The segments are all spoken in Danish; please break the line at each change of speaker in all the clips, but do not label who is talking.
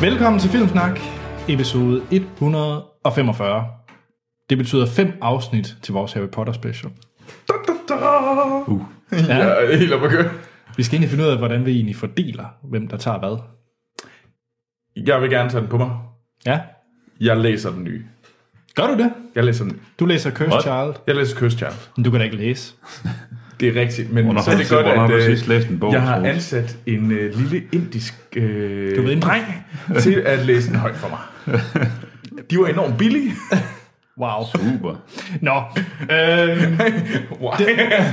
Velkommen til Filmsnak, episode 145. Det betyder fem afsnit til vores Harry Potter special. Da, da, da. Uh.
Ja.
Ja,
Jeg er helt op at køre.
vi skal egentlig finde ud af, hvordan vi egentlig fordeler, hvem der tager hvad.
Jeg vil gerne tage den på mig.
Ja,
Jeg læser den nye.
gør du det?
Jeg læser den.
Du læser Cursed
What?
Child,
Jeg læser Kyst Charles.
men du kan da ikke læse.
Det er rigtigt, men
Hvornår
så er
har
det
du-
godt,
hvornår
at
har du
øh,
sidst læst en bog,
jeg har
Troels?
ansat en øh, lille indisk øh,
Du ved ikke-
dreng til at læse den højt for mig. De var enormt billige.
Wow.
Uber.
Nå, øhm,
wow,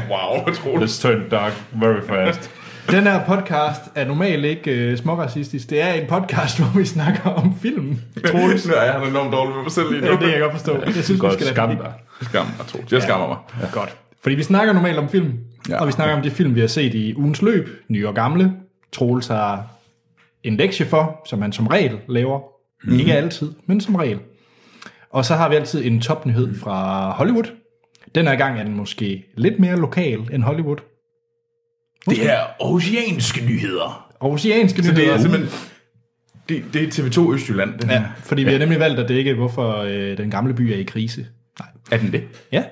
wow troligt.
This turned dark very fast.
den her podcast er normalt ikke øh, småracistisk. Det er en podcast, hvor vi snakker om film.
Troligt. Nu er jeg enormt dårlig ved mig selv lige nu.
Ja, det kan jeg godt forstå. Jeg synes, vi
Godt,
skal
skam
lade
dig.
Skam mig, Troels. Jeg skammer mig.
det Godt. Fordi vi snakker normalt om film, ja.
Ja.
og vi snakker om de film, vi har set i ugens løb, nye og gamle. Troels har en lektie for, som han som regel laver.
Mhm.
Mm. Ikke altid, men som regel. Og så har vi altid en topnyhed
Mhm.
fra Hollywood. Den her gang er den måske lidt mere lokal end Hollywood.
Det er oceanske nyheder.
Og oceanske nyheder.
Det er simpelthen... Det, det er TV2 Østjylland, den
Ja,
her.
fordi vi har nemlig valgt at dække, hvorfor øh, den gamle by er i krise. Nej.
Er den det?
Ja.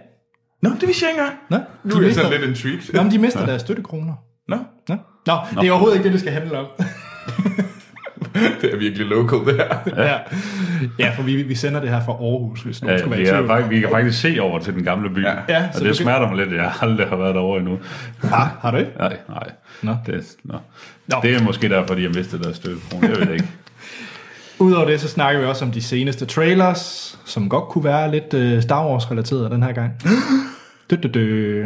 Nå, det vidste jeg ikke engang.
Nå,
Nu
de
er jeg
mister,
sådan lidt intrigued.
Nå, men de mister ja. deres støttekroner.
Nå,
Nå. Nå, Nå, det er overhovedet ikke det, det skal handle om.
det er virkelig local, det her.
ja. ja, for vi, vi sender det her fra Aarhus, hvis nogen ja,
Ja,
skulle være
vi,
i
er,
tvivl.
fakt- vi kan faktisk se over til den gamle by.
Ja.
Ja,
og
så
det
du kan-
smerter mig lidt, at jeg aldrig har været derovre endnu.
Ah, har du ikke?
Nej, nej.
Nå.
Det, no.
Nå.
det er måske derfor, de har mistet deres støttekrone. Jeg ved det ikke.
Udover det, så snakker vi også om de seneste trailers, som godt kunne være lidt øh, Star Wars-relateret den her gang. dø, dø, dø.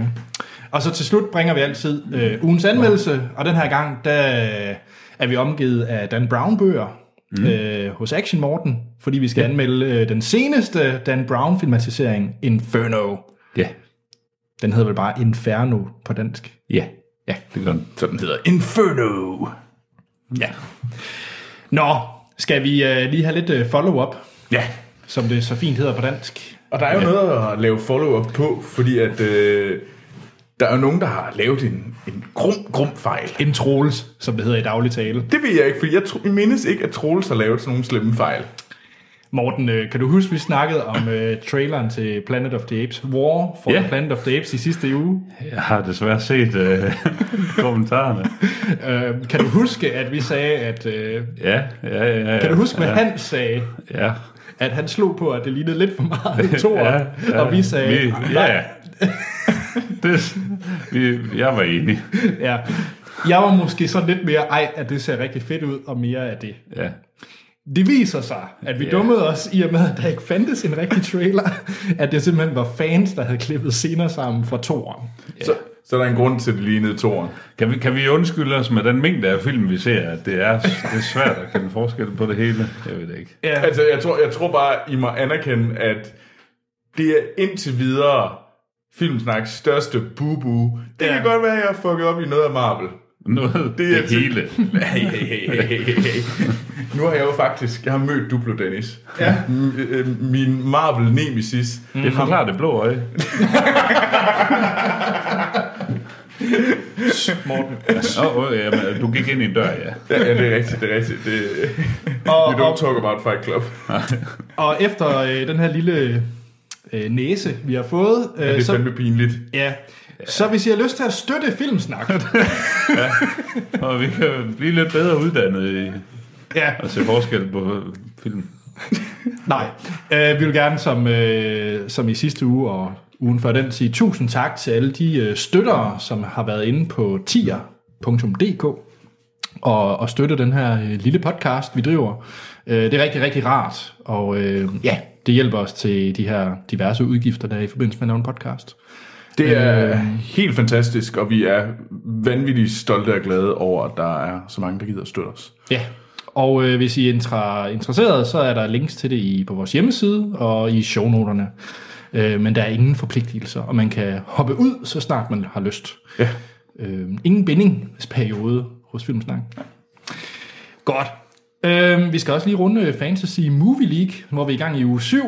Og så til slut bringer vi altid øh, ugens anmeldelse, og den her gang, der øh, er vi omgivet af Dan Brown-bøger mm. øh, hos Action Morten, fordi vi skal ja. anmelde øh, den seneste Dan Brown-filmatisering, Inferno.
Ja,
Den hedder vel bare Inferno på dansk.
ja, ja, det gør den.
Så den hedder Inferno.
Ja. Nå, skal vi øh, lige have lidt øh, follow-up,
Ja,
som det så fint hedder på dansk.
og der er jo ja. noget at lave follow-up på, fordi at øh, der er jo nogen, der har lavet en, en grum, grum fejl.
En trolls, som det hedder i daglig tale.
Det ved jeg ikke, fordi jeg tro, jeg mindes ikke, at Troels har lavet sådan nogle slemme fejl.
Morten, øh, kan du huske, vi snakkede om øh, traileren til Planet of the Apes, War for
Ja.
yeah. Planet of the Apes i sidste uge?
Jeg har desværre set øh, kommentarerne.
Øh, kan du huske, at vi sagde, at... Øh,
Ja, ja, ja. ja
kan du huske, hvad
ja,
han sagde?
Ja.
At han slog på, at det lignede lidt for meget to ja, ja, og vi sagde...
Vi, ja, det, vi, jeg var enig.
ja. Jeg var måske sådan lidt mere, ej, at det ser rigtig fedt ud, og mere af det.
Ja.
Det viser sig, at vi yeah.
Ja.
dummede os i og med, at der ikke fandtes en rigtig trailer, at det simpelthen var fans, der havde klippet scener sammen fra toeren.
Ja. Så, så er der en grund til, at det lignede toren.
Kan vi, kan vi undskylde os med den mængde af film, vi ser, at det er, det er svært at kende forskel på det hele? Jeg ved det ikke.
Ja,
Altså, jeg tror, jeg tror bare, I må anerkende, at det er indtil videre Filmsnaks største bubu. Det
Ja.
kan godt være, at jeg har fucket op i noget af Marvel.
Noget, det,
er
det
til-
hele.
Hey, hey, hey, hey, hey, hey. Nu har jeg jo faktisk, jeg har mødt Duplo Dennis.
Ja.
M- øh, min Marvel Nemesis.
Det forklarer det blå øje.
Morten.
Nå, oh, jamen, du gik ind i en dør, ja.
Ja, ja, det er rigtigt, det er rigtigt. Det,
Og-
we don't
og-
talk about Fight Club.
Og efter øh, den her lille øh, næse, vi har fået, øh,
Det er
så,
fandme pinligt.
ja, så hvis I har lyst til at støtte Filmsnak,
Og vi kan blive lidt bedre uddannet i
ja,
at se forskel på film.
nej, øh, vi vil gerne som, øh, som i sidste uge og ugen før den sige tusind tak til alle de øh, støttere, som har været inde på tier.dk og, og støtte den her øh, lille podcast, vi driver. Øh, det er rigtig, rigtig rart, og øh, ja, det hjælper os til de her diverse udgifter, der er i forbindelse med at lave en podcast.
Det er Øh, helt fantastisk, og vi er vanvittigt stolte og glade over, at der er så mange, der gider at støtte os.
Ja, og øh, hvis I er intra- interesseret, så er der links til det i, på vores hjemmeside og i shownoterne. Øh, men der er ingen forpligtelser, og man kan hoppe ud, så snart man har lyst.
Ja.
Øh, ingen bindingsperiode hos Filmsnak. Godt. Øh, vi skal også lige runde Fantasy Movie League, hvor vi er i gang i uge 7.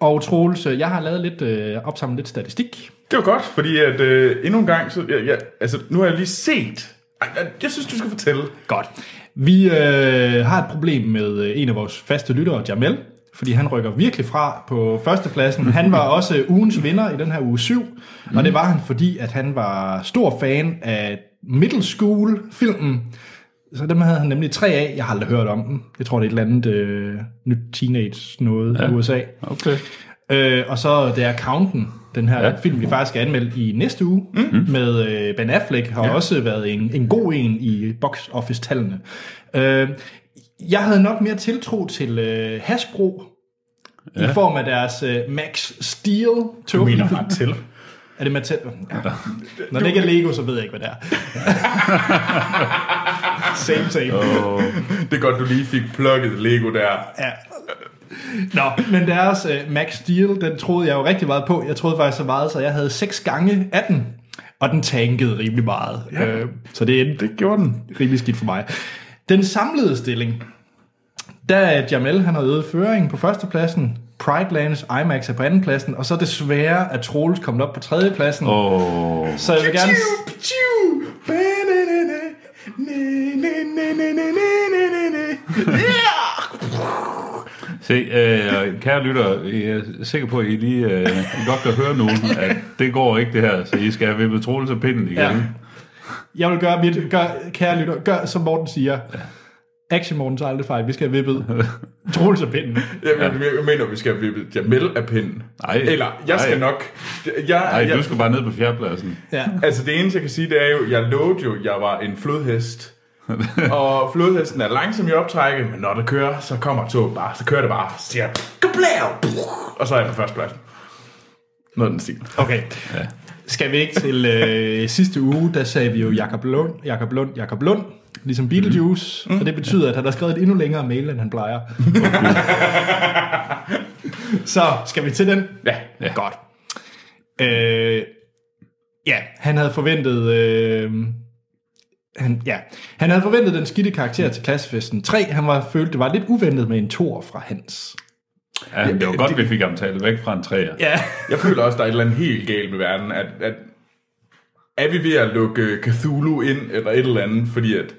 Og Troels, øh, jeg har lavet lidt, øh, opsamlet lidt statistik.
Det var godt, fordi at øh, endnu en gang, så, jeg, jeg, altså, nu har jeg lige set Ej, jeg- jeg synes, du skal fortælle.
Godt. Vi øh, har et problem med øh, en af vores faste lyttere, Jamel, fordi han rykker virkelig fra på førstepladsen. Han var også øh, ugens vinder i den her uge 7, og det var han, fordi at han var stor fan af middle school-filmen. Så dem havde han nemlig tre af. Jeg har aldrig hørt om dem. Jeg tror, det er et eller andet øh, nyt teenage-noget ja. i USA.
Okay.
Øh, og så The Accountant, den her ja.
Ja.
film, vi faktisk skal anmelde i næste uge, mm. med øh, Ben Affleck, har ja. også været en, en god en i box office-tallene. Øh, jeg havde nok mere tiltro til øh, Hasbro, ja. i form af deres øh, Max Steel
Du
tog.
mener ret til.
Er det Mattel? Ja. Når det ikke er Lego, så ved jeg ikke, hvad det er. same, same.
Og
Det er godt, du lige fik plukket Lego der.
Ja. Nå, men deres uh, Max Steel, den troede jeg jo rigtig meget på. Jeg troede faktisk så meget, så jeg havde 6 gange af den. Og den tankede rimelig meget. Ja. Øh, så det endte
Det gjorde den.
rimelig skidt for mig. Den samlede stilling, da Jamel han har øget føringen på førstepladsen, Pridelands IMAX er på andenpladsen, og så desværre er Troels kommet op på tredjepladsen. Oh.
og
Så jeg vil gerne...
Pichu, pichu. Ba-na-na-na. Na-na-na-na-na-na-na-na. Yeah!
Se, øh, kære lytter, jeg er sikker på, at I lige øh, I godt kan høre nu, at det går ikke det her, så I skal have vippet Troels og pinden igen.
Ja.
Ja.
Jeg vil gøre mit, gør, kære lytter, gør som Morten siger. Action Morten tager aldrig fejl, vi skal have vippet Troels og pinden.
Jeg, jeg, jeg mener, vi skal have vippet Jamel af pinden.
Nej.
Eller, jeg skal
Nej.
nok... Jeg,
Ej,
jeg,
du skal bare ned på fjerdepladsen.
Ja.
Altså det eneste, jeg kan sige, det er jo, jeg lovede jo, jeg var en flodhest. og flodhesten er langsom i optrækket, men når det kører, så kommer toget bare, så kører det bare, så siger jeg, "Kablav!" og så er jeg på første plads. Noget af den stil.
Okay. Ja. Skal vi ikke til øh, sidste uge, der sagde vi jo Jakob Lund, Jakob Lund, Jakob Lund, ligesom Beetlejuice, mm. og det betyder, at han har skrevet et endnu længere mail, end han plejer. Så skal vi til den?
Ja.
ja. Godt. Øh, ja, han havde forventet... Øh, han, ja. han havde forventet den skidte karakter til klassefesten 3. Han var følte, det var lidt uventet med en tor fra Hans.
Ja, det var godt, vi fik ham talt væk fra en træer.
Ja.
Jeg føler også, der er et eller andet helt galt med verden, at, at er vi ved at lukke Cthulhu ind, eller et eller andet, fordi at,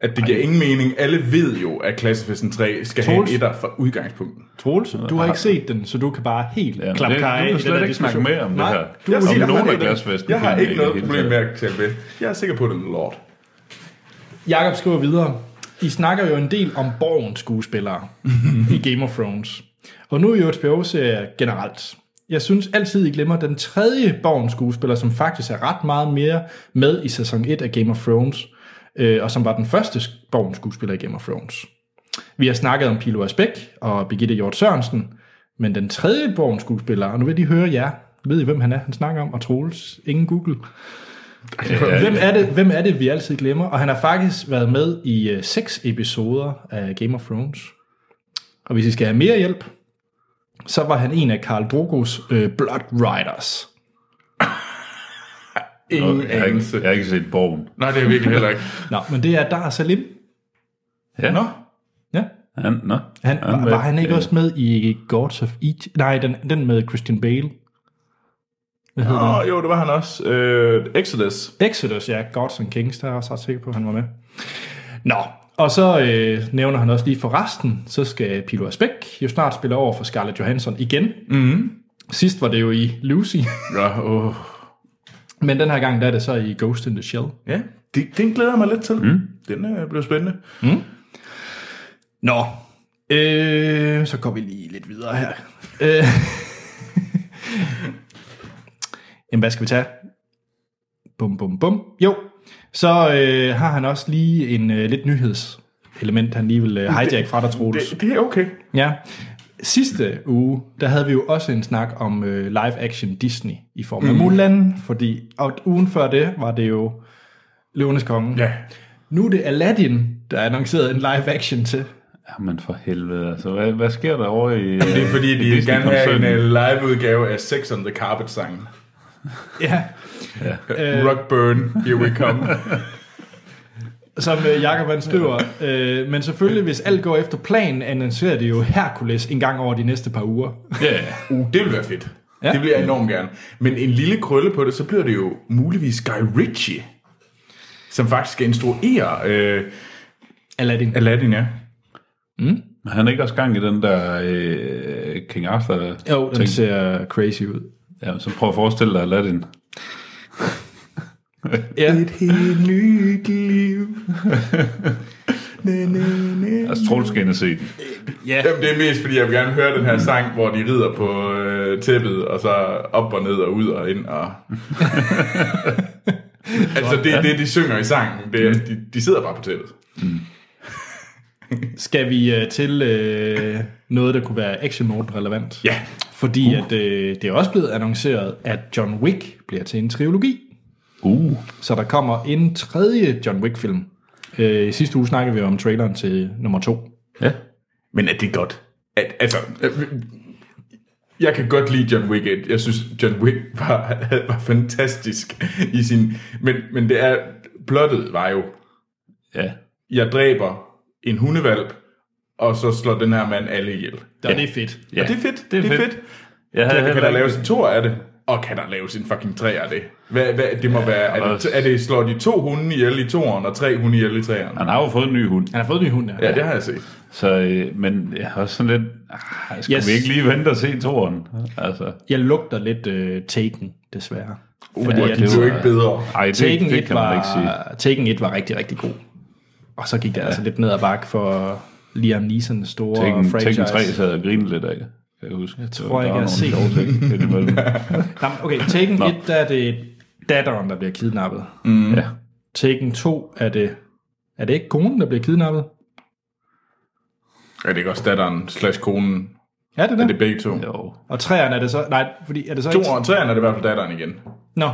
at det giver ingen mening. Alle ved jo, at Klassefesten 3 skal have en
Troels.
etter fra udgangspunktet.
Troels, du har ikke set den, så du kan bare helt ja,
men
klappe
det-
kaj
Du
i den
kan
her
slet ikke snakke
diskussion.
mere om
Nej,
det her.
du må
om
sige,
jeg,
nogen
har
af
ikke-
glasfesten.
jeg har
finder
ikke
i
noget
det hele
problem med
taget.
at tale ved. Jeg er sikker på, at det er lort.
Jakob skriver videre. I snakker jo en del om borgens skuespillere i Game of Thrones. Og nu i HBO-serier generelt. Jeg synes altid, I glemmer den tredje borgens skuespiller, som faktisk er ret meget mere med i sæson 1 af Game of Thrones, øh, og som var den første sk- borgens skuespiller i Game of Thrones. Vi har snakket om Pilo Asbæk og Birgitte Hjort Sørensen, men den tredje borgens skuespiller, og nu vil de høre jer, ved I, hvem han er, han snakker om, og Troels, ingen Google.
Ja,
Hvem er, det, hvem er det, vi altid glemmer? Og han har faktisk været med i øh, seks episoder af Game of Thrones. Og hvis I skal have mere hjælp, så var han en af Karl Drogos øh, Blood Riders.
Ingen
Jeg har, ikke,
anelse.
jeg har ikke set Borgen.
Nej, det er virkelig heller ikke.
Nå, men det er Dar Salim.
Ja. Nå.
Ja.
Han, nå.
Han,
Han
var,
var-
var han ikke
ja.
også med i Gods of Egypt? Nej, den, den med Christian Bale. Hvad hedder den?
Nå, jo, det var han også. Øh, Exodus.
Exodus, ja, Gods and Kings, der er jeg også ret sikker på, at han var med. Nå, og så øh, nævner han også lige for resten, så skal Pilo Asbæk jo snart spille over for Scarlett Johansson igen. Mm. Sidst var det jo i Lucy,
Mm-hmm. Ja, åh.
men den her gang der er det så i Ghost in the Shell.
ja det, den glæder jeg mig lidt til. Mm. Den øh, bliver spændende.
Nå, øh, så går vi lige lidt videre her. Øh. Jamen, hvad skal vi tage? Bum, bum, bum. Jo, så øh, har han også lige en øh, lidt nyhedselement, han lige vil øh, hijack fra dig, Troels.
Det, det er okay.
Ja. Sidste uge, der havde vi jo også en snak om øh, live-action Disney i form af mm. Mulan, fordi og ugen før det var det jo Løvenes Konge.
Ja.
Nu er det Aladdin, der er annonceret en live-action til.
Jamen for helvede, altså. Hvad, hvad sker der over i...
Det er fordi, de vil gerne have en øh, live-udgave af Sex on the Carpet-sangen.
Ja.
Øh. Rockburn, here we come.
Som øh, Jakob han skriver. Øh, men selvfølgelig, hvis alt går efter planen, annoncerer det jo Hercules en gang over de næste par uger.
Ja, ja.
uh, det vil være fedt.
Ja.
Ja. Det vil jeg enormt gerne. Men en lille krølle på det, så bliver det jo muligvis Guy Ritchie. som faktisk instruerer øh,
Aladdin.
Aladdin, ja.
Han er ikke også gang i den der øh, King Arthur?
Jo, den
ting?
ser crazy ud.
Ja, så prøv at forestille dig Aladdin.
Ja.
helt nyt liv.
Altså, Troels skal ind og se den.
ja.
Jamen, det er mest, fordi jeg vil gerne høre den her sang, hvor de rider på øh, tæppet, og så op og ned og ud og ind. Og... altså, det er det, de synger i sangen. Det er, de, de sidder bare på tæppet.
Skal vi øh, til øh, noget, der kunne være action mode relevant?
Ja,
Fordi at, øh, det er også blevet annonceret, at John Wick bliver til en trilogi.
Uh,
Så der kommer en tredje John Wick-film. Øh, I sidste uge snakkede vi om traileren til nummer to.
ja.
men er det godt? At, altså, øh, jeg kan godt lide John Wick 1. Jeg synes, John Wick var, var fantastisk i sin... Men, men det er... Plottet var jo
Ja.
jeg dræber en hundevalp, og så slår den her mand alle ihjel.
Der, ja. Det er fedt.
ja.
Og det er fedt. Det er, det er fedt. fedt.
Jeg havde
Kan, kan
heller
der
ikke-
laves en to af det? Og kan der laves en fucking tre af det? Hvad, hvad, det må være, er det, er det, slår de to hunde ihjel i toeren, og tre hunde ihjel i treeren?
Han har jo fået en ny hund,
Han har fået en ny hund, ja.
Ja, det har jeg set.
så, øh, men jeg har også sådan lidt, ah, skulle
Yes.
yes. vi ikke lige vente og se toren? Altså,
Jeg lugter lidt øh, Taken, desværre.
Uh, ja,
at
det er
var-
jo ikke bedre.
ej, det,
Taken,
det,
1
det kan man
var,
ikke sige.
Taken 1 var rigtig, rigtig god. Og så gik det ja. altså lidt ned ad bakke for Liam Neesons store
Tekken,
franchise.
Tekken 3 sad jeg og grinede lidt af, kan jeg huske. Jeg
tror ikke, jeg har set Nå, men okay, Taken 1, der er det datteren, der bliver kidnappet.
Mm. Ja.
Taken 2 er det... Er det ikke konen, der bliver kidnappet?
Er det ikke også datteren slash konen?
Er det
Er
det?
det begge to?
Jo.
Og træerne er det så... Nej, fordi er det så ikke...
Toeren og treeren er det i hvert fald datteren igen.
Nå,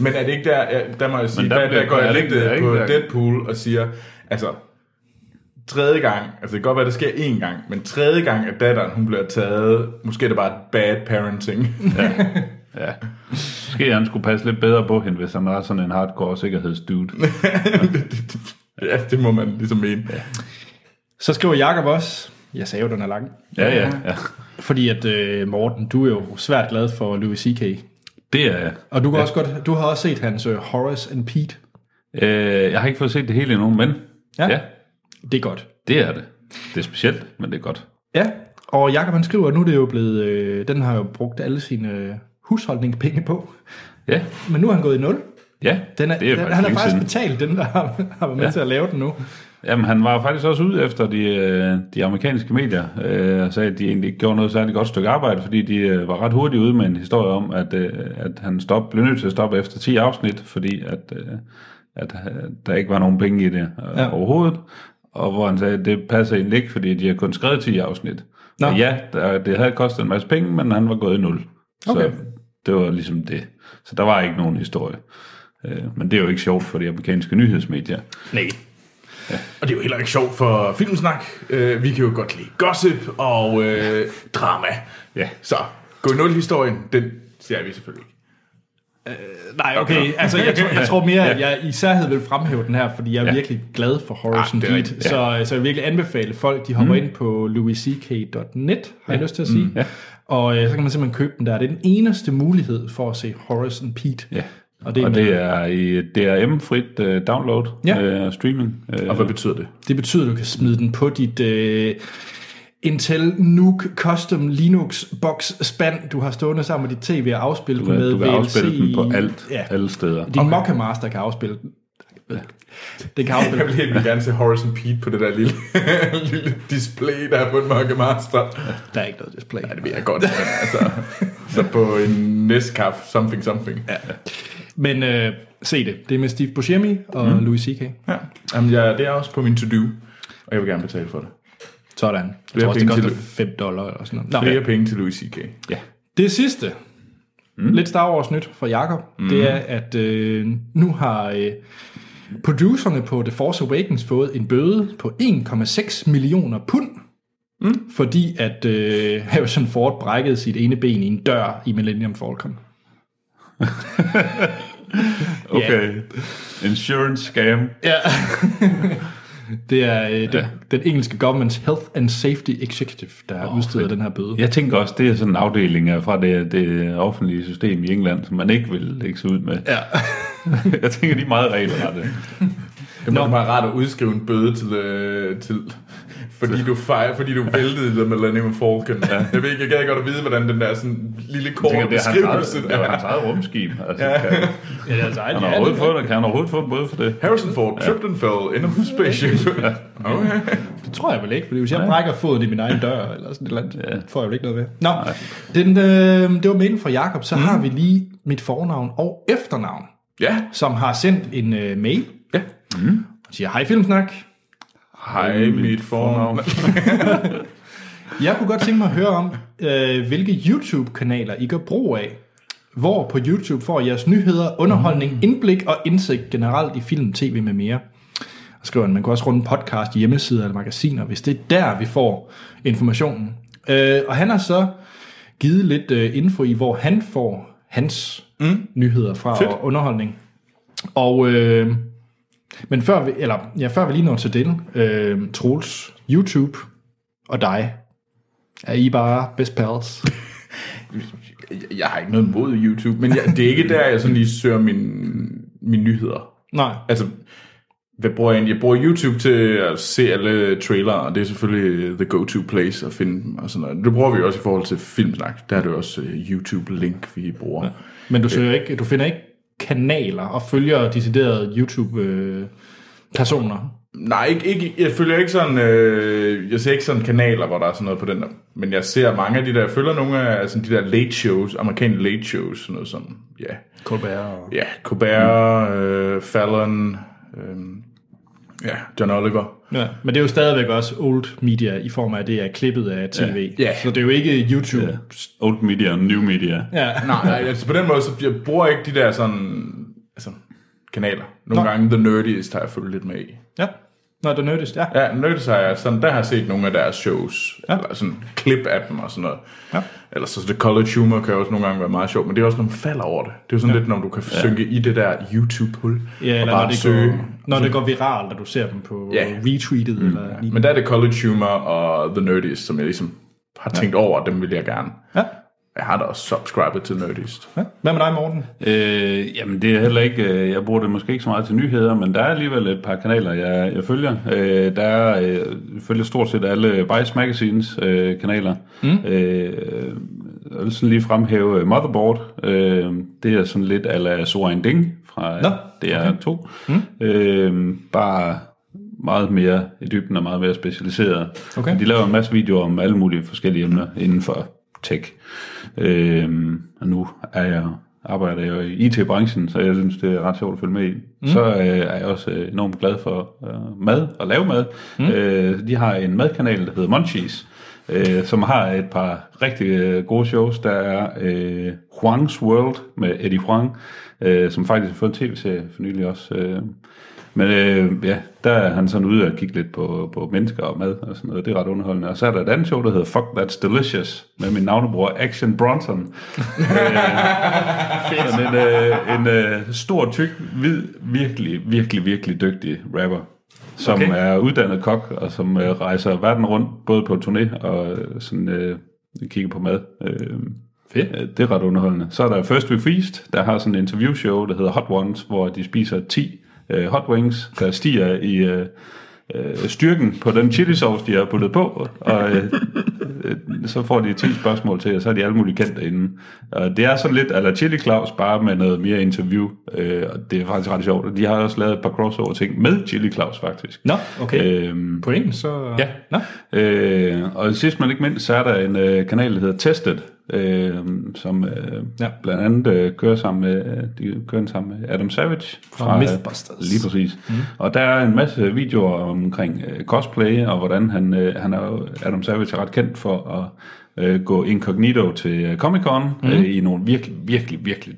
Men er det ikke der, ja, der må jeg sige,
Men
der,
der
der,
bliver-
der går
der er
jeg lidt
ikke- der er
øh,
ikke-
på
der er-
Deadpool og siger, altså, tredje gang, altså det kan godt være, det sker én gang, men tredje gang, at datteren, hun bliver taget, måske er det bare bad parenting.
Ja. Måske han skulle passe lidt bedre på hende, hvis han var sådan en hardcore sikkerhedsdude.
ja, det må man ligesom mene.
så skriver Jakob også... Jeg sagde jo, den er lang.
Ja, ja, ja.
Fordi at øh, Morten, du er jo svært glad for Louis C.K.
Det er jeg.
Og du, kan ja. også godt, du har også set hans uh, Horace and Pete.
Øh, jeg har ikke fået set det hele endnu, men
Ja.
ja. ja,
Det er godt.
det er det. Det er specielt, men det er godt.
Ja, og Jakob han skriver, at nu er det jo blevet, øh, den har jo brugt alle sine øh, husholdningspenge på,
Ja,
men nu er han gået i nul.
ja.
Den er,
det er
den, han har
længe
faktisk
siden.
betalt den, der har, har været med ja.
Ja.
til at lave den nu.
Jamen, han var faktisk også ude efter de, øh, de amerikanske medier øh, og sagde, at de egentlig ikke gjorde noget særligt godt stykke arbejde, fordi de øh, var ret hurtigt ude med en historie om, at, øh, at han stop, blev nødt til at stoppe efter 10 afsnit, fordi at, øh, at øh, der ikke var nogen penge i det øh,
Ja.
ja. overhovedet. Og hvor han sagde, at det passer egentlig ikke, fordi de har kun skrevet 10 afsnit.
Nå.
Nå. Og ja, der, det havde kostet en masse penge, men han var gået i nul.
Okay.
Så det var ligesom det. Så der var ikke nogen historie. Øh, men det er jo ikke sjovt for de amerikanske nyhedsmedier.
Nej.
Og det er jo heller ikke sjovt for filmsnak. Øh, vi kan jo godt lide gossip og øh, drama.
Ja.
Så, gå i nul historien, den ser vi selvfølgelig ikke.
Nej, okay, altså jeg, tror, jeg tror mere, at jeg især havde vil fremhæve den her, fordi jeg er ja.
Ja.
virkelig glad for Horace
Ah,
and
det er
Pete,
rigtigt,
så, så jeg vil virkelig anbefale folk, de hopper mm. ind på louisck.net, har jeg lyst til at sige, mm.
ja.
og øh, så kan man simpelthen købe den der. Det er den eneste mulighed for at se Horace and Pete.
Ja.
Og
Det
det,
og
det,
det er i DRM-frit uh, download
Ja.
ja. uh, streaming. Uh,
Og hvad betyder det?
det betyder, at du kan smide den på dit øh, Intel Nuke Custom Linux Box spand, du har stående sammen med dit tv og afspille den med
du kan
VLC.
afspille den på alt,
Ja.
ja. alle steder.
Din okay. Mockemaster kan afspille den. Det kan afspille
Jeg vil helt vildt gerne se Horizon Pete på det der lille, lille display, der er på en Mørke Master.
Der er ikke noget display.
Ja, det ved jeg godt. men altså, så på en Nescaf something something. Ja.
Men øh, se det. Det er med Steve Buscemi og mm. Louis C.K.
ja. Jamen, ja, det er også på min to-do, og jeg vil gerne betale for det.
Sådan. Jeg
Flere
tror også, det
penge til
koster
det.
5 dollar eller sådan noget. Nå,
Flere
ja.
ja. penge til Louis C.K.
Ja.
Det sidste. Mm. Lidt Star Wars nyt fra Jakob. Mm. Det er, at øh, nu har øh, producerne på The Force Awakens fået en bøde på 1,6 millioner pund. Mm. Fordi at øh, Harrison Ford brækkede sit ene ben i en dør i Millennium Falcon.
Okay. Insurance scam.
Ja. det er øh, den, den engelske government's Health and Safety Executive, der har oh, udstedet den her bøde.
Jeg tænker også, det er sådan en afdeling af fra det, det offentlige system i England, som man ikke vil lægge sig ud med.
Ja.
jeg tænker, de er meget regelrette.
Det må bare rart at udskrive en bøde til, øh, til fordi du fejl, fordi du væltede det med Millennium Falcon. Ja. Jeg ved ikke, jeg gad godt at vide, hvordan den der sådan lille
Jeg
kort
tænker, det er hans
beskrivelse
eget, det er
der.
hans eget rumskib. Altså, ja. kan,
Ja, det er altså
han har overhovedet fået, kan han overhovedet få en bøde for det?
Harrison Ford tripped and fell in a spaceship. okay.
Det tror jeg vel ikke, fordi hvis jeg brækker foden i min egen dør, eller sådan et eller andet,
Ja.
får jeg vel ikke noget ved. Nå, den, øh, det var mailen fra Jakob. Så mm. har vi lige mit fornavn og efternavn,
Ja,
som har sendt en øh, mail.
Ja.
Mm. Siger, hej Filmsnak.
hej mit fornavn.
Jeg kunne godt tænke mig at høre om, øh, hvilke YouTube-kanaler I gør brug af. Hvor på YouTube får I jeres nyheder, underholdning, indblik og indsigt generelt i film, tv med mere. Og skriver han, man kan også runde podcast, hjemmesider eller magasiner, hvis det er der, vi får informationen. Øh, og han har så givet lidt øh, info i, hvor han får hans mm. nyheder fra
Fedt.
og underholdning. Og... Øh, men før vi, eller, ja, før vi lige når til den, øh, Troels, YouTube og dig, er I bare best pals?
Jeg- Jeg har ikke noget mod YouTube, men jeg, det er ikke der, jeg sådan lige søger mine, mine nyheder.
Nej.
Altså, hvad bruger jeg egentlig? Jeg bruger YouTube til at se alle trailere, og det er selvfølgelig øh, the go-to place at finde dem og sådan noget. Det bruger vi jo også i forhold til filmsnak. Der er det jo også øh, YouTube-link, vi bruger. Ja.
Men du, søger ikke, du finder ikke kanaler og følger deciderede øh, YouTube-personer?
Nej, ikke, ikke, jeg følger ikke sådan, øh, jeg ser ikke sådan kanaler, hvor der er sådan noget på den der. Men jeg ser mange af de der, jeg følger nogle af sådan de der late shows, amerikanske late shows, sådan noget som, ja,
Colbert og...
ja Colbert, øh, Fallon, øh, ja, John Oliver.
Ja, men det er jo stadigvæk også old media i form af, at det er klippet af tv.
Ja. Ja.
Så det er jo ikke YouTube.
Ja. Old media og new media.
Ja. ja.
Nej, nej, altså på den måde, så jeg bruger ikke de der sådan, altså, kanaler. Nogle Nå. gange The Nerdiest har jeg fulgt lidt med i.
ja. Nå, det nødtes, ja.
Ja, Nerdiest har jeg sådan, der har jeg set nogle af deres shows,
Ja.
ja. eller sådan klip af dem og sådan noget.
Ja.
Eller så The College Humor kan også nogle gange være meget sjovt, men det er også, når man falder over det. Det er jo sådan ja. lidt, når du kan synke i det der YouTube-hul
Ja,
og
eller når
bare
det,
søge.
går, når det går viralt, og du ser dem på
Ja.
retweetet. Mm, eller
Men der er det College Humor og The Nerdiest, som jeg ligesom har tænkt over, at dem vil jeg gerne.
Ja.
Jeg har da også subscribet til Nerdiest.
ja. Hvad med dig, Morten?
Øh, jamen det er heller ikke, øh, jeg bruger det måske ikke så meget til nyheder, men der er alligevel et par kanaler, jeg, jeg følger. Øh, der er, øh, jeg følger stort set alle Vice Magazines øh, kanaler. Mm. Øh, jeg vil sådan lige fremhæve øh, Motherboard. Øh, det er sådan lidt ala Soren Ding fra
Nå,
Nå, DR2. Okay. Mm. Øh, bare meget mere i dybden og meget mere specialiseret.
Okay.
Men De laver en masse videoer om alle mulige forskellige emner inden for tech. Øhm, og nu er jeg, arbejder jeg jo i IT-branchen, så jeg synes, det er ret sjovt at følge med i. Mm. Så øh, er jeg også øh, enormt glad for øh, mad og lave mad. Mm. Øh, de har en madkanal, der hedder Munchies, øh, som har et par rigtig øh, gode shows. Der er øh, Huang's World med Eddie Huang, øh, som faktisk har fået en tv-serie for nylig også. Øh. Men øh, ja, der er han sådan ude og kigge lidt på, på mennesker og mad og sådan noget. Det er ret underholdende. Og så er der et andet show, der hedder Fuck That's Delicious, med min navnebror Action Bronson. øh, sådan en, øh, en øh, stor, tyk, hvid, virkelig, virkelig, virkelig dygtig rapper, som
Okay.
okay. er uddannet kok, og som øh, rejser verden rundt, både på turné og øh, sådan, øh, kigger på mad. Øh,
Fedt.
Øh, Det er ret underholdende. Så er der First We Feast, der har sådan en interviewshow, der hedder Hot Ones, hvor de spiser 10 øh, hot wings, der stiger i øh, øh, styrken på den chili sauce, de har puttet på. Og øh, øh, så får de 10 spørgsmål til, og så er de alle mulige kendt derinde. Og det er sådan lidt ala Chili Claus, bare med noget mere interview. Øh, og det er faktisk ret sjovt. Og de har også lavet et par crossover-ting med Chili Claus, faktisk.
Nå, okay.
Øhm,
Øh, På engelsk, så...
Ja.
Nå?
Øh, og sidst men ikke mindst, så er der en øh, kanal, der hedder Tested, øh, som øh,
Ja.
ja. blandt andet øh, kører sammen med, øh, de kører den sammen med Adam Savage
Fra
øh,
Mythbusters. Mhm.
Lige præcis. Mm. Og der er en masse videoer omkring øh, cosplay, og hvordan han, øh, han er, jo- Adam Savage er ret kendt for at øh, gå incognito til øh, Comic-Con
Mhm.
mm. øh, i nogle virkelig, virkelig, virkelig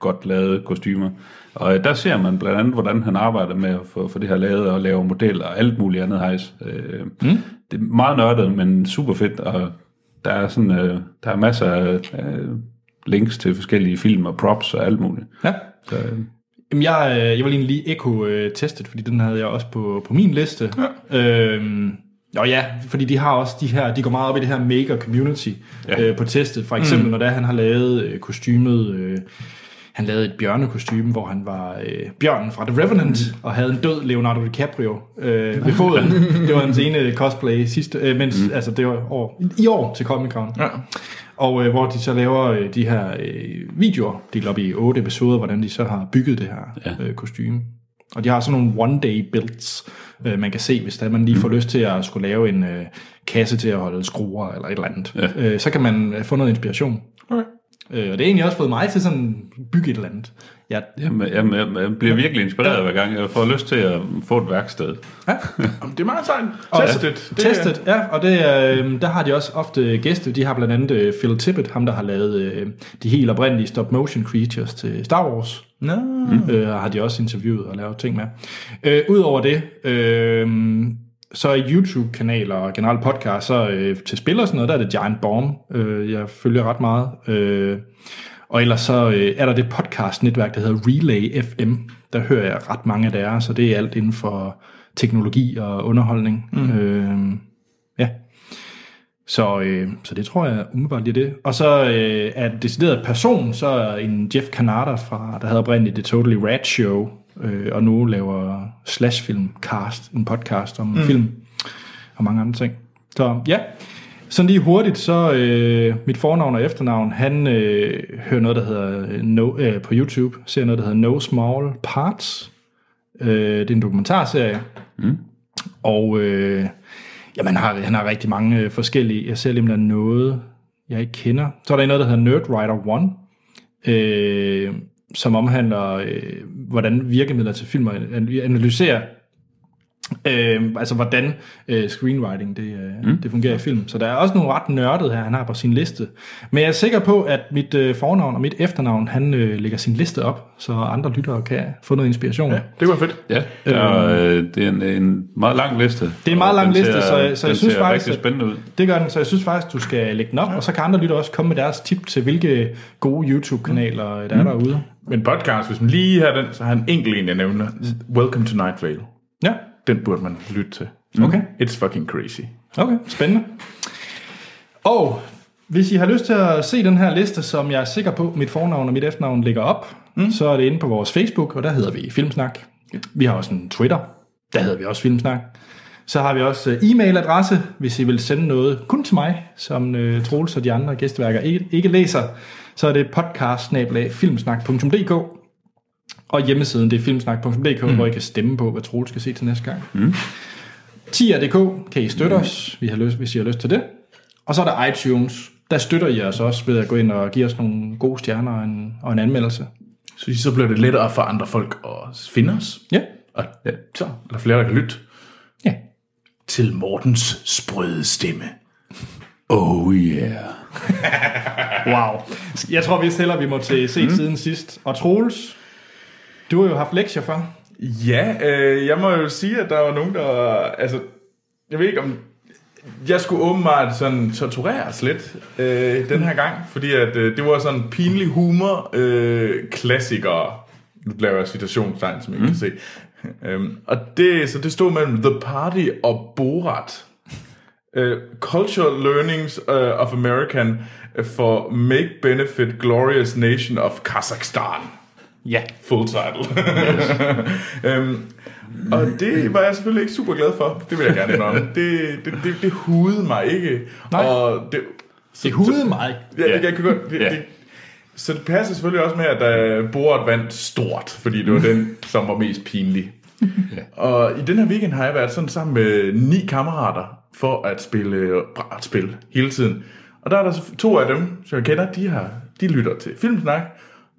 godt lavede kostymer. Og øh, der ser man blandt andet, hvordan han arbejder med at få, få det her lavet og lave modeller og alt muligt andet hejs. Øh,
Mhm.
mm. Det er meget nørdet, men super fedt, og der er, sådan, øh, der er masser af øh, links til forskellige film og props og alt muligt.
Ja.
Så, øh,
Jamen, jeg, øh, jeg vil egentlig lige Echo-testet, fordi den havde jeg også på, på min liste. Ja. Øhm, og ja, fordi de har også de her, de går meget op i det her maker community ja.
Ja.
øh, på testet. For eksempel, mm. når der han har lavet øh, kostymet øh, Han lavede et bjørnekostyme, hvor han var øh, bjørnen fra The Revenant, mm. og havde en død Leonardo DiCaprio øh, ved foden. det var hans ene cosplay sidste, øh, mens, mm. altså det var år, i år til Comic Con.
Ja.
Og øh, hvor de så laver øh, de her øh, videoer, delt op i otte episoder, hvordan de så har bygget det her ja. øh, kostume. Og de har sådan nogle one-day builds, øh, man kan se, hvis der man lige får lyst til at skulle lave en øh, kasse til at holde skruer eller et eller andet. Ja. Øh, så kan man øh, få noget inspiration.
Okay.
Øh, og det har egentlig også fået mig til sådan bygge et eller andet. Jeg,
Jamen, jamen, jeg, jeg bliver virkelig inspireret hver gang. Jeg får lyst til at få et værksted.
Jamen, det er meget sejt.
Og-
Testet. Det,
Testet, ja, og det, øh, der har de også ofte gæste. De har blandt andet øh, Phil Tippett, ham der har lavet øh, de helt oprindelige stop-motion creatures til Star Wars.
Nå.
Øh, og har de også interviewet og lavet ting med. Øh, Udover det, øh, så er YouTube-kanaler og generelt podcast, så øh, til spil og sådan noget, der er det Giant Bomb, øh, jeg følger ret meget. Øh, og ellers så øh, er der det podcast-netværk, der hedder Relay FM. Der hører jeg ret mange af deres, så det er alt inden for teknologi og underholdning. Mm. Øh, ja. Så, øh, så det tror jeg umiddelbart lige er det. Og så øh, er det decideret person, så er en Jeff Kanata, fra, der havde oprindeligt det Totally Rad Show, øh, og nu laver Slash Film Cast, en podcast om mm. film og mange andre ting. Så ja, sådan lige hurtigt, så øh, mit fornavn og efternavn, han øh, hører noget, der hedder øh, no, øh, på YouTube, ser noget, der hedder No Small Parts. Øh, det er en dokumentarserie. Og øh, jamen, han, har, han har rigtig mange øh, forskellige. Jeg ser lige, om der er noget, jeg ikke kender. Så er der en, noget, der hedder Nerd Rider 1, øh, som omhandler, øh, hvordan virkemidler til film og an- analyserer, øh, altså hvordan øh, screenwriting det, øh, mm. det fungerer i film. Så der er også nogle ret nørdede her, han har på sin liste. Men jeg er sikker på, at mit øh, fornavn og mit efternavn, han øh, lægger sin liste op, så andre lyttere kan få noget inspiration. Ja.
Det var fedt.
Ja, der, øh, det er en, en meget lang liste. Det
er en meget lang liste, så jeg- så jeg
den
synes
ser
faktisk,
rigtig
at-
spændende ud.
Det gør den, så jeg synes faktisk, du skal lægge den op, ja. og så kan andre lytter også komme med deres tip til, hvilke gode YouTube-kanaler øh, der er derude.
Men podcast, hvis man lige har den, så har han en enkelt en, jeg nævner. Welcome to Night Vale.
Ja,
Den burde man lytte til.
okay.
It's fucking crazy.
Okay, spændende. Og hvis I har lyst til at se den her liste, som jeg er sikker på, mit fornavn og mit efternavn ligger op, mm. så er det inde på vores Facebook, og der hedder vi Filmsnak. Vi har også en Twitter, der hedder vi også Filmsnak. Så har vi også øh, e-mailadresse, hvis I vil sende noget kun til mig, som øh, Troels og de andre gæstværker ikke, ikke læser. Så er det podcast og hjemmesiden det er filmsnak.dk, mm. hvor I kan stemme på, hvad Troels skal se til næste gang. Tier.dk kan I støtte os, vi har lyst, hvis I har lyst til det. Og så er der iTunes. Der støtter I os også ved at gå ind og give os nogle gode stjerner og en, og en anmeldelse.
Så, så bliver det lettere for andre folk at finde os.
Ja.
Og så er der flere, der kan lytte
Ja.
til Mortens sprøde stemme. Oh yeah.
Wow. Jeg tror vist heller, vi må til set mm. siden sidst. Og Troels, du har jo haft lektier for.
Ja, øh, jeg må jo sige, at der var nogen, der... Altså, jeg ved ikke om... Jeg skulle åbenbart sådan tortureres lidt øh, den her gang, fordi at, øh, det var sådan pinlig humor øh, klassikere. Nu laver jeg citationstegn, som I mm. kan se. Øhm, og det, så det stod mellem The Party og Borat. Uh, Cultural Learnings øh, of American for Make Benefit Glorious Nation of Kazakhstan.
Ja.
Full title. øhm, og det var jeg selvfølgelig ikke super glad for. Det vil jeg gerne indrømme. Det, det, det, det hudede mig ikke.
Nej.
Og det,
Det hudede mig.
ja,
Ja.
yeah. jeg kan godt, det,
Ja.
det, så det passer selvfølgelig også med, at øh, Borat vandt stort, fordi det var den, som var mest pinlig. Og i den her weekend har jeg været sådan sammen med ni kammerater for at spille øh, brætspil hele tiden. Og der er der så to af dem, som jeg kender, de, har, de lytter til Filmsnak.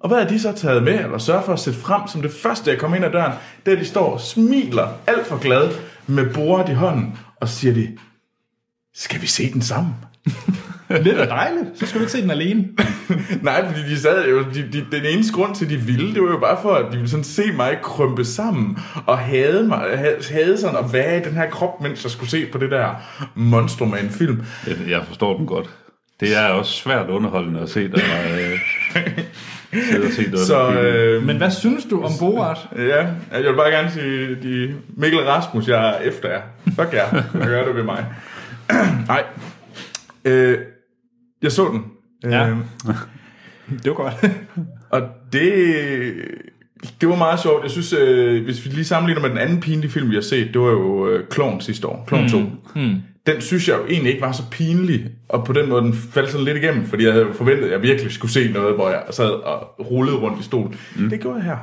Og hvad har de så taget med, eller sørger for at sætte frem som det første, jeg kommer ind ad døren, det er, at de står og smiler alt for glade med Borat i hånden, og siger de, skal vi se den sammen?
Lidt og dejligt. Så skal vi ikke se den alene.
Nej, fordi de sad jo, de, de, den eneste grund til, de ville, det var jo bare for, at de ville sådan se mig krømpe sammen, og hade, mig, ha- hade sådan at være i den her krop, mens jeg skulle se på det der monstrum af en film.
Jeg, jeg forstår den godt. Det er også svært underholdende at se dig øh, sidde og se noget.
Så øh,
Men hvad synes du om Borat?
ja, jeg vil bare gerne sige, de, Mikkel og Rasmus, jeg er efter jer. Fuck jer, hvad gør det ved mig? Nej, øh, jeg så den.
Ja.
Øh,
Det var godt.
Og det, det var meget sjovt. Jeg synes, øh, hvis vi lige sammenligner med den anden pinlige film, vi har set, det var jo øh, Kloven sidste år, Kloven 2. Mm. Den synes jeg jo egentlig ikke var så pinlig, og på den måde den faldt sådan lidt igennem, fordi jeg havde jo forventet, at jeg virkelig skulle se noget, hvor jeg sad og rullede rundt i stolen. Mm. Det gjorde jeg her.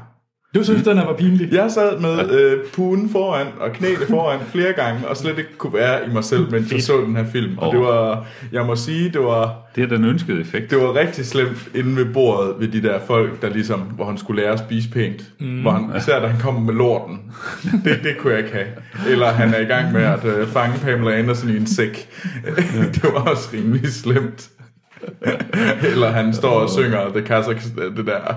Du synes, den her var pinlig?
Jeg sad med øh, puden foran og knæene foran flere gange, og slet ikke kunne være i mig selv, mens jeg så den her film. Og det var, jeg må sige, det var,
Det er den ønskede effekt.
det var rigtig slemt inde ved bordet ved de der folk, der ligesom, hvor han skulle lære at spise pænt. Mm. Hvor han, især da han kom med lorten. Det, det kunne jeg ikke have. Eller han er i gang med at øh, fange Pamela Andersen i en sæk. det var også rimelig slemt. Eller han står og synger det, Kazakhstan, det der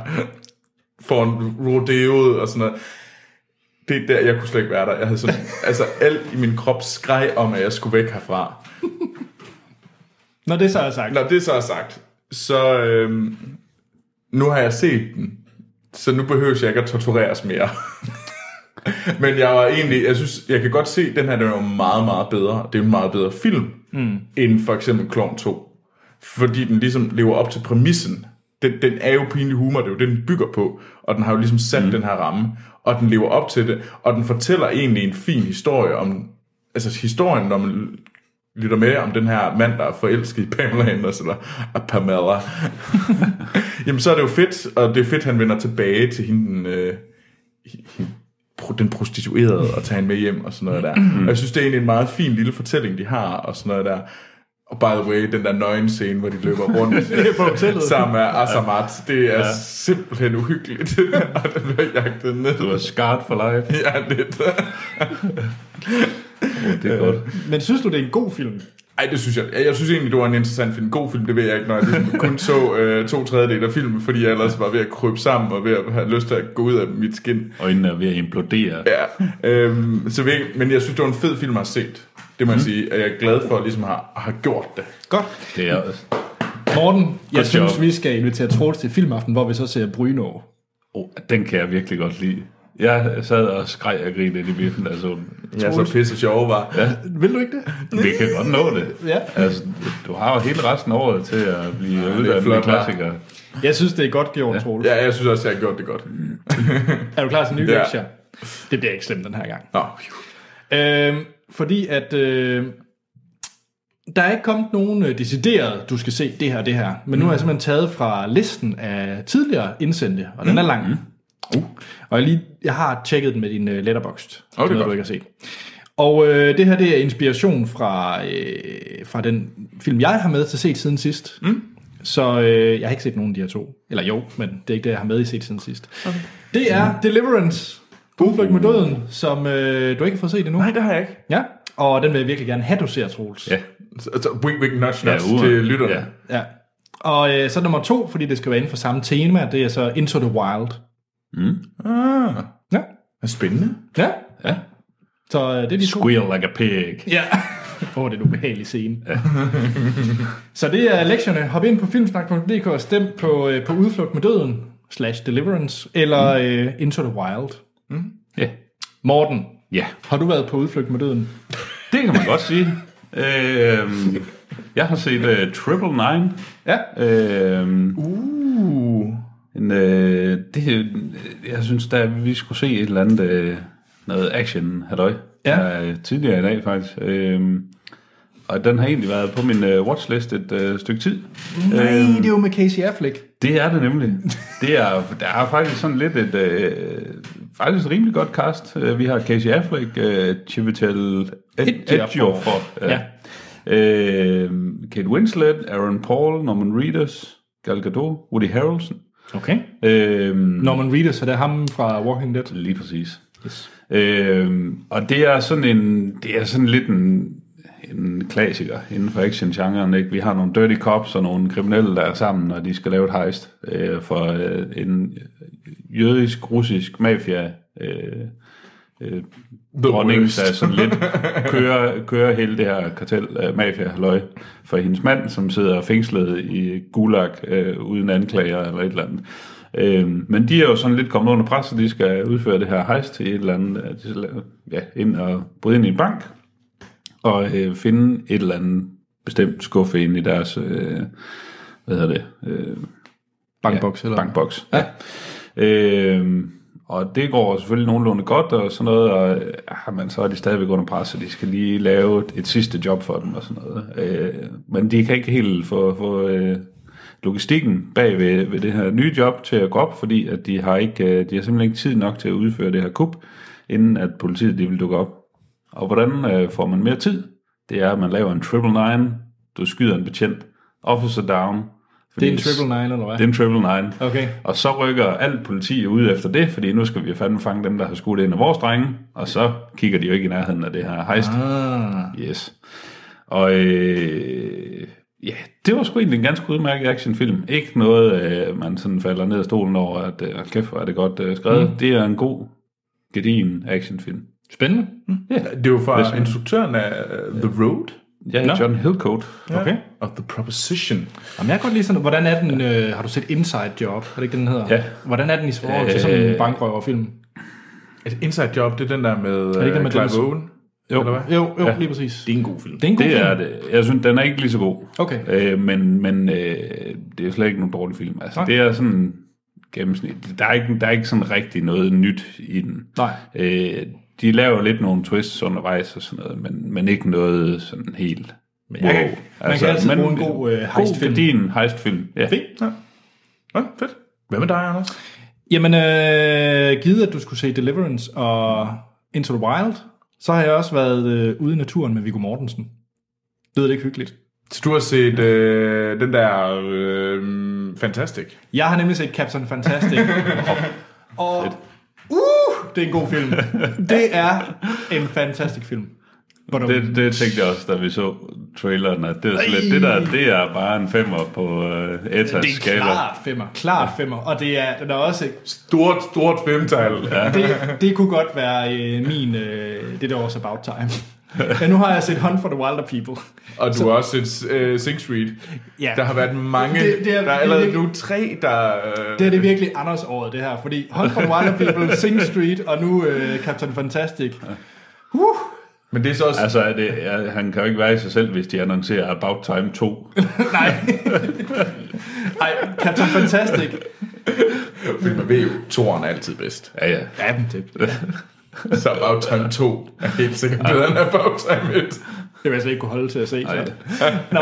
foran rodeoet og sådan noget. Det er der, jeg kunne slet ikke være der. Jeg havde sådan, altså alt i min krop skreg om, at jeg skulle væk herfra.
Når det så er sagt.
Når det så er sagt, så øhm, nu har jeg set den, så nu behøver jeg ikke at tortureres mere. Men jeg var egentlig, jeg synes, jeg kan godt se, at den her den er jo meget, meget bedre. Det er en meget bedre film, mm. end for eksempel Klovn 2. Fordi den ligesom lever op til præmissen. Den, den er jo pinlig humor, det er jo det, den bygger på. Og den har jo ligesom sat mm. den her ramme, og den lever op til det. Og den fortæller egentlig en fin historie om, altså historien om lytter med om den her mand, der er forelsket i Pamela Andersen, eller og Pamela, jamen så er det jo fedt, og det er fedt, han vender tilbage til hende, den, øh, hende- pro- den prostituerede, og tager hende med hjem, og sådan noget der.
Mm.
Og jeg synes, det er egentlig en meget fin lille fortælling, de har, og sådan noget der. Og by the way, den der nøgen scene, hvor de løber rundt
på hotellet.
sammen med Asamat, det er ja. simpelthen uhyggeligt, og den bliver jagtet ned.
Du er scarred for life.
Ja, lidt.
Oh, det er godt.
Men synes du, det er en god film?
Ej, det synes jeg. Jeg jeg synes egentlig, det var en interessant film. God film, det ved jeg ikke, når jeg ligesom kun så øh, to tredjedel af filmen, fordi jeg ellers var ved at krybe sammen og ved at have lyst til at gå ud af mit skin.
Øjnene er ved at implodere.
Ja. Øhm, så ved, men jeg synes, det var en fed film, jeg har set. Det må jeg sige, at jeg er glad for, at ligesom har, har gjort det.
Godt.
Det er,
Morten, jeg
Godt
synes,
job.
vi skal invitere Troels til filmaften, hvor vi så ser Bryno.
oh, den kan jeg virkelig godt lide. Jeg sad og skreg og grinede inde i biffen, altså.
Jeg er så pisse sjov, var. Ja.
Vil du ikke det?
Vi kan godt nå det.
Ja.
Altså, du har jo hele resten af året til at blive ja, uddannet
flot,
i klassikere.
Jeg synes, det er godt gjort, ja. Troels.
ja, jeg synes også, jeg har gjort det godt.
Er du klar til en ny
Ja.
lektie? Det bliver ikke slemt den her gang.
Nå,
Øhm, fordi at øh, der er ikke kommet nogen øh, decideret, du skal se det her og det her. Men nu har jeg simpelthen taget fra listen af tidligere indsendte, og den er lang. Uh. Og jeg, lige, jeg har tjekket den med din øh, letterbox.
er
Oh, det er
godt.
du ikke har set. Og øh, det her det er inspiration fra, øh, fra den film, jeg har med til set siden sidst. Mm. Så øh, jeg har ikke set nogen af de her to. Eller jo, men det er ikke det, jeg har med i set siden sidst. Okay. Det er
Mm.
Deliverance. Udflugt med døden, som øh, du ikke har fået set endnu.
nej, det har jeg ikke.
Ja, og den vil jeg virkelig gerne have, du ser, Troels.
Ja.
Så, så wink, wink, nudge, nudge
uha.
ja, til lytterne.
Ja.
Ja.
ja. Og øh, så nummer to, fordi det skal være inden for samme tema, det er så Into the Wild.
Mm. Ah,
Ja.
spændende.
Ja.
ja.
Så øh, det er de to.
Squeal like a pig.
Ja. Åh, oh, det er en ubehagelig scene. Ja. så det er lektionerne. Hop ind på filmsnak.dk og stem på, øh, på Udflugt med døden, slash Deliverance, eller mm. øh, Into the Wild.
Ja.
Morten,
Ja,
har du været på Udflugt med døden?
det kan man godt sige. Øhm, jeg har set uh, Triple Nine.
Ja.
Øhm,
Uh.
en, øh, det, øh, jeg synes, der vi skulle se et eller andet øh, noget action, halløj.
Ja.
Her, tidligere i dag, faktisk. Øhm, og den har egentlig været på min øh, watchlist et øh, stykke tid. Øhm,
Nej, det er jo med Casey Affleck.
Det er det nemlig. Det er, der er faktisk sådan lidt et, øh, faktisk et rimelig godt cast. Øh, Vi har Casey Affleck, øh, Chiwetel Ejiofor,
Ja.
ja. øh, Kate Winslet, Aaron Paul, Norman Reedus, Gal Gadot, Woody Harrelson.
Okay.
Øh,
Norman Reedus, så det er ham fra Walking Dead.
Lige præcis.
Yes.
Øhm, og det er sådan en, det er sådan lidt en, en klassiker inden for action-genren. Ikke? Vi har nogle dirty cops og nogle kriminelle, der er sammen, og de skal lave et heist øh, for øh, en jødisk-russisk mafia øh, øh, dronning,
worst.
der sådan lidt kører, kører hele det her kartel øh, mafia løg for hendes mand, som sidder fængslet i gulag øh, uden anklager eller et eller andet. Øh, men de er jo sådan lidt kommet under pres, så de skal udføre det her hejst til et eller andet, øh, de skal lave- ja, ind og bryde ind i en bank og øh, finde et eller andet bestemt skuffe ind i deres, øh, hvad hedder det, øh,
Bankboks,
ja,
eller?
Bankboks, ja. ja. Øhm, og det går selvfølgelig nogenlunde godt og sådan noget, og ah, men så er de stadigvæk under pres, og de skal lige lave et, et sidste job for dem og sådan noget. Øh, men de kan ikke helt få, få øh, logistikken bag ved, ved det her nye job til at gå op, fordi at de, har ikke, øh, de har simpelthen ikke tid nok til at udføre det her kup, inden at politiet de vil dukke op. Og hvordan øh, får man mere tid? Det er, at man laver en triple nine, du skyder en betjent, officer down.
Det
fordi-
er en triple nine, eller hvad?
det er en triple nine.
Okay.
Og så rykker alt politi ud efter det, fordi nu skal vi jo fandme fange dem, der har skudt ind af vores drenge, og så kigger de jo ikke i nærheden af det her hejst.
Ah.
Yes. Og øh, ja, det var sgu egentlig en ganske udmærket actionfilm. Ikke noget, øh, man sådan falder ned af stolen over, at øh, hold kæft, hvor er det godt øh, skrevet. Mm. Det er en god, gedigen actionfilm.
Spændende. Mm.
Det er jo fra instruktøren af øh, The Road
Ja,
Nå.
John Hillcoat.
Okay.
og The Proposition.
Jamen, jeg kan godt lide sådan, hvordan er den, øh, har du set Inside Job? Er det ikke det, den hedder?
Ja.
Hvordan er den i forhold til sådan en
Øh.
bankrøverfilm?
Et Inside Job, det er den der med,
ikke
øh,
den med
Clive
Dennis-
Owen.
Jo.
Eller hvad?
Jo, jo,
Ja.
ja. lige præcis.
Det er en god film.
Det er en god
Det
film.
er det. Jeg synes, den er ikke lige så god.
Okay.
Øh, men men øh, det er slet ikke nogen dårlig film. Altså, det er sådan gennemsnit. Der er, ikke, der er ikke sådan rigtig noget nyt i den.
Nej.
Øh, de laver lidt nogle twists undervejs og sådan noget, men, men ikke noget sådan helt men
jeg kan- man kan altid bruge en god, øh, heistfilm.
God din heistfilm. Ja.
Fint.
Ja. ja, fedt. Hvad med dig, Anders?
Jamen, øh, givet at du skulle se Deliverance og Into the Wild, så har jeg også været øh, ude i naturen med Viggo Mortensen. Lyder det ikke hyggeligt?
Så du har set øh, den der øh, Fantastic.
Jeg har nemlig set Captain Fantastic. og, og uh, det er en god film. Det er en fantastisk film. Badum.
Det, det tænkte jeg også, da vi så traileren, at det, er slet, det der det er bare en femmer på øh, Etas
det er
skala.
klart femmer. Klart femmer. Og det er, den er også...
Stort, stort femtal. Ja.
Det, det kunne godt være øh, min... Øh, det der års about time. Men nu har jeg set Hunt for the Wilder People.
Og du har også set øh, Sing Street.
Ja.
Der har været mange.
Det-
Det,
det er-
der er allerede
det er-
nu tre, der... Øh,
Det er det virkelig Anders året, det her. Fordi Hunt for the Wilder People, Sing Street og nu øh, Captain Fantastic. Uh,
Men det er så også...
Altså, er det, er, han kan jo ikke være i sig selv, hvis de annoncerer About Time 2.
nej. Ej, Captain Fantastic.
Fordi man ved jo, toren er altid bedst.
Ja, ja.
Ja, men det,
Så About Time 2 er helt sikkert bedre end About Time 1.
Det vil jeg slet ikke kunne holde til at se. Så. Nå,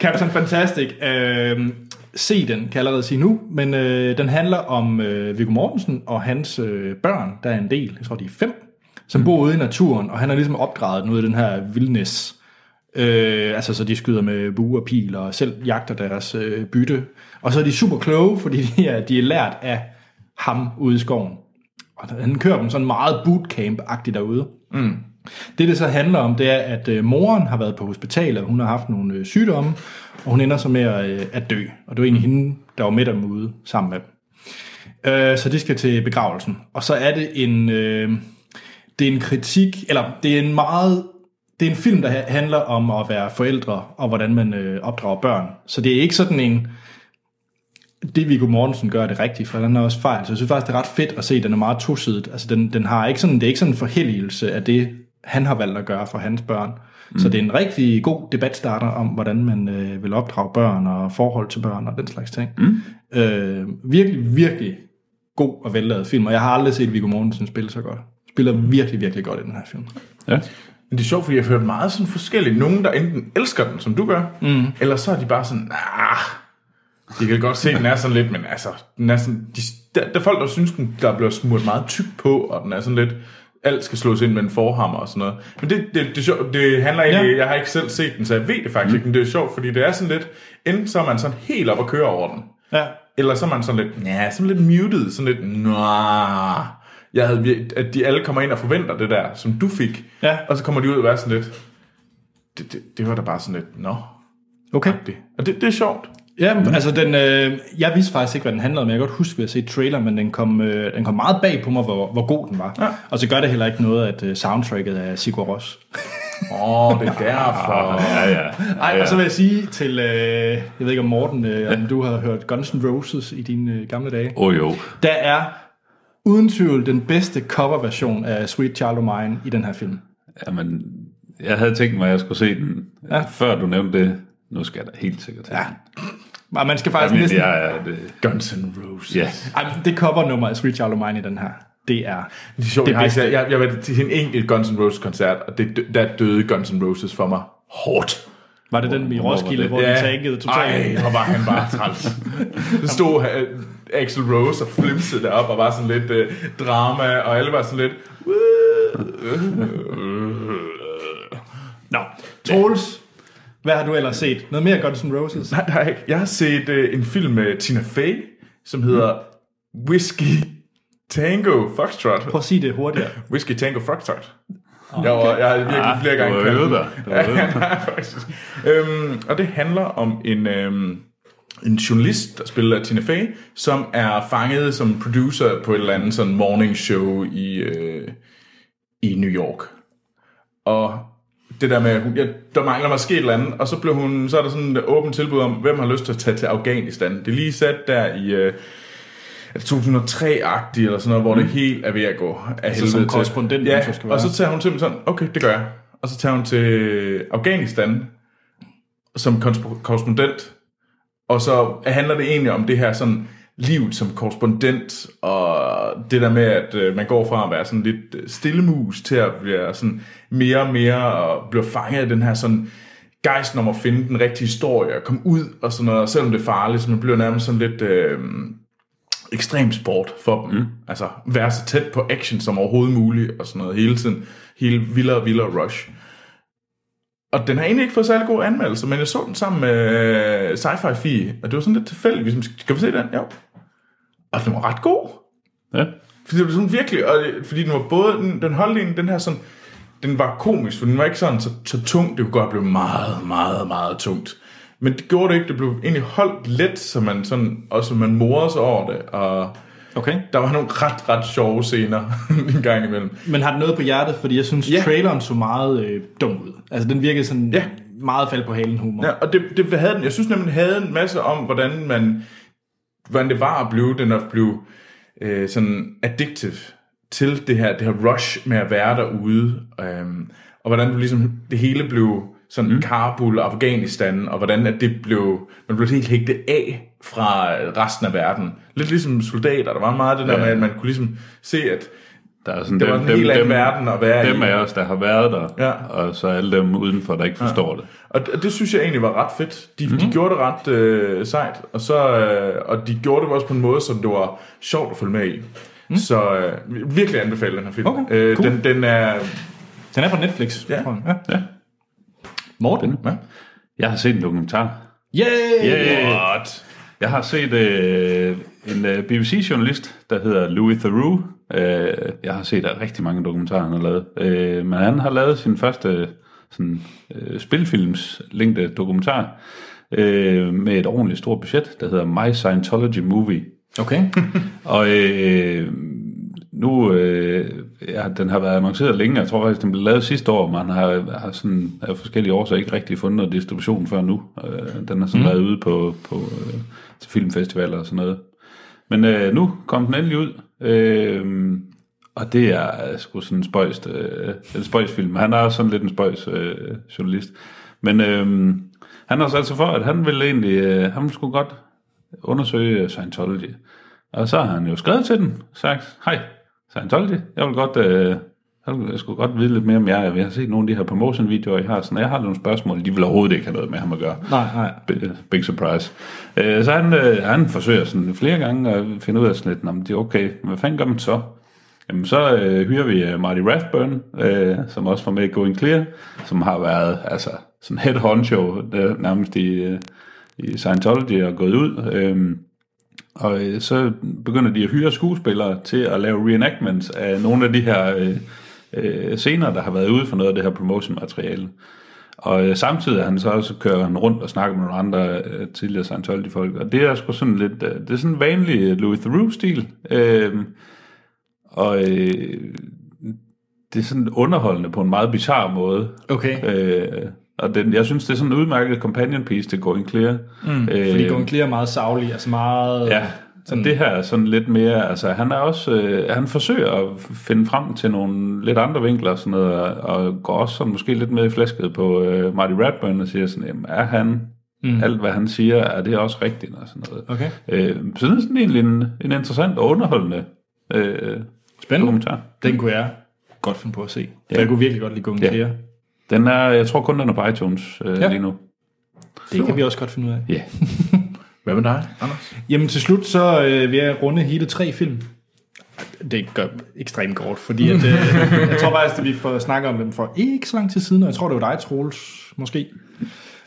Captain Fantastic. Øh, se den, kan jeg allerede sige nu. Men øh, den handler om øh, Viggo Mortensen og hans øh, børn, der er en del, jeg tror de er fem, som bor ude i naturen, og han har ligesom opdraget dem ud af den her vildnæs. Øh, altså, så de skyder med bue og pil, og selv jagter deres øh, bytte. Og så er de super kloge, fordi de er, de er lært af ham ude i skoven. Og han kører dem sådan meget bootcamp-agtigt derude. Det, det så handler om, det er, at øh, moren har været på hospitalet, og hun har haft nogle øh, sygdomme, og hun ender så med at, øh, at dø. Og det var egentlig hende, der var med dem ude sammen med dem. Øh, så de skal til begravelsen. Og så er det en, øh, det er en kritik, eller det er en meget, det er en film, der ha- handler om at være forældre, og hvordan man øh, opdrager børn. Så det er ikke sådan en, det Viggo Mortensen gør er det rigtigt, for den er også fejl. Så jeg synes faktisk, det er ret fedt at se, at den er meget tosidet. Altså, den, den har ikke sådan, det er ikke sådan en forhelligelse af det, han har valgt at gøre for hans børn. Mm. Så det er en rigtig god debatstarter om, hvordan man øh, vil opdrage børn og forhold til børn og den slags ting. Mm. Øh, virkelig, virkelig god og vellavet film, og jeg har aldrig set Viggo Mortensen spille så godt. Spiller virkelig, virkelig godt i den her film.
ja.
Men det er sjovt, fordi jeg har hørt meget sådan forskelligt. Nogen, der enten elsker den, som du gør, mm. eller så er de bare sådan, ah, de kan godt se, den er sådan lidt, men altså, den er sådan, de, der, der er folk, der synes, den der bliver smurt meget tyk på, og den er sådan lidt, alt skal slås ind med en forhammer og sådan noget. Men det, det, det, er sjovt, det handler egentlig,
Ja.
ja. jeg har ikke selv set den, så jeg ved det faktisk mm. ikke, men det er sjovt, fordi det er sådan lidt, enten så er man sådan helt op og køre over den,
Ja.
eller så er man sådan lidt, ja, sådan lidt muted, sådan lidt, nah. Jeg havde, vir- at de alle kommer ind og forventer det der, som du fik.
Ja.
Og så kommer de ud og være sådan lidt, det, det, det var da bare sådan lidt, nå.
Okay.
Det. Og det, det er sjovt.
Ja, men, altså den, øh, jeg vidste faktisk ikke, hvad den handlede om. Jeg kan godt huske, at jeg set trailer, men den kom, øh, den kom meget bag på mig, hvor, hvor god den var. Ja. Og så gør det heller ikke noget, at øh, soundtracket er Sigur Ros.
Åh, oh, det er derfor.
Ja, ja.
Ej,
ja, ja.
altså,
og så vil jeg sige til, øh, jeg ved ikke om Morten, øh, om du har hørt Guns N' Roses i dine øh, gamle dage.
Åh oh, jo.
Der er uden tvivl den bedste coverversion af Sweet Child O' Mine i den her film.
Jamen, jeg havde tænkt mig, at jeg skulle se den, ja. før du nævnte det. Nu skal jeg da helt sikkert til ja.
Og Ah, man skal faktisk
Jamen,
næsten...
jeg er... Det,
Guns N' Roses.
ja.
Ej, men det cover nummer af Sweet Child O' Mine i den her. Det er...
Det er sjovt,
Det
jeg, har ikke,
bedste.
jeg, jeg, jeg var til en enkelt Guns N' Roses koncert, og det, dø- der døde Guns N' Roses for mig hårdt.
Var det den i
var
Roskilde,
det?
hvor den tankede totalt?
Ej, og var han bare træls. Så stod uh, Axel Rose og flimsede derop og var sådan lidt uh, drama, og alle var sådan lidt...
Nå, Troels, hvad har du ellers set? Noget mere Guns N' Roses?
Nej, nej, jeg har set uh, en film med Tina Fey, som hedder Mm. Whiskey Tango Foxtrot.
Prøv at sige det hurtigere.
Whiskey Tango Foxtrot. Okay. Jeg, var, jeg har virkelig
Ah,
flere gange
du har
kaldt
øvet
den.
dig. Du har øvet dig.
Ja, faktisk. Øhm, og det handler om en, øhm, en journalist, der spiller af Tina Fey, som er fanget som producer på et eller andet sådan morning show i, øh, i New York. Og det der med, at hun, ja, der mangler måske et eller andet, og så, blev hun, så er der sådan et åbent tilbud om, hvem har lyst til at tage til Afghanistan. Det er lige sat der i øh, 2003-agtigt, eller sådan noget, hvor det helt er ved at gå af helvede
Mm. Altså, som
til.
korrespondent,
ja,
hun så skal
og
være.
så tager hun simpelthen sådan, okay, det gør jeg. Og så tager hun til Afghanistan som kons- korrespondent, og så handler det egentlig om det her sådan liv som korrespondent, og det der med, at øh, man går fra at være sådan lidt øh, stillemus til at blive sådan mere og mere, og blive fanget af den her sådan gejst om at finde den rigtige historie, og komme ud og sådan noget, og selvom det er farligt, så man bliver nærmest sådan lidt øh, ekstrem sport for dem. Mm. Altså, være så tæt på action som overhovedet muligt, og sådan noget hele tiden. Hele vildere og vildere rush. Og den har egentlig ikke fået særlig gode anmeldelser, men jeg så den sammen med øh, Sci-Fi Fi, og det var sådan lidt tilfældigt. Vi sådan, Skal vi se den? Jo. Og den var ret god.
Ja.
Fordi det var sådan virkelig, og, det- fordi den var både, den, den holdt en, den her sådan, den var komisk, for den var ikke sådan så, så tung, det kunne godt blive meget, meget, meget tungt. Men det gjorde det ikke, det blev egentlig holdt let, så man sådan, også så man morede sig over det, og
Okay.
der var nogle ret, ret sjove scener en gang imellem.
Men har den noget på hjertet? Fordi jeg synes,
Ja.
yeah. traileren så meget øh, dum ud. Altså, den virkede sådan
Ja.
meget fald på halen humor.
Ja, og det, det havde den, jeg synes nemlig, den havde en masse om, hvordan man, hvordan det var at blive, den at blive øh, sådan addictive til det her, det her rush med at være derude, øhm, og hvordan du ligesom, det hele blev sådan mm. Kabul og Afghanistan, og hvordan at det blev, man blev helt hægtet af fra resten af verden. Lidt ligesom soldater, der var meget det der med, at man kunne ligesom se, at
Der er sådan
det
dem,
var en
dem,
helt anden
dem,
verden at være i.
Dem af os, der har været der,
Ja.
og så alle dem udenfor, der ikke forstår det.
Og det, det synes jeg egentlig var ret fedt. De, mm. de gjorde det ret øh, sejt, og, så, øh, og de gjorde det også på en måde, som det var sjovt at følge med i. Mm. Så øh, virkelig anbefale den her film.
Okay,
øh,
cool.
den, den er...
Den er på Netflix.
Ja.
tror jeg. ja.
Ja.
Morten.
Hvad?
Jeg har set en dokumentar.
Yay!
Yeah. What? Jeg har set øh, en øh, BBC-journalist, der hedder Louis Theroux. Øh, jeg har set øh, rigtig mange dokumentarer, han har lavet. Øh, men han har lavet sin første sådan, øh, spilfilmslængde dokumentar øh, med et ordentligt stort budget, der hedder My Scientology Movie.
Okay.
Og øh, nu, øh, ja, den har været annonceret længe, jeg tror faktisk, den blev lavet sidste år, men har, har sådan, af forskellige årsager ikke rigtig fundet noget distribution før nu. Øh, den har sådan mm. været ude på, på øh, til filmfestivaler og sådan noget. Men øh, nu kom den endelig ud, øh, og det er øh, sgu sådan en spøjs, øh, en spøjs film. Han er sådan lidt en spøjs øh, journalist. Men øh, han har sat sig for, at han ville egentlig, øh, han skulle godt undersøge Scientology. Og så har han jo skrevet til den, sagt, hej, Scientology, jeg vil godt, øh, jeg vil- jeg skulle godt vide lidt mere om jer, jeg har set nogle af de her promotion-videoer, I har, sådan, og jeg har nogle spørgsmål, de vil overhovedet ikke have noget med ham at gøre.
Nej, nej.
Big- Big surprise. Øh, så han, øh, han forsøger sådan flere gange at finde ud af sådan lidt, "Nå, men det er okay, hvad fanden gør man så? Jamen så øh, hyrer vi øh, Marty Rathburn, øh, som også var med i Going Clear, som har været altså sådan head honcho øh, nærmest i, øh, i Scientology og gået ud. Øh, og øh, så begynder de at hyre skuespillere til at lave reenactments af nogle af de her øh, øh, scener, der har været ude for noget af det her promotion-materiale. Og øh, samtidig er han så også kører han rundt og snakker med nogle andre øh, tidligere Scientology-folk. Og det er sgu sådan lidt, øh, det er sådan en vanlig øh, Louis Theroux-stil. Øh, og øh, det er sådan underholdende på en meget bizarre måde.
Okay.
Øh, og den, jeg synes, det er sådan en udmærket companion piece til Going Clear. Mm, øh,
Fordi Going Clear er meget savlig, altså meget...
Ja, sådan. det her er sådan lidt mere, altså han er også, øh, han forsøger at finde frem til nogle lidt andre vinkler og sådan noget, og, og går også sådan måske lidt med i flæsket på øh, Marty Radburn og siger sådan, jamen, er han Mm. Alt, hvad han siger, er det også rigtigt og sådan noget.
Okay.
Øh, så det er sådan egentlig en, en interessant og underholdende øh,
Spændende.
dokumentar.
Den kunne jeg godt finde på at se. Ja.
Ja.
Jeg kunne virkelig godt lide Gunge
Ja.
ja.
Den er, jeg tror kun den er på iTunes øh,
Ja.
ja. lige nu.
Det kan vi også godt finde ud af.
Ja. Yeah.
Hvad med dig, Anders?
Jamen til slut, så øh, vil jeg runde hele tre film. Det gør ekstremt kort, fordi at, øh, jeg tror faktisk, at vi får snakket om dem for ikke så lang tid siden, og jeg tror, det var dig, Troels, måske.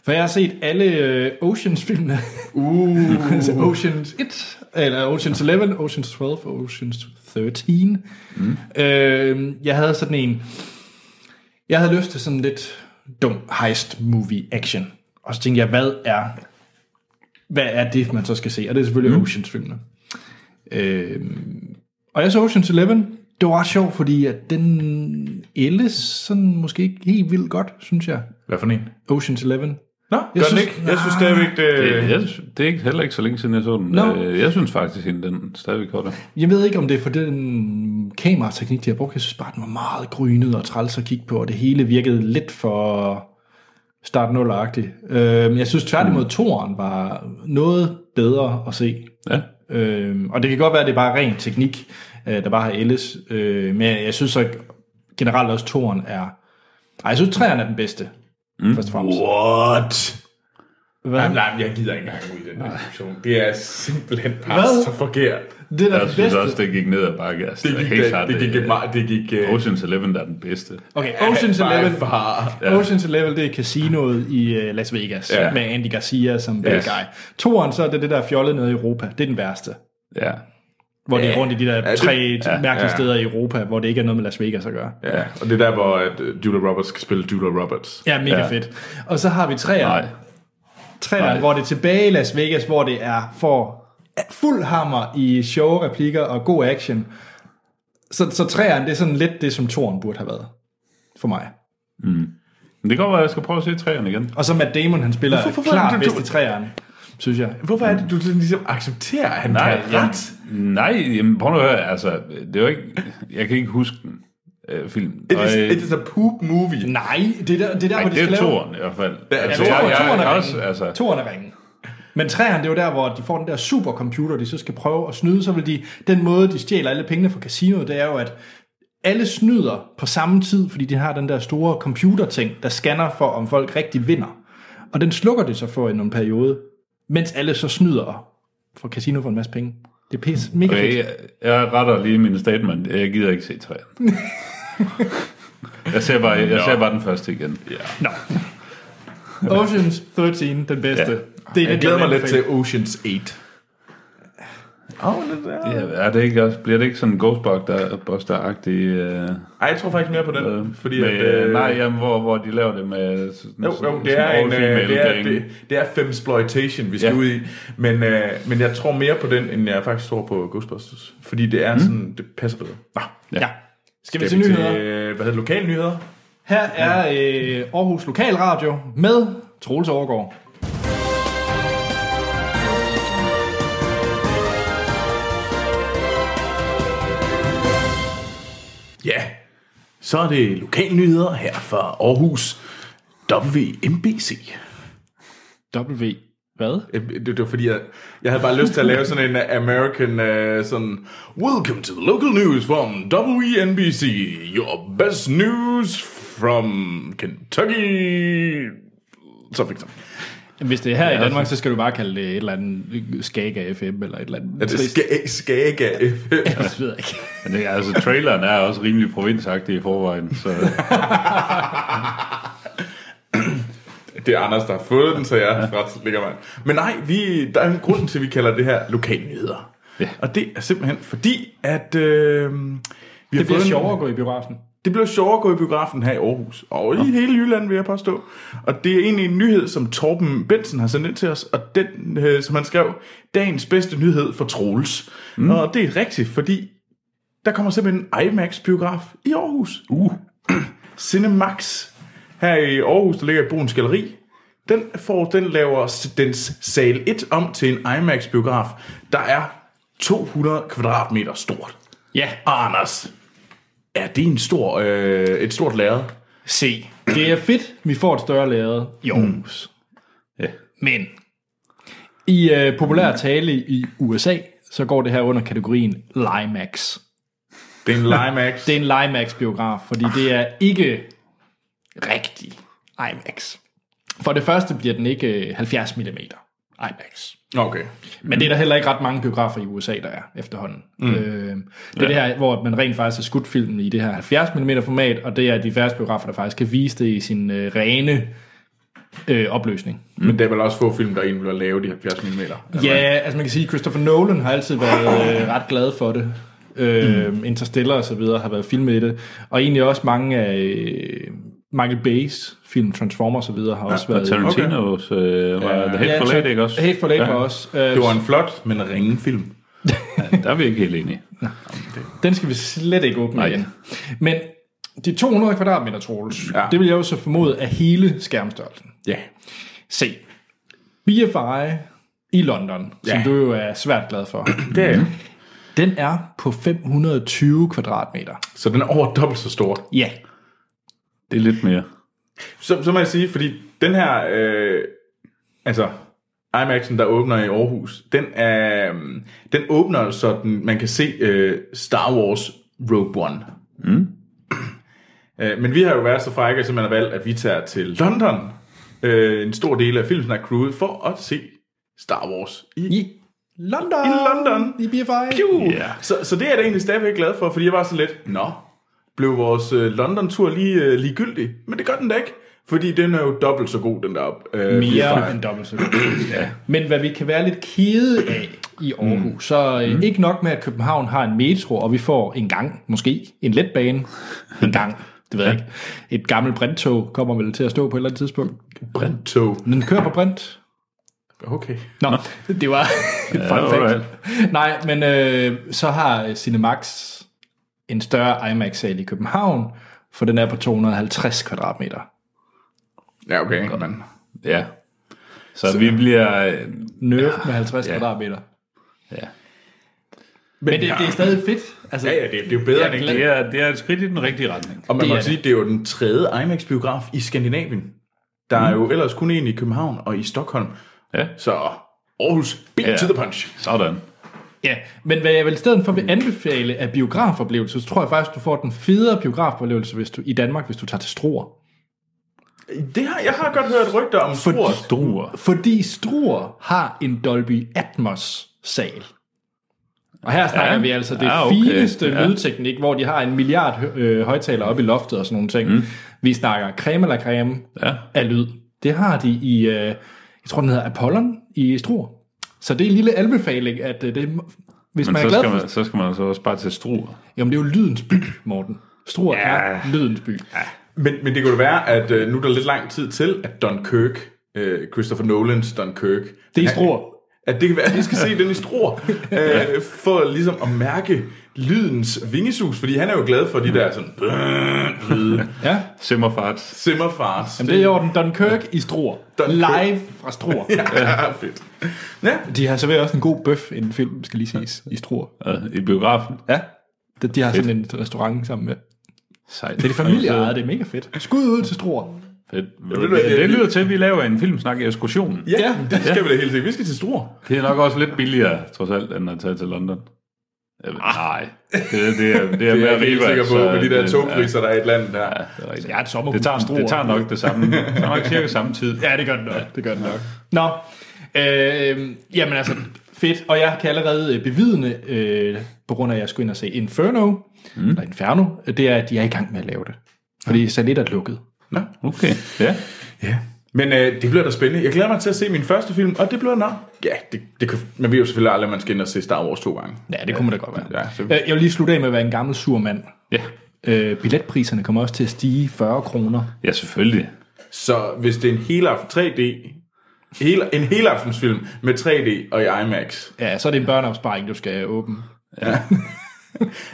For jeg har set alle øh, Oceans-filmene. Uh. altså Oceans 1, eller Oceans 11, Oceans 12 og Oceans 13. Mm. Øh, jeg havde sådan en... Jeg havde lyst til sådan lidt dum heist-movie-action. Og så tænkte jeg, hvad er hvad er det, man så skal se? Og det er selvfølgelig mm. Oceans-filmene. Øhm, og jeg så Oceans 11. Det var ret sjovt, fordi at den ældes sådan måske ikke helt vildt godt, synes jeg.
Hvad for en?
Oceans 11.
Nå, jeg gør
synes-
synes, den ikke. Jeg synes stadigvæk, det...
Øh, jeg, synes- det er ikke, heller ikke så længe siden, jeg så den.
Nå.
Øh, jeg synes faktisk, at den stadigvæk holder.
Jeg ved ikke, om det er for den kamerateknik, de har brugt. Jeg synes bare, den var meget grynet og træls at kigge på, og det hele virkede lidt for start 0 øhm, Jeg synes tværtimod, toren var noget bedre at se.
Ja.
Øhm, og det kan godt være, at det er bare ren teknik, øh, der bare har ældes. Øh, men jeg, jeg synes så generelt også, at toren er... Ej, jeg synes, træerne er den bedste. Mm. Først og fremmest.
What?
Hvad?
Jamen, nej, men jeg gider ikke engang ud i den her diskussion. Det er simpelthen
Hvad?
bare så forkert.
det er da den
Jeg synes
bedste.
også, det gik ned ad bakke. Altså,
Det
er
gik,
helt
det,
klart,
det gik,
øh,
det, meget, det gik øh,
Ocean's Eleven der er den bedste.
Okay, Ocean's
by
Eleven.
far.
Ja. Ocean's Eleven, det er casinoet i øh, Las Vegas, ja.
Ja.
med Andy Garcia som bad
Yes.
guy. Toren, så er det det der fjollede nede i Europa. Det er den værste.
Ja.
Hvor det er
Ja.
rundt i de der
det-
tre ja, mærkelige
ja.
steder i Europa, hvor det ikke er noget med Las Vegas at gøre.
Ja, og det er der, hvor at, øh, Julia Roberts skal spille Julia Roberts.
Ja, mega ja.
Ja.
fedt. Og så har vi træer.
Nej.
Træerne,
Nej.
hvor det er tilbage i Las Vegas, hvor det er for fuld hammer i sjove replikker og god action. Så, så træerne, det er sådan lidt det, som toren burde have været for mig.
Men det kan godt være, at jeg skal prøve at se træerne igen.
Og så Matt Damon, han spiller
Hvorfor- hvorfor er
klart
det, du-
bedst i træerne, synes jeg.
Hvorfor er det, du sådan ligesom accepterer, at han Nej,
Nej,
kan have
jamen,
ret?
nej jamen, prøv nu at høre, altså, det er jo ikke, jeg kan ikke huske den øh, film.
It is, it is a poop movie.
Nej, det er der, det er der
Ej,
hvor de
det
skal
er
lave...
toren i hvert fald.
Ja,
Altså,
toeren-
jeg- jeg-
toeren er
jeg
ringen.
også, altså,
Toren er ringen. Men træerne, det er jo der, hvor de får den der supercomputer, de så skal prøve at snyde, så vil de, den måde, de stjæler alle pengene fra casinoet, det er jo, at alle snyder på samme tid, fordi de har den der store computerting, der scanner for, om folk rigtig vinder. Og den slukker det så for i en periode, mens alle så snyder for casino for en masse penge. Det er pis. Mega
Okay,
fedt.
jeg, jeg retter lige min statement. Jeg gider ikke se træerne. jeg ser bare, jeg ser bare den første igen. Ja.
Nå. Oceans 13, den bedste.
Ja.
Det er
Jeg
den,
glæder mig
vil
lidt til
anbefale.
Ocean's 8. Oh, det er...
Er det ikke også, bliver det ikke sådan Ghostbuster-agtig? Øh,
Ej, jeg tror faktisk mere på den,
øh,
fordi
med,
at, øh,
nej, jamen, hvor, hvor de laver det med... Sådan,
Jo, jo, det er, en, øh, det, er, det, det er femsploitation, vi skal
Ja.
ja. ud i. Men, øh, men jeg tror mere på den, end jeg faktisk tror på Ghostbusters. Fordi det er mm. sådan, det passer bedre. Nå,
Ja. Skal vi
skal
til
vi
nyheder?
øh, hvad hedder det, lokale nyheder?
Her er øh, Aarhus Lokalradio med Troels Overgaard.
Ja, så er det lokale nyheder her fra Aarhus. WMBC.
W. Hvad?
Det, det var fordi, jeg, jeg havde bare lyst til at lave sådan en American, uh, sådan, Welcome to the local news from E WNBC, your best news from Kentucky. Så fik jeg
Hvis det er her i Danmark, så skal du bare kalde det et eller andet Skaga FM eller et eller andet.
Er det ska- Skaga FM?
Jeg ved jeg ikke.
Men det, er- altså, traileren er også rimelig provinsagtig i forvejen, så
Det er Anders, der har fået den, så jeg ret ligger mig. Men nej, vi, der er en grund til, at vi kalder det her lokalnyheder.
Ja.
Og det er simpelthen fordi, at øh, vi
Det bliver sjovere at gå i biografen.
Det blev sjovere at gå i biografen her i Aarhus, og i hele Jylland, vil jeg påstå. Og det er egentlig en nyhed, som Torben Bensen har sendt ind til os, og den, øh, som han skrev, dagens bedste nyhed for Troels. Mm. Og det er rigtigt, fordi der kommer simpelthen en IMAX-biograf i Aarhus. Uh. Cinemax her i Aarhus, der ligger i Bruns Galeri. Den, får, den laver s- dens sal 1 om til en IMAX-biograf, der er 200 kvadratmeter stort.
Ja,
Anders, er det en stor, øh, et stort lærred?
Mm. se. Det er fedt, vi får et større lærred i Aarhus.
ja.
Men i øh, populær tale i USA, så går det her under kategorien Limax.
Det er en Limax.
Det er en Limax-biograf, fordi det er ikke rigtig IMAX. For det første bliver den ikke øh, 70 mm IMAX.
Okay.
Men det er der heller ikke ret mange biografer i USA, der er efterhånden. Mm. Øh, det er ja. det her, hvor man rent faktisk har skudt filmen i det her 70mm format, og det er de færreste biografer, der faktisk kan vise det i sin øh, rene øh, opløsning.
Men der er vel også få film, der egentlig bliver lavet i 70 mm.
Ja, altså man kan sige, Christopher Nolan har altid været øh, ret glad for det. Øh, mm. Interstellar og så videre har været filmet i det. Og egentlig også mange af øh, Michael Bay's film, Transformers og så videre, har ja, også
Og
været...
Tarantinos øh, var The Hateful Eight, ikke også?
Hateful Eight var også. Øh,
Det var en flot, men ringe film.
Der er vi ikke helt enige.
Den skal vi slet ikke åbne
Nej.
igen. Men de 200 kvadratmeter, Troels, ja.
Ja.
det vil jeg jo så formode er hele skærmstørrelsen.
Ja.
Se, BFI i London, ja.
Ja.
som du jo er svært glad for,
Det er
den er på 520 kvadratmeter.
Så den er over dobbelt så stor.
Ja.
Det er lidt mere.
Så, så må jeg sige, fordi den her, øh, altså IMAX'en, der åbner i Aarhus, den, er, øhm, den åbner, så den, man kan se øh, Star Wars Rogue One. Mm. Øh, men vi har jo været så frække, at man har valgt, at vi tager til London, øh, en stor del af filmsnak crewet, for at se Star Wars i
I London!
I London.
I BFI!
Piu!
Ja.
Så, så det er jeg da egentlig stadigvæk glad for, fordi jeg var så lidt, nå, blev vores øh, London-tur lige øh, ligegyldig? Men det gør den da ikke, fordi den er jo dobbelt så god, den der op. Øh,
Mere
Bifire.
end dobbelt så godt. ja. Men hvad vi kan være lidt kede af i Aarhus, mm. så øh, mm. ikke nok med, at København har en metro, og vi får en gang, måske en letbane, en gang, det ved jeg ikke. Et gammelt brinttog kommer vel til at stå på et eller andet tidspunkt.
Brintog.
Men den kører på brint.
Okay.
Nå, det var et fun fact.
alright.
Nej, men øh, så har øh, Cinemax en større IMAX-sal i København, for den er på 250 kvadratmeter.
Ja, okay. Men,
Ja. Så, så vi bliver... øh,
Nerf med 50
ja.
kvadratmeter.
Ja.
Men det, det er stadig fedt. Altså,
Ja, ja, det, det er jo bedre
Jeg
end
er
ikke
glad.
det.
Det er, det er et skridt i den rigtige retning.
Og man
Det
må
er
sige, det er jo den tredje IMAX-biograf i Skandinavien. Der
Mm.
er jo ellers kun en i København og i Stockholm.
Ja.
Så Aarhus, beat
Ja.
to the punch.
Sådan.
Ja, men hvad jeg vil i stedet for vil anbefale af biografoplevelser, så tror jeg faktisk, du får den federe biografoplevelse hvis du, i Danmark, hvis du tager til Struer.
Det har, jeg har godt hørt rygter om stort.
Struer.
Fordi Struer har en Dolby Atmos-sal. Og her snakker
Ja.
ja. vi altså det
Ja,
ja,
okay.
okay. fineste
Ja.
ja. lydteknik, hvor de har en milliard hø- øh, højtaler oppe i loftet og sådan nogle ting. Mm. Vi snakker creme eller creme
Ja.
af lyd. Det har de i, øh, jeg tror den hedder Apollon i Struer. Så det er en lille anbefaling, at øh, det, er- hvis
Men
man er
så
glad
skal
for
man, så skal man altså også bare til Struer.
Jamen, det er jo lydens by, Morten. Struer ja.
Ja.
er lydens by.
Men, men det kunne da være, at øh, nu er der lidt lang tid til, at Dunkirk, øh, Christopher Nolans Dunkirk,
Det er Struer.
at det kan være, at vi skal se den i struer, øh, for ligesom at mærke lydens vingesus, fordi han er jo glad for de der sådan brrrr lyde,
Ja.
Simmerfarts.
simmerfars.
Jamen, det er i orden. Dunkirk i Struer.
Dunkirk.
Live fra Struer.
ja, fedt. Ja,
De har serveret også en god bøf i en film, skal lige siges, i Struer.
øh, I biografen.
Ja. De, de har sådan en restaurant sammen med.
Sejt.
Det er de familieejet, det er mega fedt. Skud ud til Struer.
Fedt.
ved du hvad,
Det
jeg-
lyder til, at vi laver en filmsnak i ekskursionen.
ja, ja, det skal vi da helt sikkert. Vi skal til struer.
Det er nok også lidt billigere, trods alt, end at tage til London. Jeg ved, nej, det, er- det er, det er,
Det er
mere
jeg helt
Riva,
sikker på,
så
med de der
det-
togpriser, der er i et land der.
Ja, det er rigtigt.
Jeg er et sommerhus.
det, tager, det tager nok det samme. Det tager nok cirka samme tid.
Ja, det gør det nok. Det gør det nok. Nå, øh, jamen altså, fedt. Og jeg kan allerede øh, bevidne, øh, på grund af, at jeg skulle ind og se Inferno, mm. eller Inferno, det er, at de er i gang med at lave det. Fordi satellit er lukket.
Nå,
Okay, ja.
ja. Men øh, det bliver da spændende. Jeg glæder mig til at se min første film, og det bliver nok. Ja, det, det kan, man ved jo selvfølgelig aldrig, at man skal ind og se Star Wars to gange.
Ja, det kunne man da godt være.
Ja, så-
Øh, Jeg vil lige slutte af med at være en gammel sur mand.
Ja,
Øh, billetpriserne kommer også til at stige 40 kroner.
ja selvfølgelig.
Så hvis det er en hele aften 3D, hele, en hele aftensfilm med 3D og i IMAX.
Ja, så er det en børneopsparing, du skal åbne.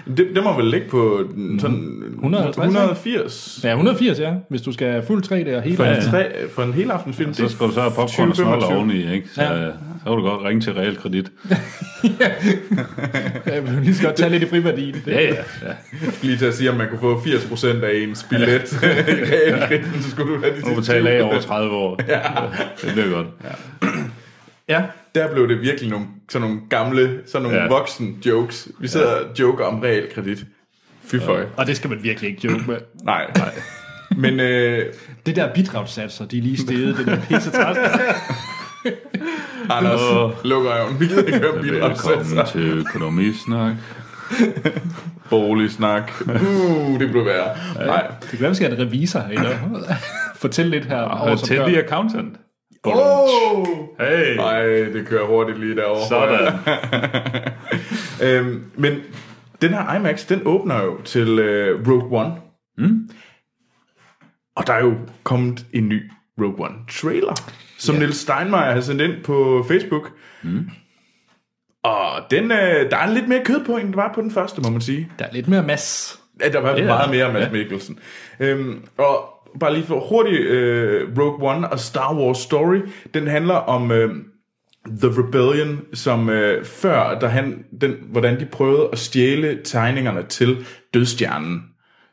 Det, det må vel ligge på den sådan
150,
180
Ja, 180, ja. Hvis du skal have fuld 3D og hele...
for,
Ja.
en tre, for en hel aftensfilm.
Så skal du så have popcorn og
20-25.
snoller oveni, ikke? Så,
Ja.
ja. så kan du godt ringe til realkredit.
Jeg vil lige så godt tage lidt i friværdi.
Ja, ja. ja.
Lige til at sige, om man kunne få 80% af ens billet i realkrediten, så skulle du have de
Du
sidste
betaler
20.
af over 30 år. Ja. Det bliver godt.
Ja.
Der blev det virkelig nogle, sådan nogle gamle, sådan nogle ja.
Ja.
voksen jokes. Vi sidder ja. og joker om realkredit. Fy ja.
Og det skal man virkelig ikke joke med.
Nej, nej. Men øh,
Det der bidragssatser, de er lige steget, det der pisse træs.
Anders,
Åh.
luk øjnene. Vi gider ikke høre
Velkommen
bidragsætter.
til Økonomisnak.
Boligsnak. Uh, det blev værre. Nej.
Det kan være, vi skal have en revisor herinde. Fortæl lidt her.
Og
over, som
til
gør.
The Accountant.
Oh!
Hey,
Nej, det kører hurtigt lige derovre.
sådan.
øhm, men den her IMAX, den åbner jo til øh, Rogue One. Mm. Og der er jo kommet en ny Rogue One trailer, som yeah. Nils Steinmeier har sendt ind på Facebook. Mm. Og den, øh, der er lidt mere kød på, end der var på den første, må man sige.
Der er lidt mere mass.
Ja, der var
er
meget
der.
mere Mads Mikkelsen. Øhm, og bare lige for hurtigt, øh, Rogue One og Star Wars Story, den handler om øh, The Rebellion, som øh, før, der han, den, hvordan de prøvede at stjæle tegningerne til Dødstjernen,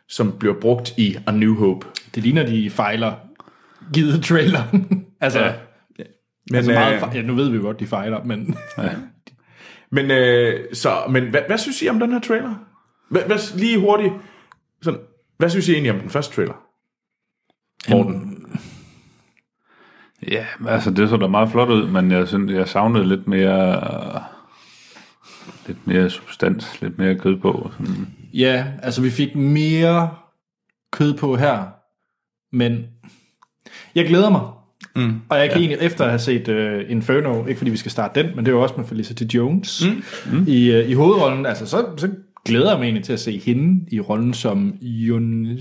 som bliver brugt i A New Hope.
Det ligner, de fejler givet trailer. altså, ja.
Ja.
Men,
altså
øh,
meget fejl. Ja, nu ved vi jo godt, de fejler, men...
men, øh, så, men hvad, hvad synes I om den her trailer? Hvad, hvad, lige hurtigt, sådan, hvad synes I egentlig om den første trailer? Morten.
Ja, men altså det så da meget flot ud, men jeg, synes, jeg savnede lidt mere, øh, lidt mere substans, lidt mere kød på. Sådan.
Ja, altså vi fik mere kød på her, men jeg glæder mig. Mm, og jeg kan ja. egentlig, efter at have set uh, Inferno, ikke fordi vi skal starte den, men det var også med Felicity Jones mm, mm. I, uh, i hovedrollen, altså så, så glæder jeg mig egentlig til at se hende i rollen som Yun...
Det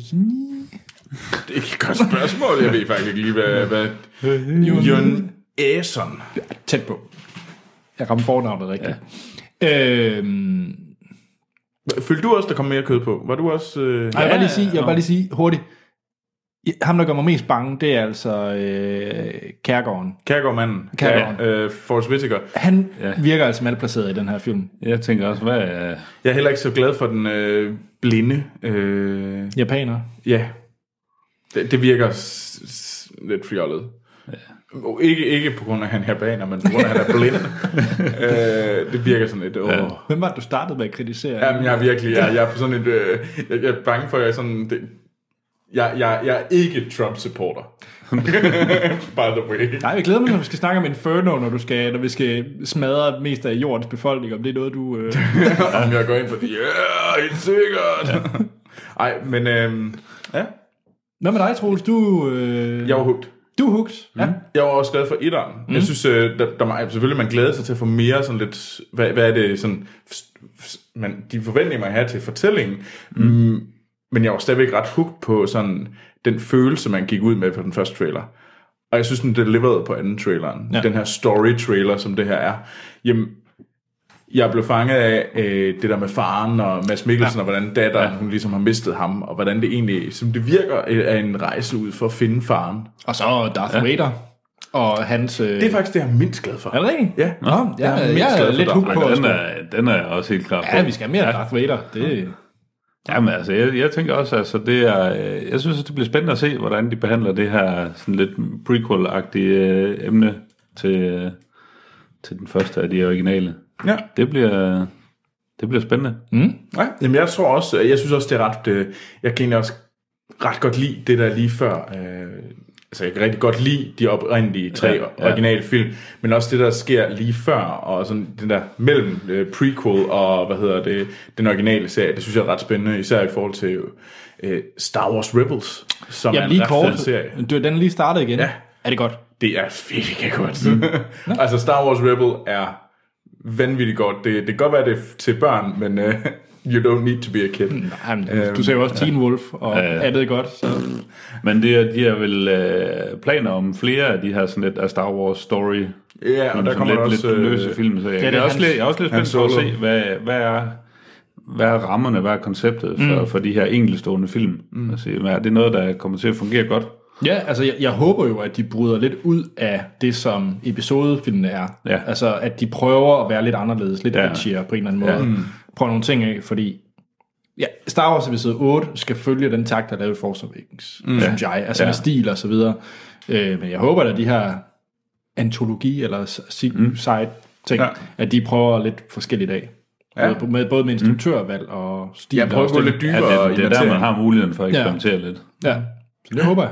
er ikke et godt spørgsmål. Jeg ved faktisk ikke lige, hvad, hvad, Jon Æson.
Tæt på. Jeg ramte fornavnet rigtigt. Ja. Øhm,
Følte du også, der kom mere kød på? Var du også... Øh...
Ej, jeg vil bare lige sige, jeg vil
nå.
bare lige sige hurtigt. I- Ham, der gør mig mest bange, det er altså øh, Kærgården.
Kærgaard-manden.
Kjærgaard.
Ja, øh, Forrest Whitaker.
Han ja.
Ja.
virker altså malplaceret i den her film.
Jeg tænker også, hvad er
Jeg er heller ikke så glad for den øh, blinde. Øh,
Japaner.
ja. Det, det virker s- s- lidt fjollet. Ja. Ikke, ikke på grund af, at han er japaner, men på grund af, at han er blind. øh, det virker sådan lidt... Åh. Ja.
Hvem var det, du startede med at kritisere?
Jamen, jeg er virkelig... Jeg, jeg er på sådan et... Øh, jeg, jeg er bange for, at jeg er sådan... Det, jeg, jeg, jeg er ikke Trump-supporter. By the way.
Nej, jeg glæder mig, når vi skal snakke om Inferno, når, du skal, når vi skal smadre mest af jordens befolkning, om det er noget, du... Øh...
om jeg går ind for det. Ja, yeah, helt sikkert. Ej, men øhm, ja,
Hvad med dig, Troels? Du, øh...
jeg var hooked.
du er hooked. Ja.
Jeg var også glad for etteren. Mm. Jeg synes, øh, der, der, var- selvfølgelig man glæder sig til at få mere sådan lidt, hvad, hvad er det sådan, f- f- man, de forventninger man har til fortællingen. Mm. Men jeg var stadigvæk ret hooked på sådan den følelse, man gik ud med på den første trailer. Og jeg synes, den deliverede på anden traileren.
Ja.
Ja. Den her story-trailer, som det her er. Jamen, jeg blev fanget af øh, det der med faren og Mads Mikkelsen, ja. og hvordan datteren, ja. hun ligesom har mistet ham, og hvordan det egentlig, som det virker, øh, er en rejse ud for at finde faren.
Og så Darth ja. Vader og hans... Øh...
Det er faktisk det, jeg er mindst glad for.
Er det rigtigt?
Ja.
Nå, jeg, jeg,
er mest
jeg
glad
er
for
lidt
Darth
hooked
Ej,
på. at
den,
skulle-
er, den er jeg også helt klar på.
Ja, vi skal have mere Darth Vader. Det...
Jamen altså, jeg, jeg tænker også, altså det er, øh, jeg synes, at det bliver spændende at se, hvordan de behandler det her sådan lidt prequel-agtige øh, emne til, øh, til den første af de originale.
Ja.
Det bliver, det bliver spændende.
Nej, jamen jeg tror også, jeg synes også, det er ret, øh, jeg kan egentlig også ret godt lide det der lige før, øh, altså jeg kan rigtig godt lide de oprindelige tre ja,
Ja,
ja.
ja.
originale film, men også det der sker lige før, og sådan den der mellem øh, prequel og, hvad hedder det, den originale serie, det synes jeg er ret spændende, især i forhold til øh, Star Wars Rebels, som
Jamen
er
lige
en ret fed
kort.
serie.
Du, den er lige startet igen. Ja. Er det godt?
Det er virkelig godt. Mm. altså, Star Wars Rebel er vanvittigt godt. Det, det kan godt være, det er f- til børn, men uh, you don't need to be a kid. Mm.
Jamen, øhm, du ser jo også Teen Wolf, og
ja.
øh, er det godt? Så.
Men det er, de er vel øh, planer om flere af de her sådan lidt af Star Wars story.
Ja, og
sådan
der kommer
lidt,
der også...
lidt
øh,
løse film, så jeg,
det
jeg,
er
er også
hans-
lidt, jeg er også lidt spændt
hans
på at
solo.
se, hvad, hvad er hvad er rammerne, hvad er konceptet for, mm. for de her enkeltstående film? Mm. Altså, hvad er det noget, der kommer til at fungere godt?
Ja, altså jeg, jeg håber jo, at de bryder lidt ud af det, som episodefilmene er.
Ja.
Altså at de prøver at være lidt anderledes, lidt
Ja.
ja. edgier på en eller anden måde. Ja.
Mm.
Prøv nogle ting af, fordi ja, Star Wars episode 8 skal følge den takt, der er lavet i Force Awakens, mm. synes jeg. Altså ja.
Ja.
med stil og så videre. Øh, men jeg håber da, at de her antologi eller side mm. ting,
Ja.
ja. at de prøver lidt forskelligt af.
Ja.
Ja. Både, med, både med
Mm.
instruktørvalg og stil.
Jeg prøver
og
at gå
stil.
lidt
At
dybere
det, det er der, man har muligheden for at
Ja.
eksperimentere ja. lidt.
Ja, så det håber jeg.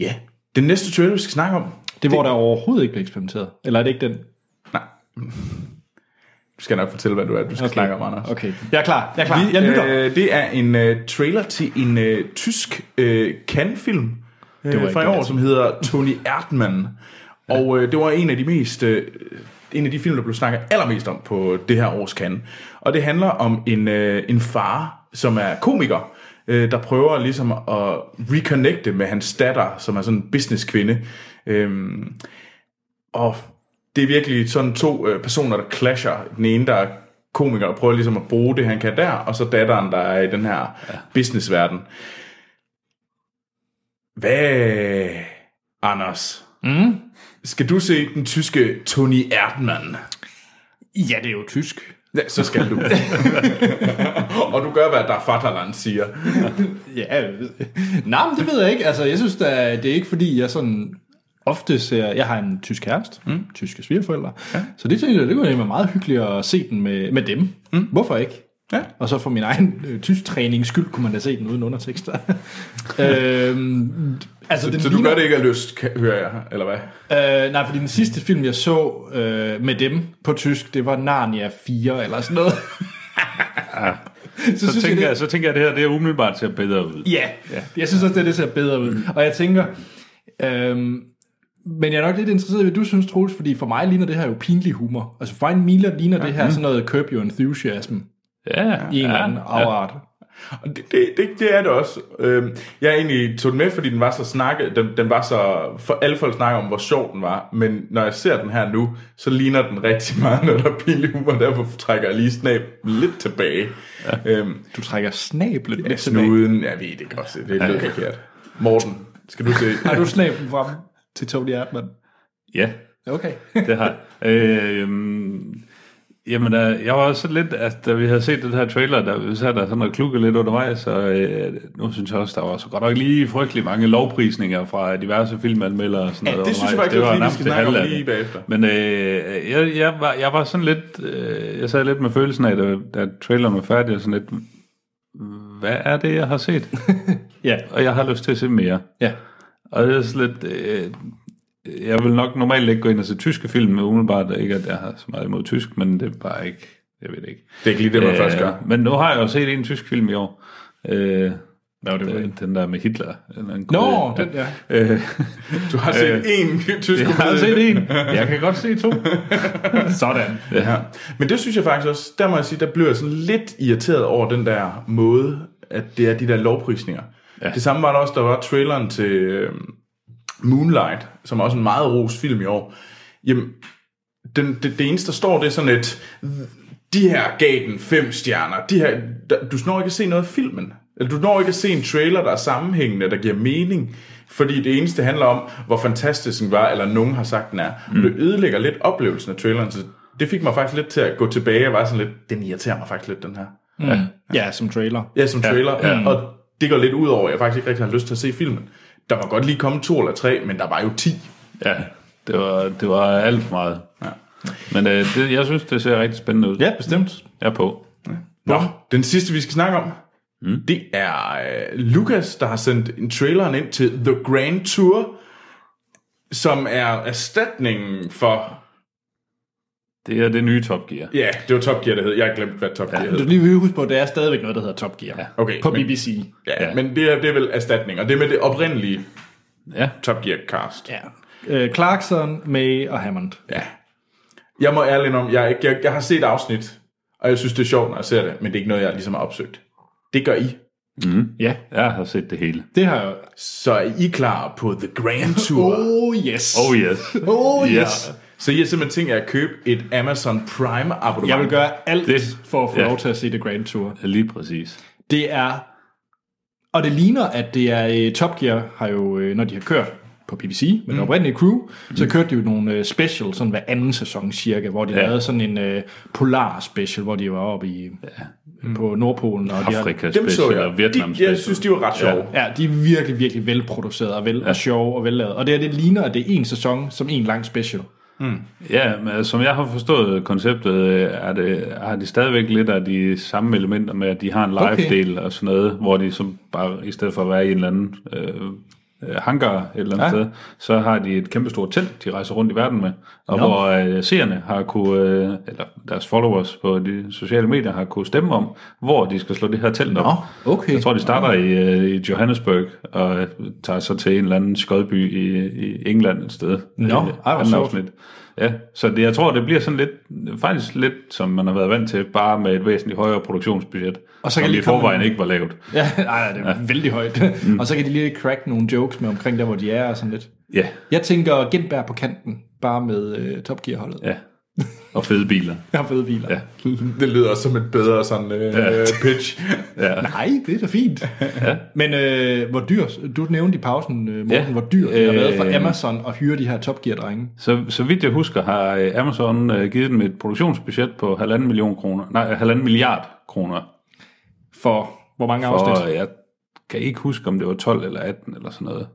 Ja. Den næste trailer, vi skal snakke om,
Det er, hvor der overhovedet ikke bliver eksperimenteret. Eller er det ikke den?
Du skal nok fortælle, hvad du er, du skal okay. snakke om, Anders.
Okay, jeg er klar. Jeg er klar.
Vi,
jeg lytter.
Øh, det er en øh, trailer til en øh, tysk øh, Cannes-film øh,
var
det
ikke
fra i
det, jeg
år, som hedder Tony Erdmann. Og øh, det var en af de mest... Øh, en af de film, der blev snakket allermest om på det her års Cannes. Og det handler om en, øh, en far, som er komiker, øh, der prøver ligesom at reconnecte med hans datter, som er sådan en businesskvinde. Øhm, og det er virkelig sådan to øh, personer, der clasher. Den ene, der er komiker og prøver ligesom at bruge det, han kan der, og så datteren, der er i den her ja. businessverden. Hvad, Anders? Mm? Skal du se den tyske Tony Erdmann?
Ja, det er jo tysk.
Ja, så skal du. og du gør, hvad der Fatterland siger.
Ja, jeg ved- nej, men det ved jeg ikke. Altså, jeg synes, da, det er ikke fordi, jeg sådan ofte ser... Jeg har en tysk kæreste, mm. tyske svigerforældre, ja. så det tænkte jeg, det kunne egentlig være meget hyggeligt at se den med, med dem. Mm. Hvorfor ikke?
Ja.
Og så for min egen øh, tysk træning skyld, kunne man da se den uden undertekster. øhm, altså, den
Så du
ligner-
gør det ikke af lyst, kan- hører jeg, eller hvad?
Øh, nej, fordi den sidste film, jeg så øh, med dem på tysk, det var Narnia 4 eller sådan noget.
Så, så, tænker,
det-
jeg, så tænker jeg, at det her det er umiddelbart ser bedre ud.
Ja, Mm. jeg synes også, det, er det ser bedre ud. Og jeg tænker, øhm, men jeg er nok lidt interesseret i, hvad du synes, Troels, fordi for mig ligner det her jo pinlig humor. Altså for mig Miller ligner det her sådan noget Curb Your Enthusiasm
Ja,
i en eller
ja,
anden afart.
Og det, det, det, det er det også. Øhm, jeg egentlig tog den med, fordi den var så snakke, den, den var så, for alle folk snakker om, hvor sjov den var, men når jeg ser den her nu, så ligner den rigtig meget, når der er pinlig humor, derfor trækker jeg lige snab lidt tilbage. Ja. Øhm,
Du trækker snablen lidt tilbage.
snuden, jeg ved det godt, det er lidt forkert. Morten, skal du se?
Har du snablen frem til Tony Erdmann?
ja,
Okay.
det har jeg. øh, øhm, Jamen, øh, jeg var også lidt, altså, da vi havde set den her trailer, der sad der sådan noget klukke lidt undervejs, og øh, nu synes jeg også, der var så godt nok lige frygtelig mange lovprisninger fra diverse filmanmeldere og sådan
Ja,
noget.
det synes jeg
undervejs.
faktisk også lige, vi
nærmest
skal
det
snakke om
halve af
lige
det.
bagefter.
Men øh, jeg, jeg, var, jeg var sådan lidt, øh, jeg sad lidt med følelsen af, da, da traileren var færdig, og sådan lidt, hvad er det, jeg har set?
Ja.
og jeg har lyst til at se mere.
ja.
Og det er sådan lidt... Øh, jeg vil nok normalt ikke gå ind og se tyske film, men umiddelbart ikke, at jeg har så meget imod tysk, men det er bare ikke... Jeg ved det ikke.
Det er ikke lige det, man øh, først gør.
Men nu har jeg jo set en tysk film i år. Øh,
Nå, det var
den, den der med Hitler. eller en
Nå,
komedie.
den, ja.
Øh,
Du har set
øh,
én tysk
jeg har
komedie.
set en. Jeg kan godt se to.
Sådan.
Ja. Men det synes jeg faktisk også, der må jeg sige, der blev jeg sådan lidt irriteret over den der måde, at det er de der lovprisninger. Ja. Det samme var der også, der var traileren til øh, Moonlight, som er også en meget ros film i år. Jamen, den, det, det eneste, der står, det er sådan et, de her gav den fem stjerner, de her, der, du når ikke at se noget af filmen. Eller du når ikke at se en trailer, der er sammenhængende, der giver mening. Fordi det eneste handler om, hvor fantastisk den var, eller nogen har sagt, den er. Mm. Det ødelægger lidt oplevelsen af traileren, så det fik mig faktisk lidt til at gå tilbage og var sådan lidt, den irriterer mig faktisk lidt, den her.
Ja, som trailer.
Ja, som trailer. Ja, ja. Og det går lidt ud over, at jeg faktisk ikke rigtig har lyst til at se filmen. Der var godt lige komme to eller tre, men der var jo ti.
Ja, det var, det var alt for meget. Ja. Men øh, det, jeg synes, det ser rigtig spændende ud.
Ja, bestemt.
Jeg er på.
Nå, den sidste, vi skal snakke om, mm. det er øh, Lukas, der har sendt en traileren ind til The Grand Tour, som er erstatningen for...
Det er det nye Top Gear.
Ja, det var Top Gear, det hed. Jeg har glemt, hvad Top Gear
Du
hed.
skal lige huske på, at der er stadigvæk noget, der hedder Top Gear. Ja.
Okay,
På
men-
BBC.
Ja,
Ja.
Men det er, det er vel erstatning, og det er med det oprindelige
Ja.
Top Gear-cast.
Ja. Øh, Clarkson, May og Hammond.
Ja. Jeg må ærligt om, jeg, er ikke- jeg, jeg har set afsnit, og jeg synes, det er sjovt, når jeg ser det, men det er ikke noget, jeg ligesom har opsøgt. Det gør I.
Ja,
Jeg har set det hele.
det har jeg
Så er I klar på The Grand Tour?
Oh yes.
Oh yes.
Oh yes.
Ja.
Så I har simpelthen tænkt jer at købe et Amazon Prime abonnement?
Jeg vil gøre alt det.
Det-
for at få
ja.
lov til at se The Grand Tour.
Lige præcis.
Det er... Og det ligner, at det er... øh, Top Gear har jo, øh, når de har kørt på BBC med mm. det oprindelige crew, så kørte de jo nogle øh, special, sådan hver anden sæson cirka, hvor de ja.
Ja.
lavede sådan en øh, polar special, hvor de var oppe i, ja. Mm. på Nordpolen. Og de har,
Afrika
Dem så
special
jeg.
og Vietnam
de,
special.
jeg synes, de var ret sjove.
Ja, de er virkelig, virkelig velproduceret og, vel, ja. og sjove og vellavet. Og det her, det ligner, at det er en sæson som en lang special.
Ja, men altså, som jeg har forstået konceptet, øh, er det, har de stadigvæk lidt af de samme elementer med, at de har en live-del okay. og sådan noget, hvor de som bare, i stedet for at være i en eller anden øh, øh, hangar et eller andet ja. sted, så har de et kæmpestort telt, de rejser rundt i verden med, og
Nå.
hvor øh, seerne har kunne, øh, eller deres followers på de sociale medier har kunne stemme om, hvor de skal slå det her telt op.
okay.
Jeg tror, de starter i, øh, i Johannesburg og øh, tager så til en eller anden skodby i, i England et sted.
Nå, ej,
Øh,
hvor
anden
sjovt.
afsnit. Ja, så det, jeg tror, det bliver sådan lidt, faktisk lidt, som man har været vant til, bare med et væsentligt højere produktionsbudget,
Og så kan
som
de
i
komme-
forvejen ikke var lavet.
Ja, nej, det er ja. vældig højt. Mm. og så kan de lige crack nogle jokes med omkring der, hvor de er og sådan lidt.
Ja,
Jeg tænker Gentberg på kanten, bare med øh, Top Gear-holdet. Ja.
ja. Og fede biler.
Jeg har fået hviler.
Ja.
Det lyder også som et bedre sådan øh, ja. pitch.
Ja.
Nej, det er da fint. ja. Men øh, hvor dyr, du nævnte i pausen, øh, Morten, ja.
Ja.
hvor dyr det har været for
Øh,
Amazon at hyre de her Top Gear-drenge.
Så, så vidt jeg husker, har øh, Amazon øh, givet dem et produktionsbudget på halvanden million kroner, nej, halvanden milliard kroner.
For hvor mange afsnit?
Og jeg kan ikke huske, om det var 12 eller 18 eller sådan noget.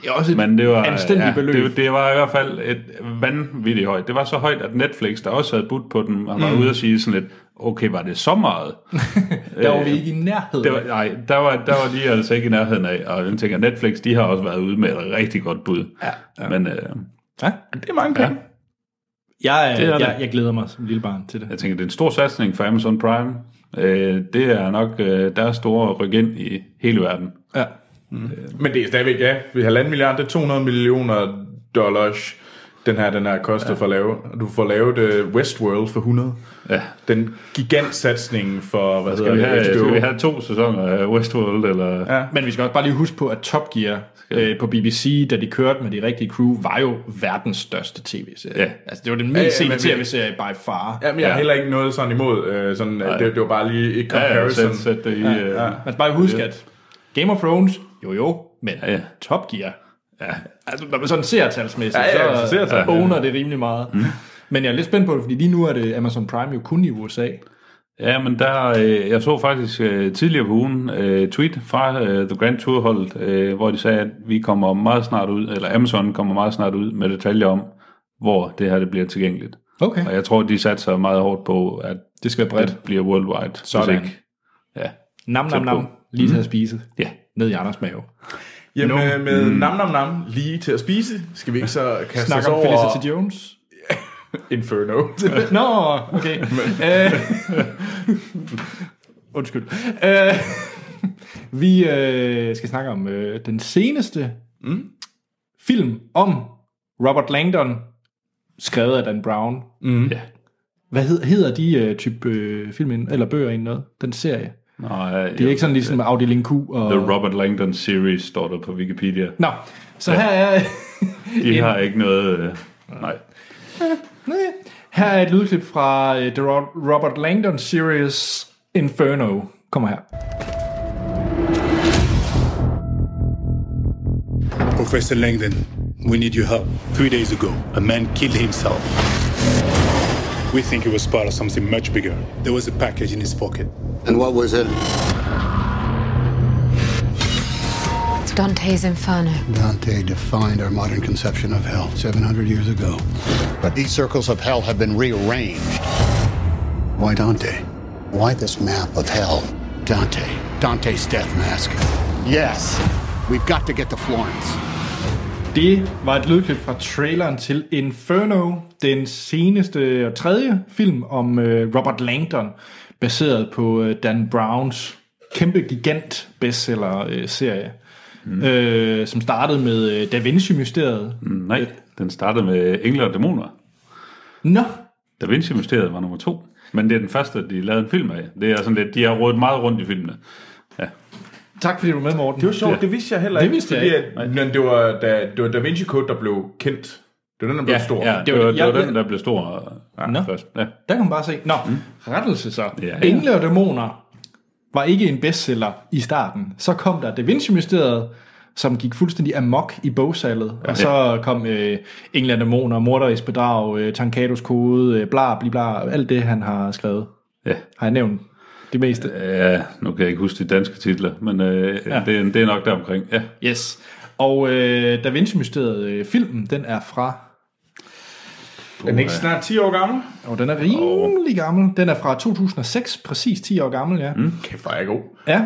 Det er også et
Men det var,
anstændigt beløb.
Det, det var i hvert fald et vanvittigt højt. Det var så højt, at Netflix, der også havde budt på den, og var mm. ude og sige sådan lidt, okay, var det så meget?
der øh, var vi ikke i nærheden.
Det var, nej, der var, der var de altså ikke i nærheden af, og jeg tænker, Netflix, de har også været ude med et rigtig godt bud. Ja, ja. Men øh,
ja.
Det er mange penge.
Jeg,
Det er
øh,
det.
jeg, jeg glæder mig som lille barn til det.
jeg tænker, det er en stor satsning for Amazon Prime. Øh, det er nok øh, deres store ryk ind i hele verden.
Ja.
Ja. Men det er stadigvæk, ja, ved halvanden milliard, det er 200 millioner dollars, den her, den her koster ja. for at lave. Du får lavet øh, Westworld for 100.
Ja.
Den gigantsatsning for, hvad
Skal vi,
hedder
have,
det, HBO.
skal vi have to sæsoner af Westworld? Eller?
Ja.
Men vi skal også bare lige huske på, at Top Gear øh, på BBC, da de kørte med de rigtige crew, var jo verdens største tv-serie.
Ja.
Altså, det var den
ja,
mest
men
sete
vi-
tv-serie by far. Ja.
Jamen, jeg har
Ja.
heller ikke noget sådan imod. Øh, sådan, det, det var bare lige et
Ja, ja,
comparison.
sæt, sæt det i... Ja, ja. Øh,
Man skal bare huske, at Game of Thrones, jo jo, men ja,
Ja,
ja.
ja.
Top Gear,
ja.
altså når man sådan ser talsmæssigt,
Ja, ja, hvis
så
du ser tal.
øh, owner det rimelig meget. Mm. Men jeg er lidt spændt på det, fordi lige nu er det Amazon Prime jo kun i USA.
Ja, men der, øh, jeg så faktisk øh, tidligere på ugen øh, tweet fra øh, The Grand Tour holdet, øh, hvor de sagde, at vi kommer meget snart ud, eller Amazon kommer meget snart ud med detaljer om, hvor det her det bliver tilgængeligt.
Okay.
Og jeg tror, de satser meget hårdt på, at
Det skal være bredt.
det bliver worldwide. hvis
Sådan.
Ja.
Nam, nam,
Tæt på.
nam. Lige til at spise.
ja.
Ned i Anders mave.
Jamen, øh, med nam nam nam lige til at spise, skal vi ikke så kaste
Snak
os
om
over
Felicity Jones.
Inferno.
Nå, okay. Øh, Undskyld. Øh, Vi øh, skal snakke om øh, den seneste mm. film om Robert Langdon, skrevet af Dan Brown.
Mm.
Ja.
Hvad hed, hedder de øh, type øh, film ind- eller bøger inden noget? Den serie.
Nå, øh,
Det er ikke sådan ligesom Afdeling Q og...
The Robert Langdon Series står der på Wikipedia.
Nå, så her er...
De har ikke noget... Øh, nej.
Næh. her er et lydklip fra øh, The Ro- Robert Langdon series Inferno. Kommer her.
Professor Langdon, we need your help. Three days ago, a man killed himself. We think he was part of something much bigger. There was a package in his pocket.
And what was it?
It's Dante's Inferno.
Dante defined our modern conception of hell 700 years ago. But these circles of hell have been rearranged. Why Dante? Why this map of hell? Dante. Dante's death mask. Yes. We've got to get to Florence.
Det var et lydklip fra traileren til Inferno, den seneste og tredje film om øh, Robert Langdon, baseret på øh, Dan Browns kæmpe gigant bestseller-serie, mm. øh, som startede med øh, Da Vinci-mysteriet. Mm.
Nej, den startede med Engler og Dæmoner.
Nå,
Da Vinci Mysteriet var nummer to. Men det er den første, de lavede en film af. Det er sådan lidt, de har rodet meget rundt i filmene.
tak fordi du var med, Morten.
Det var sjovt, det vidste jeg heller
Det
ikke.
vidste jeg
fordi, at, men det var, da, det var Da Vinci Code, der blev kendt. Det er den, der blev
ja,
stor.
Ja, det var, det var den, der blev stor ja,
Nå.
først. Ja.
Der kan man bare se. Nå, mm. rettelse så. Ja,
ja.
ja. Engle og dæmoner var ikke en bestseller i starten. Så kom der Da Vinci-mysteriet, som gik fuldstændig amok i bogsalget. Ja, og så kom øh, Engle og dæmoner, Morderisk bedrag, øh, Tankados kode, øh, bla, bla, bla, alt det, han har skrevet.
Ja.
Har jeg nævnt det meste?
ja, nu kan jeg ikke huske de danske titler, men øh, ja. det, er- det er nok deromkring. Ja.
Øh, Yes. Og øh, Da Vinci-mysteriet, øh, filmen, den er fra...
Er den ikke snart 10 år gammel?
Og den er rimelig gammel. Den er fra 2006, præcis 10 år gammel, ja. Mm.
Kæft, hvor er jeg god.
Ja.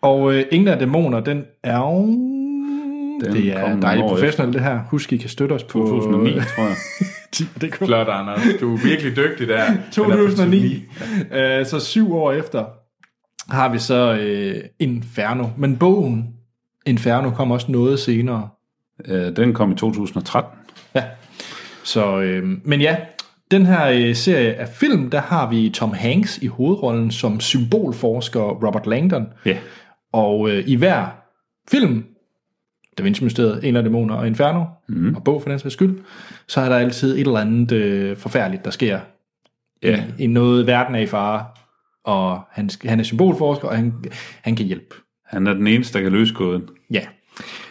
Og øh, Engle og Dæmoner, den er jo... Den det
kom
er
nogle
dejligt
år
professionelt, det her. Husk, I kan støtte os på...
2009, tror jeg.
det kunne...
Flot, Anders. Du er virkelig dygtig der. Den er fra
2009. Øh, så syv år efter har vi så øh, Inferno. Men bogen Inferno kom også noget senere.
Øh, den kom i 2013.
Ja. Så, øh, men ja, den her øh, serie af film, der har vi Tom Hanks i hovedrollen som symbolforsker Robert Langdon.
Ja.
Og øh, i hver film, Da Vinci Mysteriet, Engler, Dæmoner og Inferno, mm. og bog for den sags skyld, så er der altid et eller andet øh, forfærdeligt, der sker.
Ja.
I noget verden er i fare, og han, sk- han er symbolforsker, og han, han kan hjælpe.
Han er den eneste, der kan løse gåden.
Ja.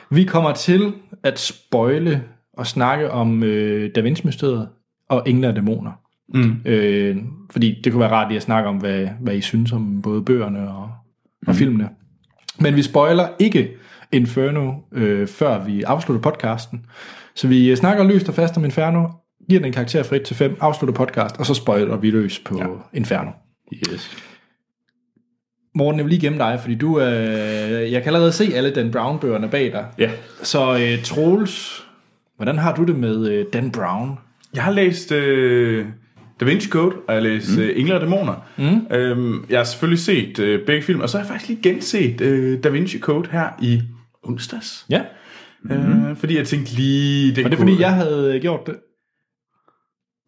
Vi kommer til at spoile og snakke om øh, Da Vinci Mysteriet og Engler og Dæmoner. Mm. Øh, fordi det kunne være rart lige at snakke om, hvad, hvad I synes om både bøgerne og, og filmene. Men vi spoiler ikke Inferno, øh, før vi afslutter podcasten. Så vi øh, snakker løst og fast om Inferno, giver den en karakter fra 1 til 5, afslutter podcast, og så spoiler vi løs på ja. Inferno.
Yes.
Morten, jeg vil lige gemme dig, fordi du, øh, jeg kan allerede se alle Dan Brown-bøgerne bag dig.
Ja.
Så øh, Troels, hvordan har du det med øh, Dan Brown?
Jeg har læst øh, Da Vinci Code, og jeg har læst mm. øh, Engler og Dæmoner. Mm. Øhm, jeg har selvfølgelig set øh, begge film, og så har jeg faktisk lige genset øh, Da Vinci Code her i onsdags.
Ja.
Mm. Øh, fordi jeg tænkte lige... Det
Og det er
kunne-
fordi, jeg havde øh, gjort det.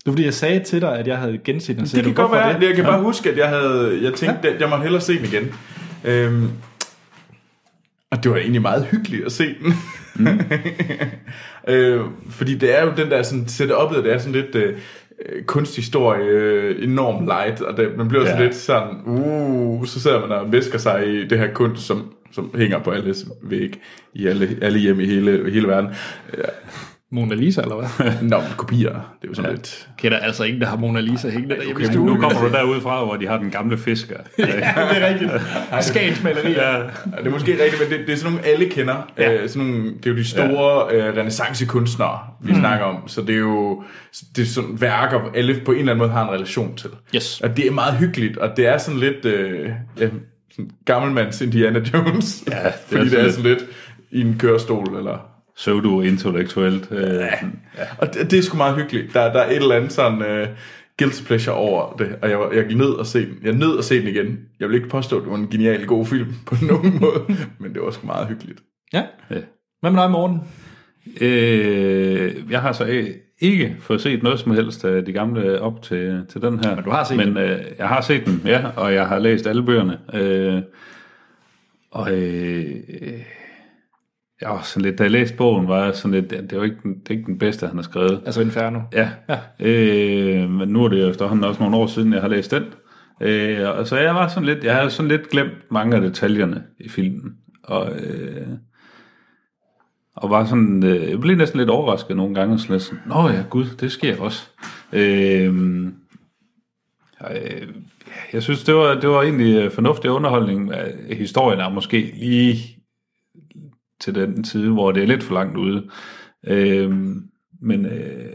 Det var fordi, jeg sagde til dig, at jeg havde genset den. så
Det
sagde
kan
du,
godt
"Hvorfor
være. Det? Jeg kan bare huske, at jeg havde... Jeg tænkte, at jeg måtte hellere se den igen. Øhm, og det var egentlig meget hyggeligt at se den. Mm. øh, fordi det er jo den der sådan, setup'et, det er sådan lidt øh, kunsthistorie, øh, enorm light, og det, man bliver sådan
Ja.
lidt sådan, uh, så sidder man og væsker sig i det her kunst, som, som hænger på alles væg i alle, alle hjem i hele, hele verden. Øh,
Mona Lisa, eller hvad?
Nå, men kopier, det er jo sådan ja. lidt...
Kender altså ingen, der har Mona Lisa hængende derhjemme okay, i
Nu
stuen.
kommer du derudfra, hvor de har den gamle fisker.
det er rigtigt. Skagens malerier.
ja.
Ja, Det er måske rigtigt, men det, det er sådan nogle, alle kender. Ja. Øh, sådan nogle, det er jo de store ja. øh, renaissancekunstnere, vi mm. snakker om. Så det er jo det er sådan værker, alle på en eller anden måde har en relation til.
Yes.
Og det er meget hyggeligt, og det er sådan lidt øh, ja, sådan gammelmands Indiana Jones. Ja, det fordi er det er sådan lidt i en kørestol. Eller.
Pseudo-intellektuelt. Øh, ja.
Ja. Og det, det er sgu meget hyggeligt. Der, der er et eller andet sådan... Øh, guilty pleasure over det, og jeg, var- jeg gik ned og se den. Jeg nød at se den igen. Jeg vil ikke påstå, at det var en genial god film på nogen måde, men det var sgu meget hyggeligt.
Ja. Hvad med dig, Morten?
Øh, jeg har så øh, ikke fået set noget som helst af de gamle op til, til den her. Men
du har set
Men øh, jeg har set dem, ja, og jeg har læst alle bøgerne. Øh, og øh, jeg var sådan lidt, da jeg læste bogen, var jeg sådan lidt, det er jo ikke, den- det er ikke den bedste, han har skrevet.
Altså Inferno.
Ja, ja. Øh, men nu er det jo efterhånden også nogle år siden, jeg har læst den. Øh, og så jeg var sådan lidt, jeg havde sådan lidt glemt mange af detaljerne i filmen. Og, øh, og var sådan, øh, jeg blev næsten lidt overrasket nogle gange, sådan lidt sådan, nå ja, gud, det sker også. Øh, øh, jeg synes, det var, det var egentlig øh, fornuftig underholdning. Øh, Historien er måske lige til den side, hvor det er lidt for langt ude. Øh, men øh,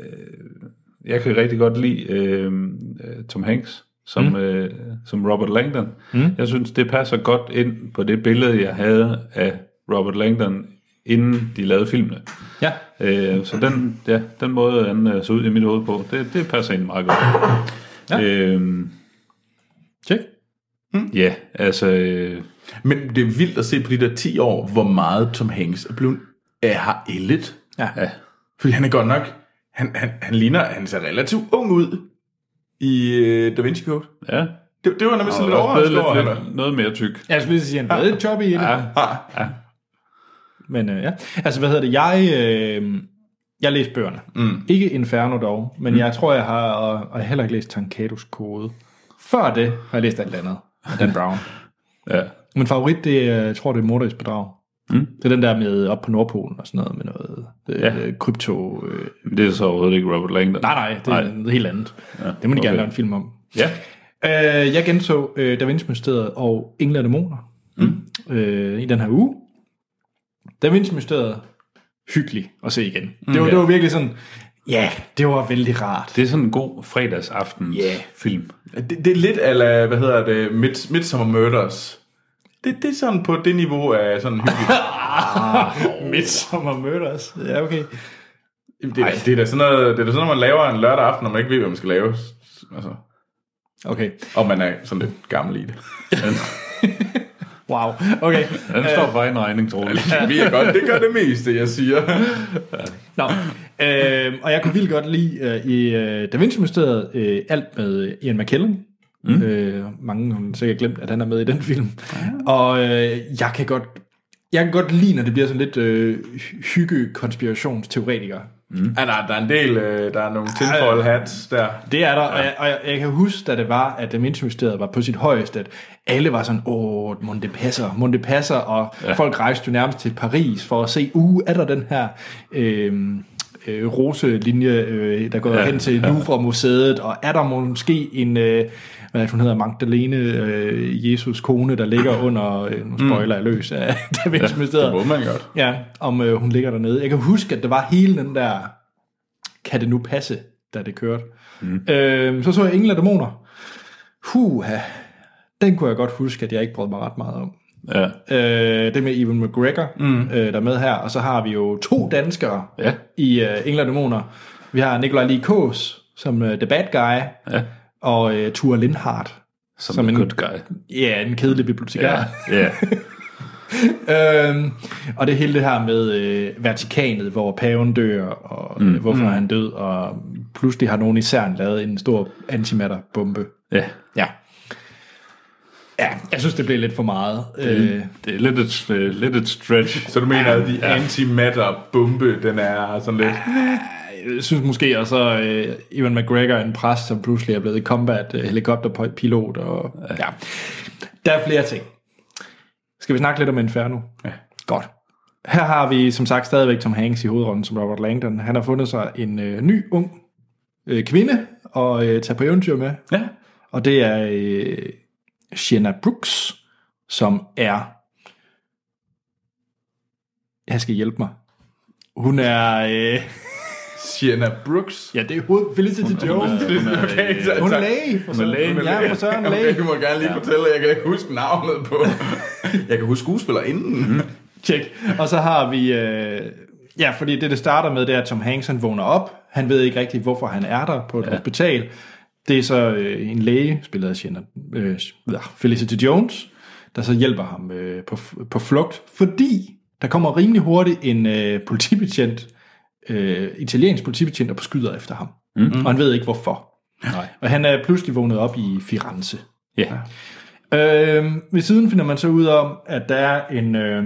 jeg kan rigtig godt lide øh, øh, Tom Hanks som, mm. øh, som Robert Langdon. Mm. Jeg synes, det passer godt ind på det billede, jeg havde af Robert Langdon, inden de lavede filmene.
Ja.
Øh, så den, ja, den måde, han øh, så ud i mit hoved på, det, det passer ind meget godt.
Ja.
Ja, øh,
Tjek.
ja altså... Øh,
Men det er vildt at se på de der 10 år, hvor meget Tom Hanks er blevet er har ældet.
Ja. ja.
Fordi han er godt nok, han, han, han ligner, han ser relativt ung ud i øh, Da Vinci Code.
ja,
Det, det var nemlig
og
sådan lidt
også
overrasket
blevet
over.
lidt,
Lidt,
lidt, noget mere tyk.
Jeg skulle lige sige, han havde et job i det.
Ja,
ah,
Men øh, ja, altså hvad hedder det, jeg, øh, Jeg læste bøgerne. Mm. Ikke Inferno dog, men mm. jeg tror, jeg har, og, og jeg har heller ikke læst Tankados kode. Før det har jeg læst alt andet af Dan Brown.
Ja.
Min favorit, det er, jeg tror, det er Morderisk Bedrag. Mm. Det er den der med op på Nordpolen og sådan noget, med noget
Ja.
ja. krypto... Øh,
Det er så overhovedet ikke Robert Langdon.
nej, nej, det er
Nej.
noget helt andet. Ja, det må de okay.
okay.
gerne lave en film om.
Ja.
Øh, jeg genså øh, Da Vinci Mysteriet og Engler og Dæmoner mm. øh, i den her uge. Da Vinci Mysteriet, hyggelig at se igen. Mm, det, var, det var virkelig sådan, ja, det var vældig rart.
Det er sådan en god fredagsaftens
Ja.
film.
Det, det er lidt ala, hvad hedder det, Mid, Midsummer Murders. Det, det er sådan på det niveau af sådan hyggeligt.
Midsommer Murders, ja okay.
det, er, det, er da sådan noget, det er da sådan noget, man laver en lørdag aften, når man ikke ved, hvad man skal lave. Altså,
Okay,
og man er sådan lidt gammel i det.
wow, okay.
Den står for en regning, tror jeg.
Det ved jeg godt, det gør det meste, jeg siger.
Nå, øh, og jeg kunne vildt godt lide øh, i øh, Da Vinci Mysteriet øh, alt med øh, Ian McKellen. Mm. Øh, mange har sikkert glemt, at han er med i den film. Og øh, jeg kan godt jeg kan godt lide, når det bliver sådan lidt øh, hy- hygge-konspirationsteoretiker.
Ja, der, der er en del, øh, der er nogle tinfoil hats der.
Det er der, ja. og, jeg, og jeg, jeg kan huske, da det var, at Da Vinci Mysteriet var på sit højeste, at alle var sådan, åh, Monte Passer, Monte Passer, og ja. folk rejste jo nærmest til Paris for at se, uh, er der den her øh, øh, roselinje, øh, der går
Ja.
ja. hen til Louvre-museet, og er der måske en, øh, hvad er det, hun hedder, Magdalene, øh, Jesus kone, der ligger under, øh, nu spoiler jeg løs af Da Vinci Mysteriet.
Må man godt.
Ja, om øh, hun ligger dernede. Jeg kan huske, at der var hele den der, kan det nu passe, da det kørte. Mm. Øh, så så jeg Engel og Dæmoner. Huha, den kunne jeg godt huske, at jeg ikke brød mig ret meget om.
Ja.
Øh, det med Evan McGregor, mm. øh, der er med her. Og så har vi jo to danskere
Ja.
i øh, Engel og Dæmoner. Vi har Nikolaj Lee Kås som øh, The Bad Guy,
ja.
og øh, Tua Lindhardt.
Som,
Som
en
en-
good guy.
Ja, en kedelig bibliotekar.
Ja. ja.
Øhm, og det hele det her med øh, Vatikanet, hvor paven dør, og mm. øh, hvorfor mm. han død, og pludselig har nogen i CERN lavet en stor antimatterbombe.
ja.
Ja. Ja, jeg synes, det blev lidt for meget. Øh,
Det er lidt et, øh, lidt et stretch.
Så du mener, at de antimatter-bombe, den er sådan lidt...
jeg synes måske også, øh, Evan McGregor er en præst, som pludselig er blevet combat øh, helikopterpilot. Og, ja. Der er flere ting. Skal vi snakke lidt om Inferno? Ja. Godt. Her har vi som sagt stadigvæk Tom Hanks i hovedrollen som Robert Langdon. Han har fundet sig en øh, ny, ung øh, kvinde at øh, tage på eventyr med.
Ja.
Og det er øh, Shanna Brooks, som er... Jeg skal hjælpe mig. Hun er... Øh,
Sienna Brooks.
Ja, det er hoved Felicity Jones.
Okay, så,
Hun er
så-
læge. For søren.
læge.
Ja, for søren læge.
Okay, du må gerne lige fortælle, jeg kan ikke huske navnet på. Mhm. Jeg kan huske skuespillerinden.
Tjek. Og så har vi... Øh, ja, fordi det, det starter med, det er, at Tom Hanks han vågner op. Han ved ikke rigtigt, hvorfor han er der på et ja. hospital. Det er så øh, en læge, spillet af Shannon, øh, ja, Felicity Jones, der så hjælper ham øh, på, på flugt, fordi der kommer rimelig hurtigt en øh, politibetjent, øh, italiensk politibetjent, der beskyder efter ham. Mm-hmm. Og han ved ikke, hvorfor.
Nej.
Og han er pludselig vågnet op i Firenze.
Ja.
Øhm, ved siden finder man så ud om, at der er en øh,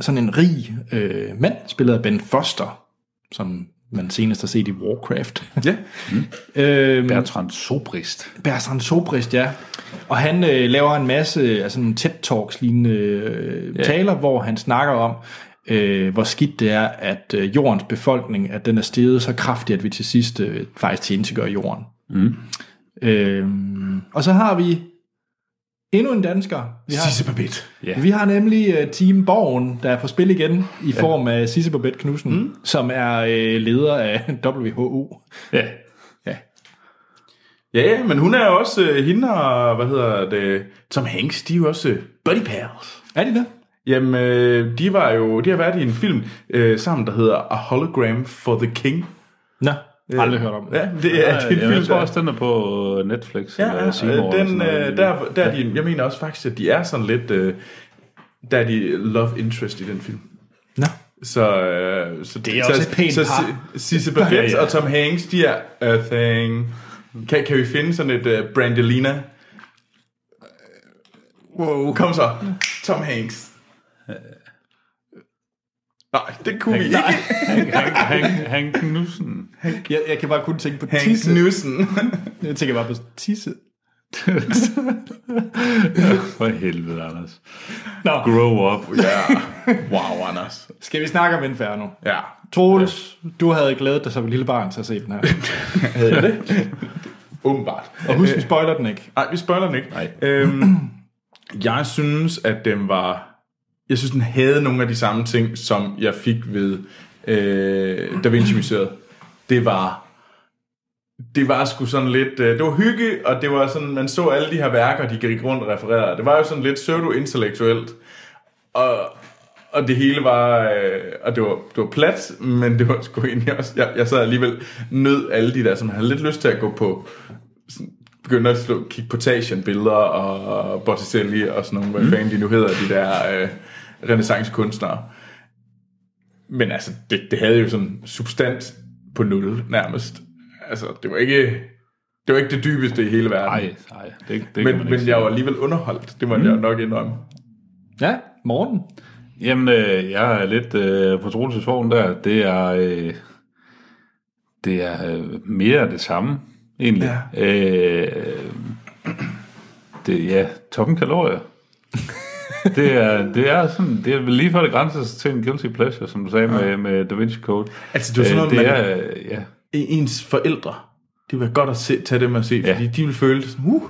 sådan en rig øh, mand, spillet af Ben Foster, som man senest har set i Warcraft.
Ja.
øhm,
Bertrand Sobrist.
Bertrand Sobrist, ja. Og han øh, laver en masse altså nogle TED-talks-lignende øh, taler, hvor han snakker om, øh, hvor skidt det er, at øh, jordens befolkning, at den er steget så kraftigt, at vi til sidst øh, faktisk tilintetgør jorden. Mm. Øh, og så har vi endnu en dansker. Vi har,
Sisse Babette.
Ja.
vi har nemlig uh, Team Borgen, der er på spil igen, i form af Sisse Babette Knudsen, mm. som er uh, leder af WHO.
Ja.
Ja, ja, men hun er jo også, øh, hende og, hvad hedder det, Tom Hanks, de er jo også øh, buddy pals.
Er de det?
Jamen, øh, de var jo, de har været i en film øh, sammen, der hedder A Hologram for the King.
Nå, aldrig hørt om det.
Ja, det er, det er en
Jeg, jeg
film,
tror
der,
også, den er på øh, Netflix.
Ja,
eller Seymour
ja,
eller sådan
den,
noget.
øh, der, der er de, jeg mener også faktisk, at de er sådan lidt, øh, der er de love interest i den film.
Nå.
Så, øh, så
Det er
så,
også et pænt
så,
par.
Si- Sisse Babette
Ja, ja.
og Tom Hanks, de er a thing. Kan, kan vi finde sådan et øh, Brandelina? Wow. Kom så, Tom Hanks. Nej, det kunne vi
Nej.
ikke.
Hank, Hank, Hank, Hank Knudsen.
Jeg, jeg kan bare kun tænke på
Hank
tisse.
Knudsen.
Jeg tænker bare på tisse.
For helvede, Anders.
Nå,
Grow up.
ja. Wow, Anders.
skal vi snakke om Inferno?
Ja.
Troels, du havde glædet dig som et lille barn til at se den her.
Havde jeg det? Åbenbart.
Og husk, vi spoiler den ikke.
Nej, vi spoiler den ikke.
Nej.
Øhm, jeg synes, at den var... Jeg synes, den havde nogle af de samme ting, som jeg fik ved øh, Da Vinci Museet. Det var... Det var sgu sådan lidt... Øh, det var hygge, og det var sådan... Man så alle de her værker, de gik rundt og refererede. Det var jo sådan lidt pseudo-intellektuelt. Og, og det hele var... Øh, og det var, det var plat, men det var sgu egentlig også... Jeg, jeg sad alligevel nød alle de der, som havde lidt lyst til at gå på begyndte at slå, kigge på Tagen-billeder og Botticelli og sådan nogle,
Mm.
hvad fanden de nu hedder, de der øh, renaissancekunstnere. Men altså, det, det havde jo sådan substans på nul nærmest. Altså, det var ikke det, var ikke det dybeste i hele verden.
Nej, nej, det, det kan man
men,
ikke
men
sige.
jeg var alligevel underholdt, det må mm. jeg nok indrømme.
Ja, morgen.
Jamen, øh, jeg er lidt øh, på trolelsesvognen der. Det er, øh, det er øh, mere af det samme, egentlig. Ja. Øh, det, ja, toppen kalorier. det, er, det er sådan, det er vel lige før det grænser til en guilty pleasure, som du sagde ja. med, med Da Vinci Code.
Altså, det er jo sådan
øh,
noget,
det
man-
er, øh, ja,
Ens forældre, det var godt at se, tage dem og se,
Ja.
fordi de ville føle det sådan, uh,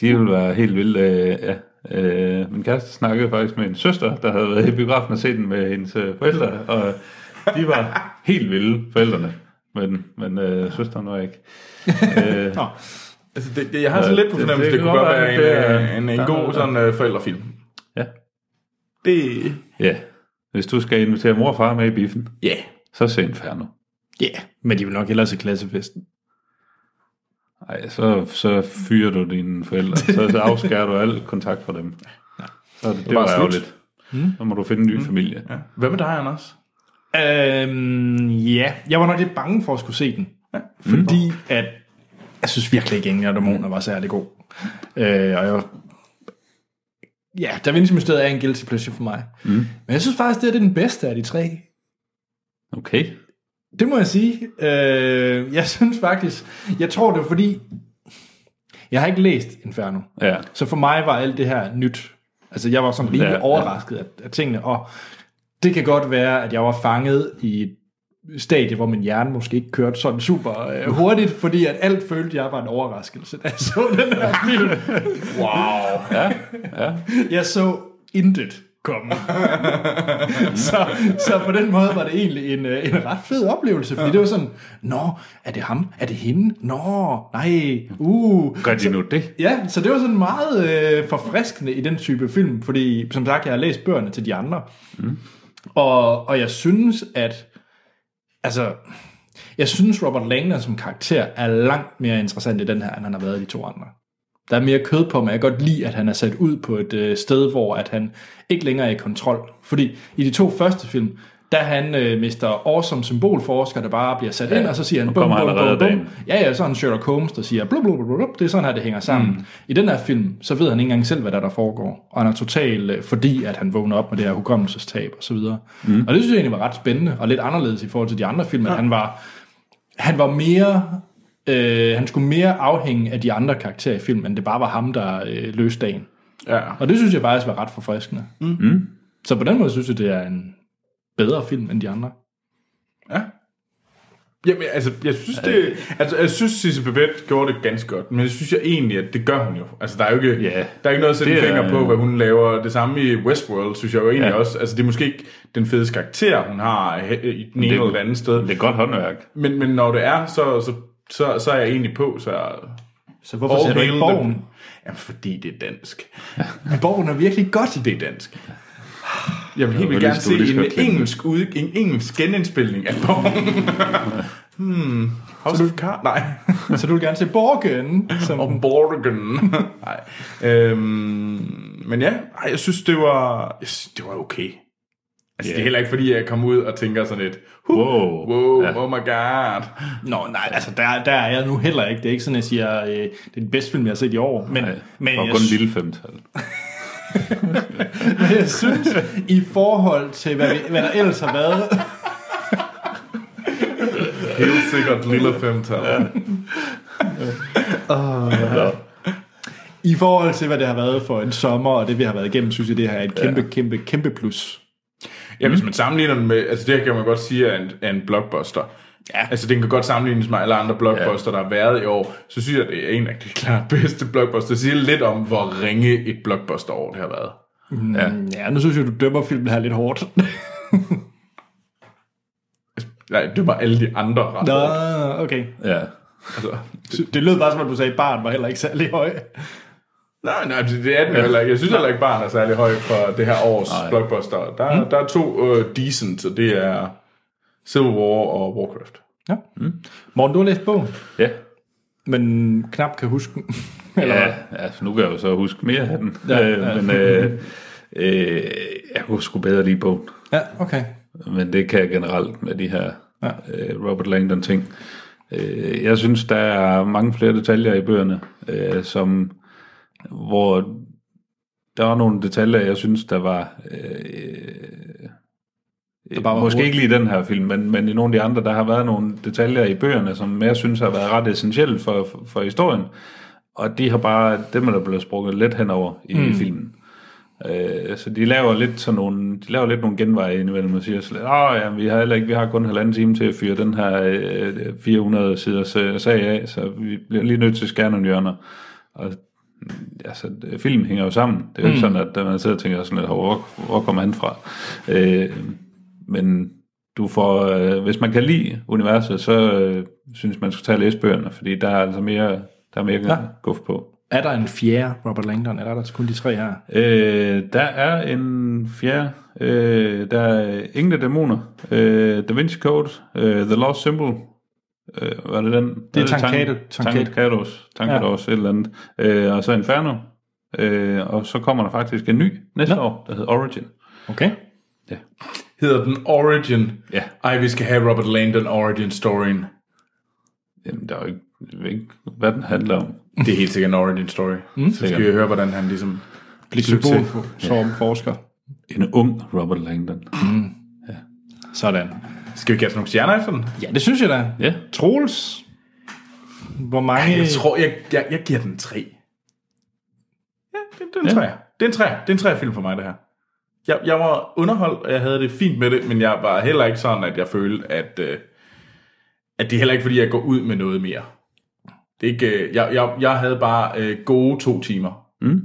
De ville være helt vilde, øh, ja. Øh, min kæreste snakkede faktisk med en søster, der havde været i biografen og set den med hendes øh, forældre, og de var helt vilde, forældrene. Men, men øh, søsteren var ikke. Øh,
Altså, det, det, jeg har sådan
Ja,
lidt på
det-
fornemmelse,
det
det, det,
kan
kunne
godt
godt være en,
være,
øh,
at
en,
det
en,
er-
en god sådan, øh, forældrefilm.
ja,
Det,
ja. Hvis du skal invitere mor og far med i biffen,
ja. Yeah.
så se Inferno.
Ja, yeah, men de vil nok hellere se klassefesten.
Ej, så, så fyrer du dine forældre, så, så afskærer du al kontakt fra dem. Så er det,
bare
det var
slut. Hmm?
ærgerligt. Så må du finde en ny familie.
Ja. Hvad med dig, Anders?
Øhm, ja, jeg var nok lidt bange for at skulle se den. Ja. Mm. Fordi at, jeg synes virkelig ikke, Engel og Dæmoner var særlig god. Øh, og jeg var, ja, Da Vinci Mysteriet er en guilty pleasure for mig. Mm. Men jeg synes faktisk, det er den bedste af de tre.
Okay.
Det må jeg sige. Øh, jeg synes faktisk, jeg tror det er fordi, jeg har ikke læst Inferno.
Ja.
Så for mig var alt det her nyt. Altså jeg var sådan lige
Ja,
ja,
ja.
overrasket af, af tingene, og det kan godt være, at jeg var fanget i et stadie, hvor min hjerne måske ikke kørte sådan super øh, hurtigt, fordi at alt følte, jeg var en overraskelse, da jeg så den her film.
Wow.
Jeg så intet komme. så, så på den måde var det egentlig en, øh, en ret fed oplevelse, fordi ja. det var sådan, nå, er det ham? Er det hende? Nå, nej, uh.
Gør de nu det?
Ja, så det var sådan meget øh, forfriskende i den type film, fordi som sagt, jeg har læst bøgerne til de andre. Mm. Og, og jeg synes, at altså, jeg synes Robert Langner som karakter er langt mere interessant i den her, end han har været i de to andre. Der er mere kød på, men jeg kan godt lide, at han er sat ud på et øh, sted, hvor at han ikke længere er i kontrol. Fordi i de to første film, der er han øh, mister awesome symbolforsker, der bare bliver sat ja, ind, og så siger han,
nu kommer han og redder dagen.
Ja, ja, så er han Sherlock Holmes, der siger, blub, blub, blub, blub, det er sådan her, det hænger sammen. Mm. I den her film, så ved han ikke engang selv, hvad der, er, der foregår. Og han er total, øh, fordi at han vågner op med det her hukommelsestab og så videre. Mm. Og det synes jeg egentlig var ret spændende, og lidt anderledes i forhold til de andre film, at han var, han var mere... Øh, han skulle mere afhænge af de andre karakterer i filmen, end det bare var ham, der øh, løste dagen.
Ja.
Og det synes jeg faktisk var ret forfriskende. Mm. Så på den måde synes jeg, det er en bedre film end de andre.
Jamen, altså, jeg synes, det, altså, jeg synes, Sisse Babette gjorde det ganske godt, men jeg synes jeg egentlig, at det gør hun jo. Altså, der er jo ikke,
Ja.
der er ikke noget at sætte
Det er-
finger på, hvad hun laver. Det samme i Westworld, synes jeg jo egentlig
Ja.
ja. også. Altså, det er måske ikke den fedeste karakter, hun har he- i den ene
Det-
eller den anden sted.
Det er godt håndværk.
Men, men når det er, så, så, så, så er jeg egentlig på, så...
Så hvorfor ser du ikke Borgen?
Jamen, fordi det er dansk.
Borgen er virkelig godt.
Det er dansk. Jeg vil helt
var
vildt
lige-
gerne
det var lige så
se en
godt klemme det.
engelsk, ud, en engelsk genindspilning af Borgen. hmm. House of Cards? Nej.
Så du vil gerne se Borgen? Som
Og Borgen. Nej. Øhm, men ja, ej, jeg synes, det var, jeg synes, det var okay. Altså, yeah. det er heller ikke, fordi jeg kom ud og tænker sådan lidt, huh,
Wow.
wow
Ja.
oh my god.
Nå, nej, altså der, der er jeg nu heller ikke. Det er ikke sådan, at jeg siger, øh, det er den bedste film, jeg har set i år. Men,
Nej,
men
og
jeg,
kun en lille femtal.
Men jeg synes, i forhold til, hvad, vi, hvad der ellers har været,
Helt sikkert lille femtal. Ja.
i forhold til, hvad det har været for en sommer, og det vi har været igennem, synes jeg, det her er et kæmpe, ja. kæmpe, kæmpe plus.
ja, hvis man sammenligner den med... Altså, det her kan man godt sige er en, er en blockbuster. Ja. Altså, den kan godt sammenlignes med alle andre blockbuster, ja. der har været i år. Så synes jeg, det er en af de klart bedste blockbuster. Det siger lidt om, hvor ringe et blockbuster-år det har været.
Ja, nu synes jeg, du dømmer filmen her lidt hårdt.
Altså, Nej, det var alle de andre ret
Nå,
hårdt.
okay.
Ja.
Altså,
Det lød bare som om, du sagde, at barn var heller ikke særlig høj.
nej, nej, det det er den jo heller ikke. Jeg synes heller ikke, barn er særlig høj for det her års nej. blockbuster. Der, mm. der er to uh, decent, og det er Civil War og Warcraft.
Ja. Mm. Morten, du har læst bogen,
Ja.
men knap kan huske den. Eller hvad?
Ja, altså, nu kan jeg jo så huske mere af den. Ja, øh, ja. Men øh, øh, jeg kunne sgu bedre lide bogen.
ja, okay.
Men det kan jeg generelt med de her ja. øh, Robert Langdon-ting. Øh, jeg synes, der er mange flere detaljer i bøgerne, øh, som, hvor der var nogle detaljer, jeg synes, der var... Øh, der
bare
bare
var
var måske
hurtigt.
ikke lige i den her film, men, men i nogle af de andre, der har været nogle detaljer i bøgerne, som jeg synes har været ret essentielle for, for, for historien. Og de har bare, dem er der blevet sprunget lidt henover i mm. filmen. Øh, så de laver lidt sådan nogle, de laver lidt nogle genveje indimellem og siger sådan, åh ja, vi har heller ikke, vi har kun halvanden time til at fyre den her øh, 400 siders øh, sag af, så vi bliver lige nødt til at skære nogle hjørner. Og altså, filmen hænger jo sammen. Det er jo ikke sådan, at man sidder og tænker sådan lidt, "Hov, hvor, hvor kommer han fra? Øh, men du får, øh, hvis man kan lide universet, så øh, synes man skal tage og læse bøgerne, fordi der er altså mere, der er mere ja. guf på.
Er der en fjerde Robert Langdon? Eller er der kun de tre her?
Øh, der er en fjerde, øh, der er Ingen af Dæmoner, øh, Da Vinci Code, øh, The Lost Symbol, øh, hvad er det den?
Det er
Tang-
Tankado- Tankado.
Tankados, Tankados, ja. et eller andet. Øh, og så Inferno, øh, og så kommer der faktisk en ny næste ja. år, der hedder Origin.
Okay.
Ja.
Hedder den Origin?
Ja.
Ej, vi skal have Robert Langdon Origin-storyen.
Jamen, der er jo ikke, jeg ved ikke, hvad den handler om.
Det er helt sikkert en origin story. Mm. Så skal vi høre, hvordan han ligesom...
Bliv symbol som forsker.
En ung Robert Langdon.
Sådan.
Skal vi kaste nogle stjerner efter den?
Ja, det synes jeg da.
Ja.
Troels, hvor mange...
Jeg tror, jeg, jeg, jeg giver den tre. Ja, det, det er en ja. træer. Det er en træer. Det er en træer film for mig, det her. Jeg, jeg var underholdt, og jeg havde det fint med det, men jeg var heller ikke sådan, at jeg følte, at, øh, at det er heller ikke, fordi jeg går ud med noget mere. Det er ikke, øh, jeg, jeg, jeg havde bare øh, gode to timer. Mm.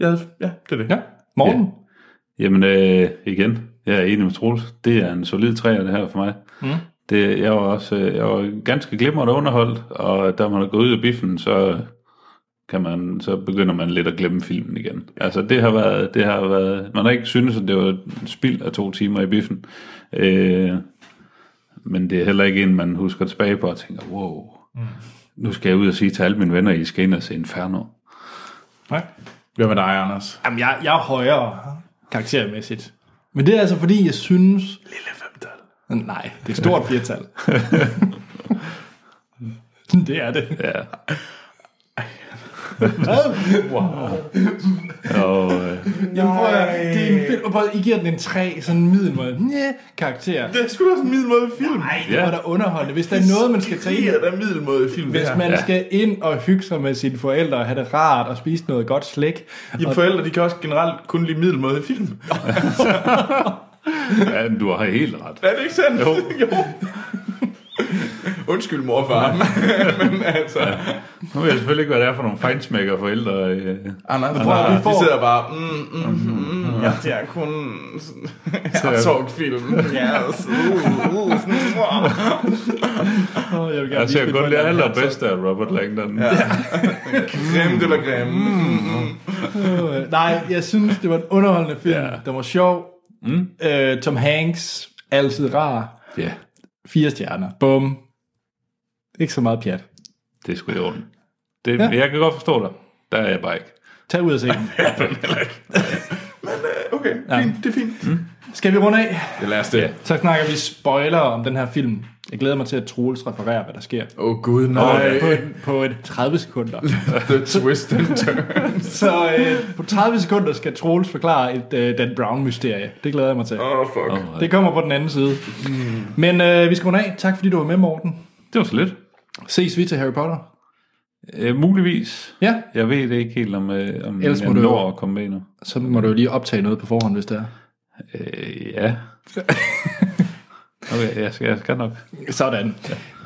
Jeg havde, ja, det er det.
Ja, Morten.
Jamen, øh, igen, jeg er enig med Troels. Det er en solid træer, det her for mig. Mm. Det, jeg var også øh, jeg var ganske glimrende underholdt, og da man er gået ud af biffen, så kan man, så begynder man lidt at glemme filmen igen. Altså det har været, det har været, man har ikke synes, at det var et spild af to timer i biffen. Øh, men det er heller ikke en, man husker tilbage på og tænker, wow, mm. nu skal jeg ud og sige til alle mine venner, I skal ind og se Inferno.
Nej.
Hvad med dig, Anders?
Jamen, jeg, jeg er højere karaktermæssigt. Men det er altså fordi, jeg synes... Lille femtal. Nej, det er et stort firtal. det er det.
Ja.
Hvad?
Og, øh,
Jamen, prøv at, høre, det er en film, og prøv, at- I giver den en 3, sådan en middelmåde. Nye, karakter.
Det er sgu da sådan en middelmåde film. Nej,
Det var da underholdende. Hvis der er noget, man skal tage ind,
Det er da middelmåde film.
hvis man
Ja.
skal ind og hygge sig med sine forældre og have det rart og spise noget godt slik.
Dine forældre, de kan også generelt kun lide middelmåde film.
ja, men du har helt ret.
Er det ikke sandt? Jo. jo. Undskyld, mor og far. Men altså,
Nu ved jeg selvfølgelig ikke, hvad det er for nogle fejnsmækker forældre. Øh.
Anders,
prøv at-
Anders,
vi får-
de sidder bare, mm, mm, mm, mm, jeg ser kun Herzog-film. Yes. Uh, uh, sådan, wow.
Åh, jeg vil gerne
Jeg
vise
ser
mit
kun det
forældre.
allerbedste af Robert Langdon. Ja.
Creme de la creme.
Øh, Nej, jeg synes, det var en underholdende film.
Ja.
Den var sjov. Mm. Øh, Tom Hanks, altid rar.
ja.
Fire stjerner. Bum. Ikke så meget pjat.
Det er sgu i orden. Det, ja. Jeg kan godt forstå dig. Der er jeg bare ikke.
Tag ud og se den.
Okay, fint, det er fint.
Skal vi runde af?
Det lader os det.
Så snakker vi spoiler om den her film. Jeg glæder mig til, at Troels refererer, hvad der sker.
Åh oh, gud,
Og
nej.
på, et, på et 30 sekunder.
The twist and turn.
Så øh, på 30 sekunder skal Troels forklare et øh, Dan Brown-mysterie. Det glæder jeg mig til.
Åh, oh, fuck. Oh.
Det kommer på den anden side. Men øh, vi skal runde af. Tak fordi du var med, Morten.
Det var så lidt.
Ses vi til Harry Potter?
Øh, muligvis.
Ja.
Jeg ved det ikke helt, om, øh, om
Ellers
jeg
må du-
når at komme med nu.
Så må du jo lige optage noget på forhånd, hvis det er.
Øh, ja. Okay, jeg skal, jeg skal nok.
Sådan.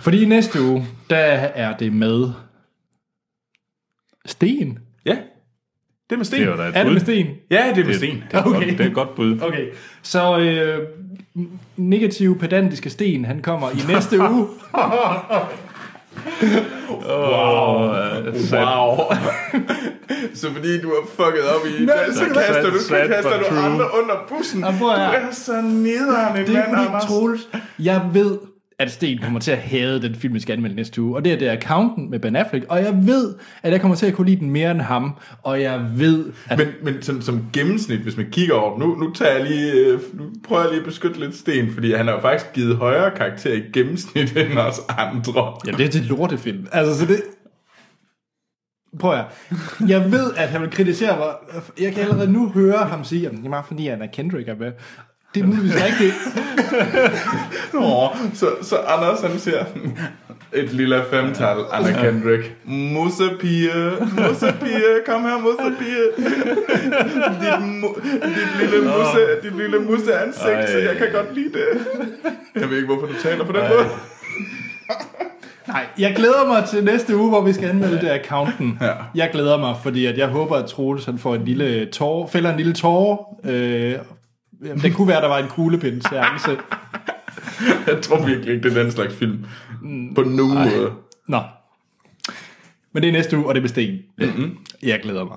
Fordi i næste uge, der er det med Sten.
Ja, det er med sten.
Det var da
Er
et
det
bud.
med Sten?
Ja, det er med
Det-
sten.
Det er, okay.
Okay.
godt, det er et godt bud.
Okay, så øh, n- negative pedantiske Sten, han kommer i næste uge.
øh,
Wow. så fordi du har fucket op i Nå, så kaster du, så
sad
kaster
but
du
true.
andre under bussen.
Jamen,
Du
prøv at høre.
er så nederen en
Det er
mand,
fordi,
Anders.
Troels, jeg ved, at Sten kommer til at have den film, vi skal anmelde næste uge. Og det er det er Accountant med Ben Affleck. Og jeg ved, at jeg kommer til at kunne lide den mere end ham. Og jeg ved, at...
Men, men som, som gennemsnit, hvis man kigger over den, nu, nu, tager jeg lige, øh, nu prøver jeg lige at beskytte lidt Sten, fordi han har jo faktisk givet højere karakter i gennemsnit end os andre.
Ja, det er til lortefilm. Altså, så det... Prøv at høre. Jeg ved, at han vil kritisere mig. Jeg kan allerede nu høre ham sige, at det er bare fordi, han er Kendrick er med. Det er muligvis rigtigt.
Nå, så, så Anders han siger, et lille femtal, Anna Kendrick. Mussepige, mussepige, kom her mussepige. Dit, mu- dit, lille musse, dit lille musse ansigt, så jeg kan godt lide det. Jeg ved ikke, hvorfor du taler på den måde.
Nej, jeg glæder mig til næste uge, hvor vi skal anmelde det accounten. Ja. Jeg glæder mig, fordi at jeg håber, at Troels han får en lille tårer, fælder en lille tårer. Øh, jamen, det kunne være, der var en kuglepind seance.
Jeg tror virkelig ikke, det er den slags film. På nogen måde.
Nå. Men det er næste uge, og det er med Sten. Mm-hmm. Jeg glæder mig.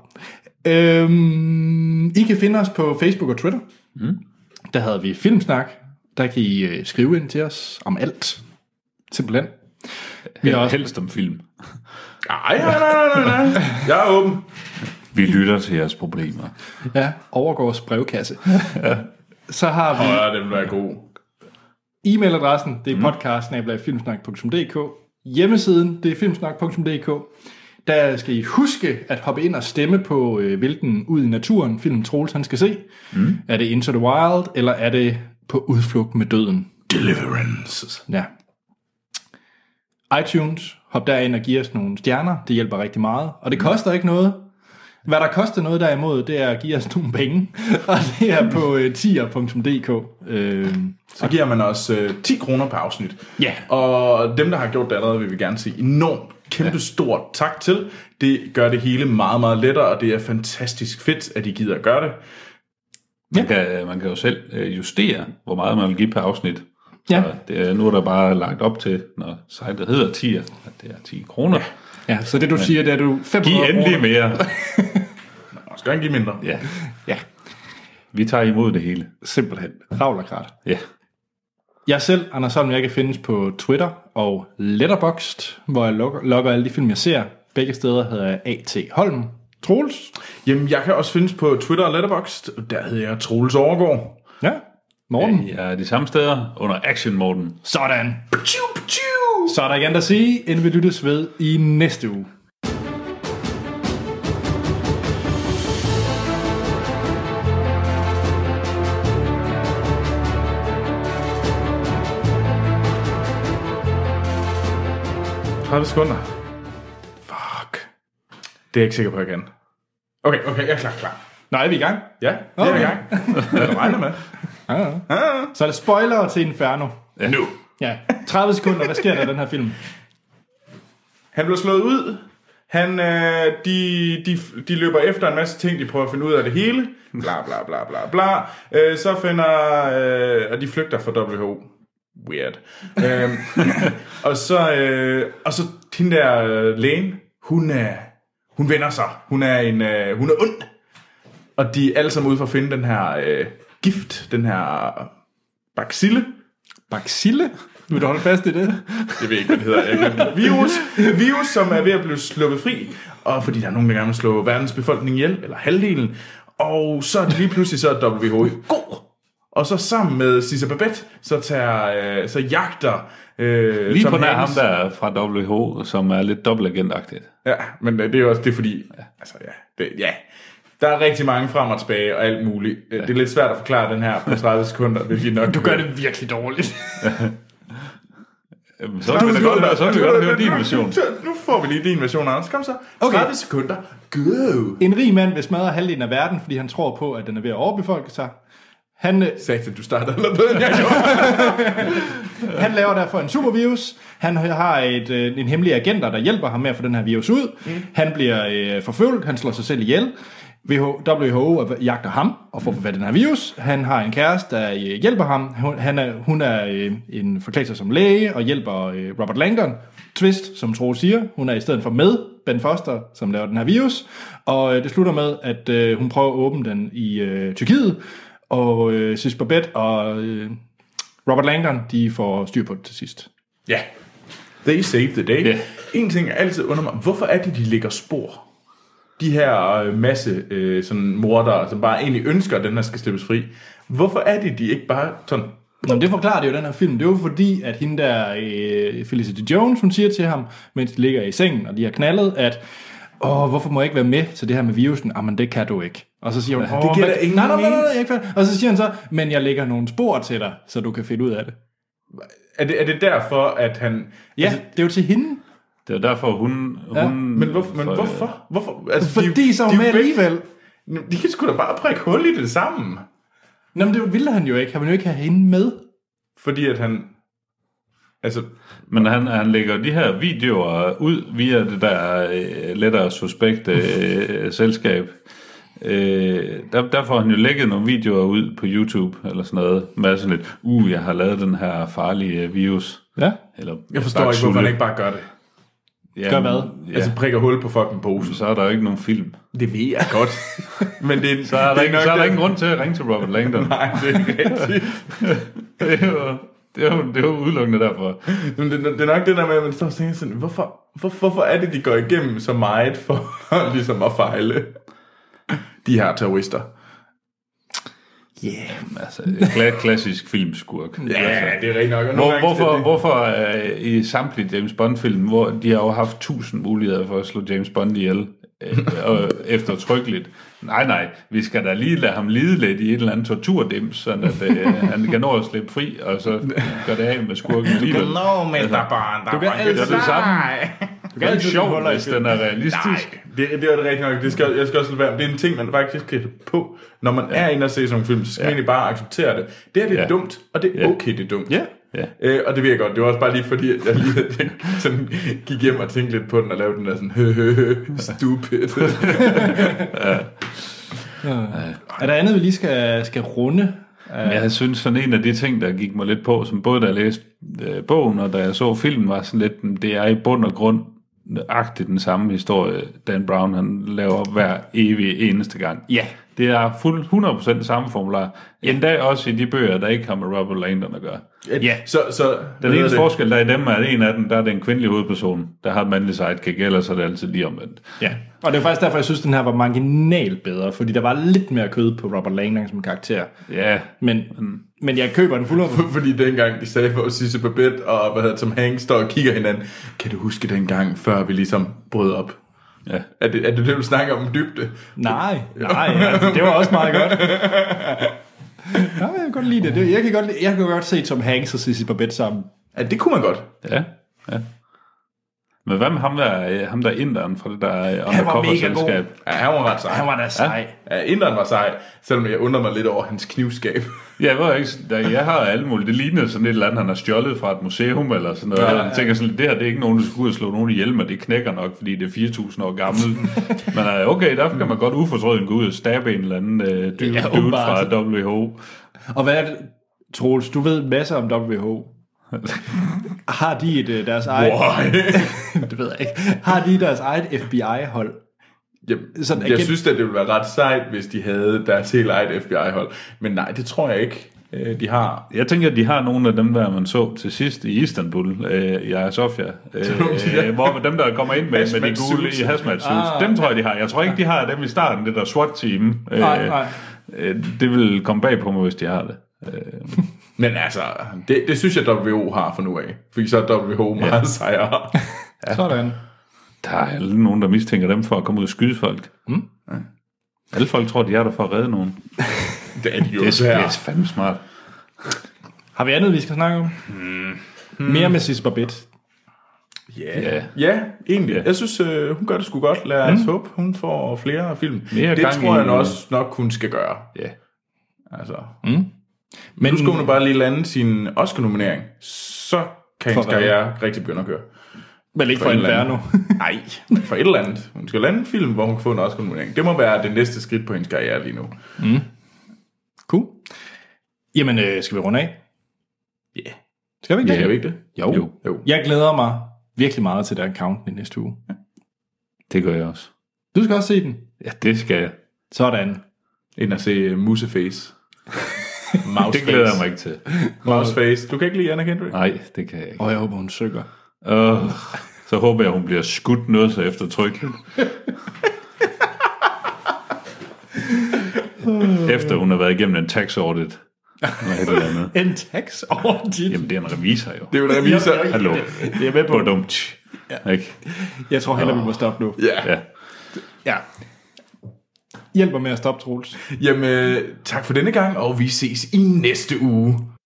Øhm, I kan finde os på Facebook og Twitter. Mm. Der havde vi Filmsnak. Der kan I øh, skrive ind til os om alt. Simpelthen. Vi har også
Helst om film.
Ej, nej, nej, nej, nej, nej. Jeg er åben.
Vi lytter til jeres problemer.
Ja, overgårds brevkasse. Så har vi
Ja, den vil være god.
e-mailadressen,
Mhm.
det er podcast Hjemmesiden, det er filmsnak.dk. Der skal I huske at hoppe ind og stemme på, øh, hvilken ud i naturen film Troels han skal se.
Mhm.
Mm. Er det Into the Wild, eller er det på udflugt med døden?
Deliverance.
Ja. iTunes, hop derind og giv os nogle stjerner. Det hjælper rigtig meget, og det
Mhm.
koster ikke noget. Hvad der koster noget derimod, det er at give os nogle penge, og det er på øh, tier.dk. Øh,
Så giver man os øh, 10 kroner per afsnit.
Ja.
Og dem, der har gjort det allerede, vil vi gerne sige enormt kæmpe stort tak til. Det gør det hele meget, meget lettere, og det er fantastisk fedt, at I gider at gøre det.
Man, kan, man kan jo selv øh, justere, hvor meget man vil give per afsnit.
Ja.
Så det, er- nu er der bare lagt op til, når sitet hedder 10, at det er 10 kroner. Ja.
ja, så det du siger, det er du 500
Giv endelig
kroner.
mere.
Og skal ikke give mindre.
Ja.
Ja,
Vi tager imod det hele.
simpelthen. Ravlerkrat.
Ja.
Jeg selv, Anders Holm, jeg kan findes på Twitter og Letterboxd, hvor jeg logger, logger alle de film, jeg ser. Begge steder hedder jeg A.T. Holm. Troels?
Jamen, Øhm, jeg kan også findes på Twitter og Letterboxd. Der hedder jeg Troels Overgaard.
Ja. Morten?
Jeg er de samme steder under Action Morten.
Sådan. Så er der ikke andet at sige, end vi lyttes ved i næste uge.
Har det sekunder? Fuck. Det er jeg ikke sikker på, jeg kan. Okay, okay, jeg er klar, klar.
Nå, er vi i gang?
Ja, det er jeg i gang. Jeg regner med.
Så er det spoiler til Inferno.
Ja. Nu.
Ja, 30 sekunder. Hvad sker der i den her film?
Han blev slået ud. Han, øh, de, de, de løber efter en masse ting, de prøver at finde ud af det hele. Bla, bla, bla, bla, bla. Øh, så finder... Øh, og de flygter fra WHO. Weird. Øh, og så... Øh, og så hende der øh, lægen, hun, øh, hun vender sig. Hun er, en, øh, hun er ond. Og de er alle sammen ude for at finde den her øh, gift, den her bacille.
Baxille? Vil du holde fast i det?
Jeg ved ikke, hvad det hedder. Jeg glemte det. virus, virus, som er ved at blive sluppet fri, og fordi der er nogen, der gerne vil slå verdens befolkning ihjel, eller halvdelen, og så er det lige pludselig så er WHO god Og så sammen med Cesar Babette, så, tager, øh, så jagter øh,
Lige
Tom
på nær ham
Hanks-
der fra WHO, som er lidt dobbeltagentagtigt.
Ja, men øh, det er også det er fordi, altså ja, det, ja, der er rigtig mange frem og tilbage og alt muligt. Øh, Det er lidt svært at forklare den her på 30 sekunder, hvilket I nok
Du gør det virkelig dårligt.
Jamen, Så kan vi da godt, så kan vi godt høre din version.
Nu får vi lige din version, Anders. Kom så.
Okay.
30 sekunder. Go!
En rig mand vil smadre halvdelen af verden, fordi han tror på, at den er ved at overbefolke sig. Han, øh,
Satan, du starter allerede bedre, end jeg gjorde.
han laver derfor en supervirus. Han har et, øh, en hemmelig agenter, der hjælper ham med at få den her virus ud. Mm. Han bliver øh, forfølgt, han slår sig selv ihjel. WHO WHO jagter ham og får fat i den her virus. Han har en kæreste, der øh, hjælper ham. Hun, han er, hun er øh, en forklædt sig som læge og hjælper øh, Robert Langdon. Twist, som Tro siger, hun er i stedet for med Ben Foster, som laver den her virus. Og øh, det slutter med, at øh, hun prøver at åbne den i øh, Tyrkiet. Og øh, Sis Babette og... Øh, Robert Langdon, de får styr på det til sidst.
ja. They saved the day.
Ja.
En ting, jeg altid under mig. Hvorfor er det, de lægger spor? De her øh, masse øh, sådan mordere, som bare egentlig ønsker, at den her skal slippes fri. Hvorfor er det, de ikke bare sådan...
Nå, men det forklarer det jo den her film. Det er jo fordi, at hende der, øh, Felicity Jones, hun siger til ham, mens de ligger i sengen, og de har knaldet, at Åh, hvorfor må jeg ikke være med til det her med virusen? Jamen, det kan du ikke. Og så siger hun, "Åh,
det giver
hvad-
da ingen
nej, nej, nej, nej,
mening."
jeg er ikke færdig." Og så siger han så, men jeg lægger nogle spor til dig, så du kan finde ud af det.
Er det, er det derfor, at han...
Ja, altså, det er jo til hende.
Det er derfor, hun... hun
Ja,
Men, hvorfor, men hvorfor? hvorfor? Altså,
Fordi så er hun
er
med
jo begge-
alligevel.
De kan sgu da bare prikke hul i det sammen.
Nå, men det ville han jo ikke. Han ville jo ikke have hende med.
Fordi at han... Altså,
Men han, han lægger de her videoer ud via det der øh, lettere suspekt øh, selskab. Øh, der, der får han jo lægget nogle videoer ud på YouTube eller sådan noget. Med sådan lidt, uh, jeg har lavet den her farlige øh, virus.
Ja.
Eller
jeg forstår ikke, hvorfor han ikke bare gør det.
ja,
Gør hvad?
Ja,
Altså,
altså,
prikker hul på fucking posen.
så er der jo ikke nogen film.
Det ved jeg godt. Men det,
Så er der,
det
ikke, så er der
det-
ingen grund til at ringe til Robert Langdon.
Nej, det er ikke rigtigt.
det, er jo, det, er jo, det er jo udelukkende derfor.
Men det, det, er nok det der med, at man står og tænker sådan, hvorfor, hvor, hvorfor er det, de går igennem så meget for ligesom at fejle? De her terrorister.
Altså, kla- klassisk filmskurk.
Ja, det er rigtigt nok. Og nogle
Hvor,
gange-
hvorfor
det-
hvorfor øh, i samtlige James Bond-film, hvor de har jo haft tusind muligheder for at slå James Bond ihjel, øh, og eftertrykkeligt. Nej, nej, vi skal da lige lade ham lide lidt i et eller andet torturdims, sådan at øh, han kan nå at slippe fri, og så gør det af med skurken alligevel. Det
Nå, Mr. Bond, der
Du kan
var-
altid-
er det samme. Det er
altid
ikke
sige,
sjovt,
holder i
hvis den er realistisk.
Nej, det, det er det rigtigt nok. Det skal, jeg skal også lade være. Det er en ting, man faktisk skal på. Når man ja. er inde og se sådan nogle film, så skal ja. man egentlig bare acceptere det. Det her, det er ja.
Ja.
dumt, og det er
Ja.
okay, det er dumt.
Ja.
Ja.
Øh, og det ved jeg godt. Det var også bare lige fordi, at jeg lige jeg sådan, gik hjem og tænkte lidt på den, og lavede den der sådan, hø, hø, hø, stupid.
Er der andet, vi lige skal, skal runde?
Men Jeg synes sådan en af de ting, der gik mig lidt på, som både da jeg læste øh, bogen og da jeg så filmen, var sådan lidt, "Men det er i bund og grund agtigt den samme historie, Dan Brown han laver hver evig eneste gang. Ja. Det er fuld 100% det samme formular. Endda også i de bøger, der ikke har med Robert Langdon at gøre.
ja. Så, så, hvad
Den eneste
hedder det?
forskel, der er i dem, er, at en af dem, der er den kvindelige hovedperson, der har et mandligt sidekick, ellers er det altid lige omvendt.
Ja, og det er faktisk derfor, jeg synes, den her var marginalt bedre, fordi der var lidt mere kød på Robert Langdon som karakter.
Ja,
Men, men jeg køber den fuld
Fordi dengang de sagde for Sisse Babette og hvad hedder, Tom Hanks står og kigger hinanden. Kan du huske dengang, før vi ligesom brød op?
ja.
Er det, er det det, du snakker om dybde?
Nej, nej, altså, det var også meget godt. Ja, jeg kan godt lide det. det. Jeg kan godt, lide- jeg kan godt se Tom Hanks og Sissy Babette sammen.
Ja, det kunne man godt.
Ja, ja. Men hvad med ham der, øh, ham der inderen fra det der øh, undercover-selskab?
Ja, han var ret sej.
Han var da sej.
Ja, inderen var sej, selvom jeg undrer mig lidt over hans knivskab.
Ja, jeg, ved ikke, der- jeg har alt muligt. Det ligner sådan et eller andet, han har stjålet fra et museum eller sådan noget. Ja, ja. Jeg tænker sådan, det her det er ikke nogen, der skulle ud og slå nogen ihjel, men det knækker nok, fordi det er 4.000 år gammelt. men øh, okay, derfor kan man godt ufortrøden gå ud og stabbe en eller anden øh, dude,
Ja,
ja, dude
åbenbart.
fra WHO.
Og hvad er det, Troels? Du ved masser om WHO. Har de et, øh, deres eget... det ved jeg ikke. Har de deres eget FBI-hold?
jeg,
Sådan,
jeg
igen.
synes at det ville være ret sejt, hvis de havde deres helt eget FBI-hold. Men nej, det tror jeg ikke, øh, de har.
Jeg tænker, at de har nogle af dem, der man så til sidst i Istanbul, øh, i Aja Sofia, øh, øh, hvor dem, der kommer ind med, med de
Hazmat
gule
suits.
i hazmat ah. dem tror jeg, de har. Jeg tror ikke, de har dem i starten, det der SWAT-team. Øh,
Nej, nej.
øh, det vil komme bag på mig, hvis de har det.
Men altså, det, det synes jeg, WHO har for nu af. Fordi så er WHO meget ja. sejere.
Ja. Sådan.
Der er alle nogen, der mistænker dem for at komme ud og skyde folk. Mm.
Hmm?
Ja. Alle folk tror, de er der for at redde nogen.
Det er de jo
Det er, det
desværre.
er fandme smart.
Har vi andet, vi skal snakke om? Mm. Mere med Sis Babette.
Ja, Mm. ja egentlig.
Ja.
Jeg synes, øh, hun gør det sgu godt. Lad os håbe, hun får flere film.
Mere
det
gang
tror jeg
i-
også nok, hun skal gøre.
Ja.
Altså.
Men
Nu skal hun jo bare lige lande sin Oscar-nominering. Så kan hendes
For hvad?
karriere rigtig begynde at køre.
vel ikke for
for en eller
Inferno.
anden. Nej, men for et eller andet. Hun skal lande en film, hvor hun kan få en Oscar-nominering. Det må være det næste skridt på hendes karriere lige nu.
cool. Jamen, øh, skal vi runde af?
Ja. Yeah.
Skal vi ikke
Ja,
det?
er jo ikke det?
Jo.
Jo.
Jo.
Jeg glæder mig virkelig meget til der account i næste uge.
Det gør jeg også.
Du skal også se den.
Ja, det skal jeg.
Sådan.
Ind og se uh, Museface.
Det glæder jeg mig ikke til.
Mouseface. Du kan ikke lide Anna Kendrick?
Nej, det kan jeg ikke.
Og jeg håber, hun søger.
Øh, så håber jeg, hun bliver skudt noget så eftertrykkeligt. Efter hun har været igennem en tax audit. Eller et eller andet.
En tax over dit.
Jamen, det er en revisor jo.
Det er jo en revisor.
Hallo.
Det er med på.
Badumt. Ikke?
Jeg tror heller, vi må stoppe nu.
Ja.
Ja.
Ja. Hjælp mig med at stoppe, Troels.
Jamen, øh, tak for denne gang, og vi ses i næste uge.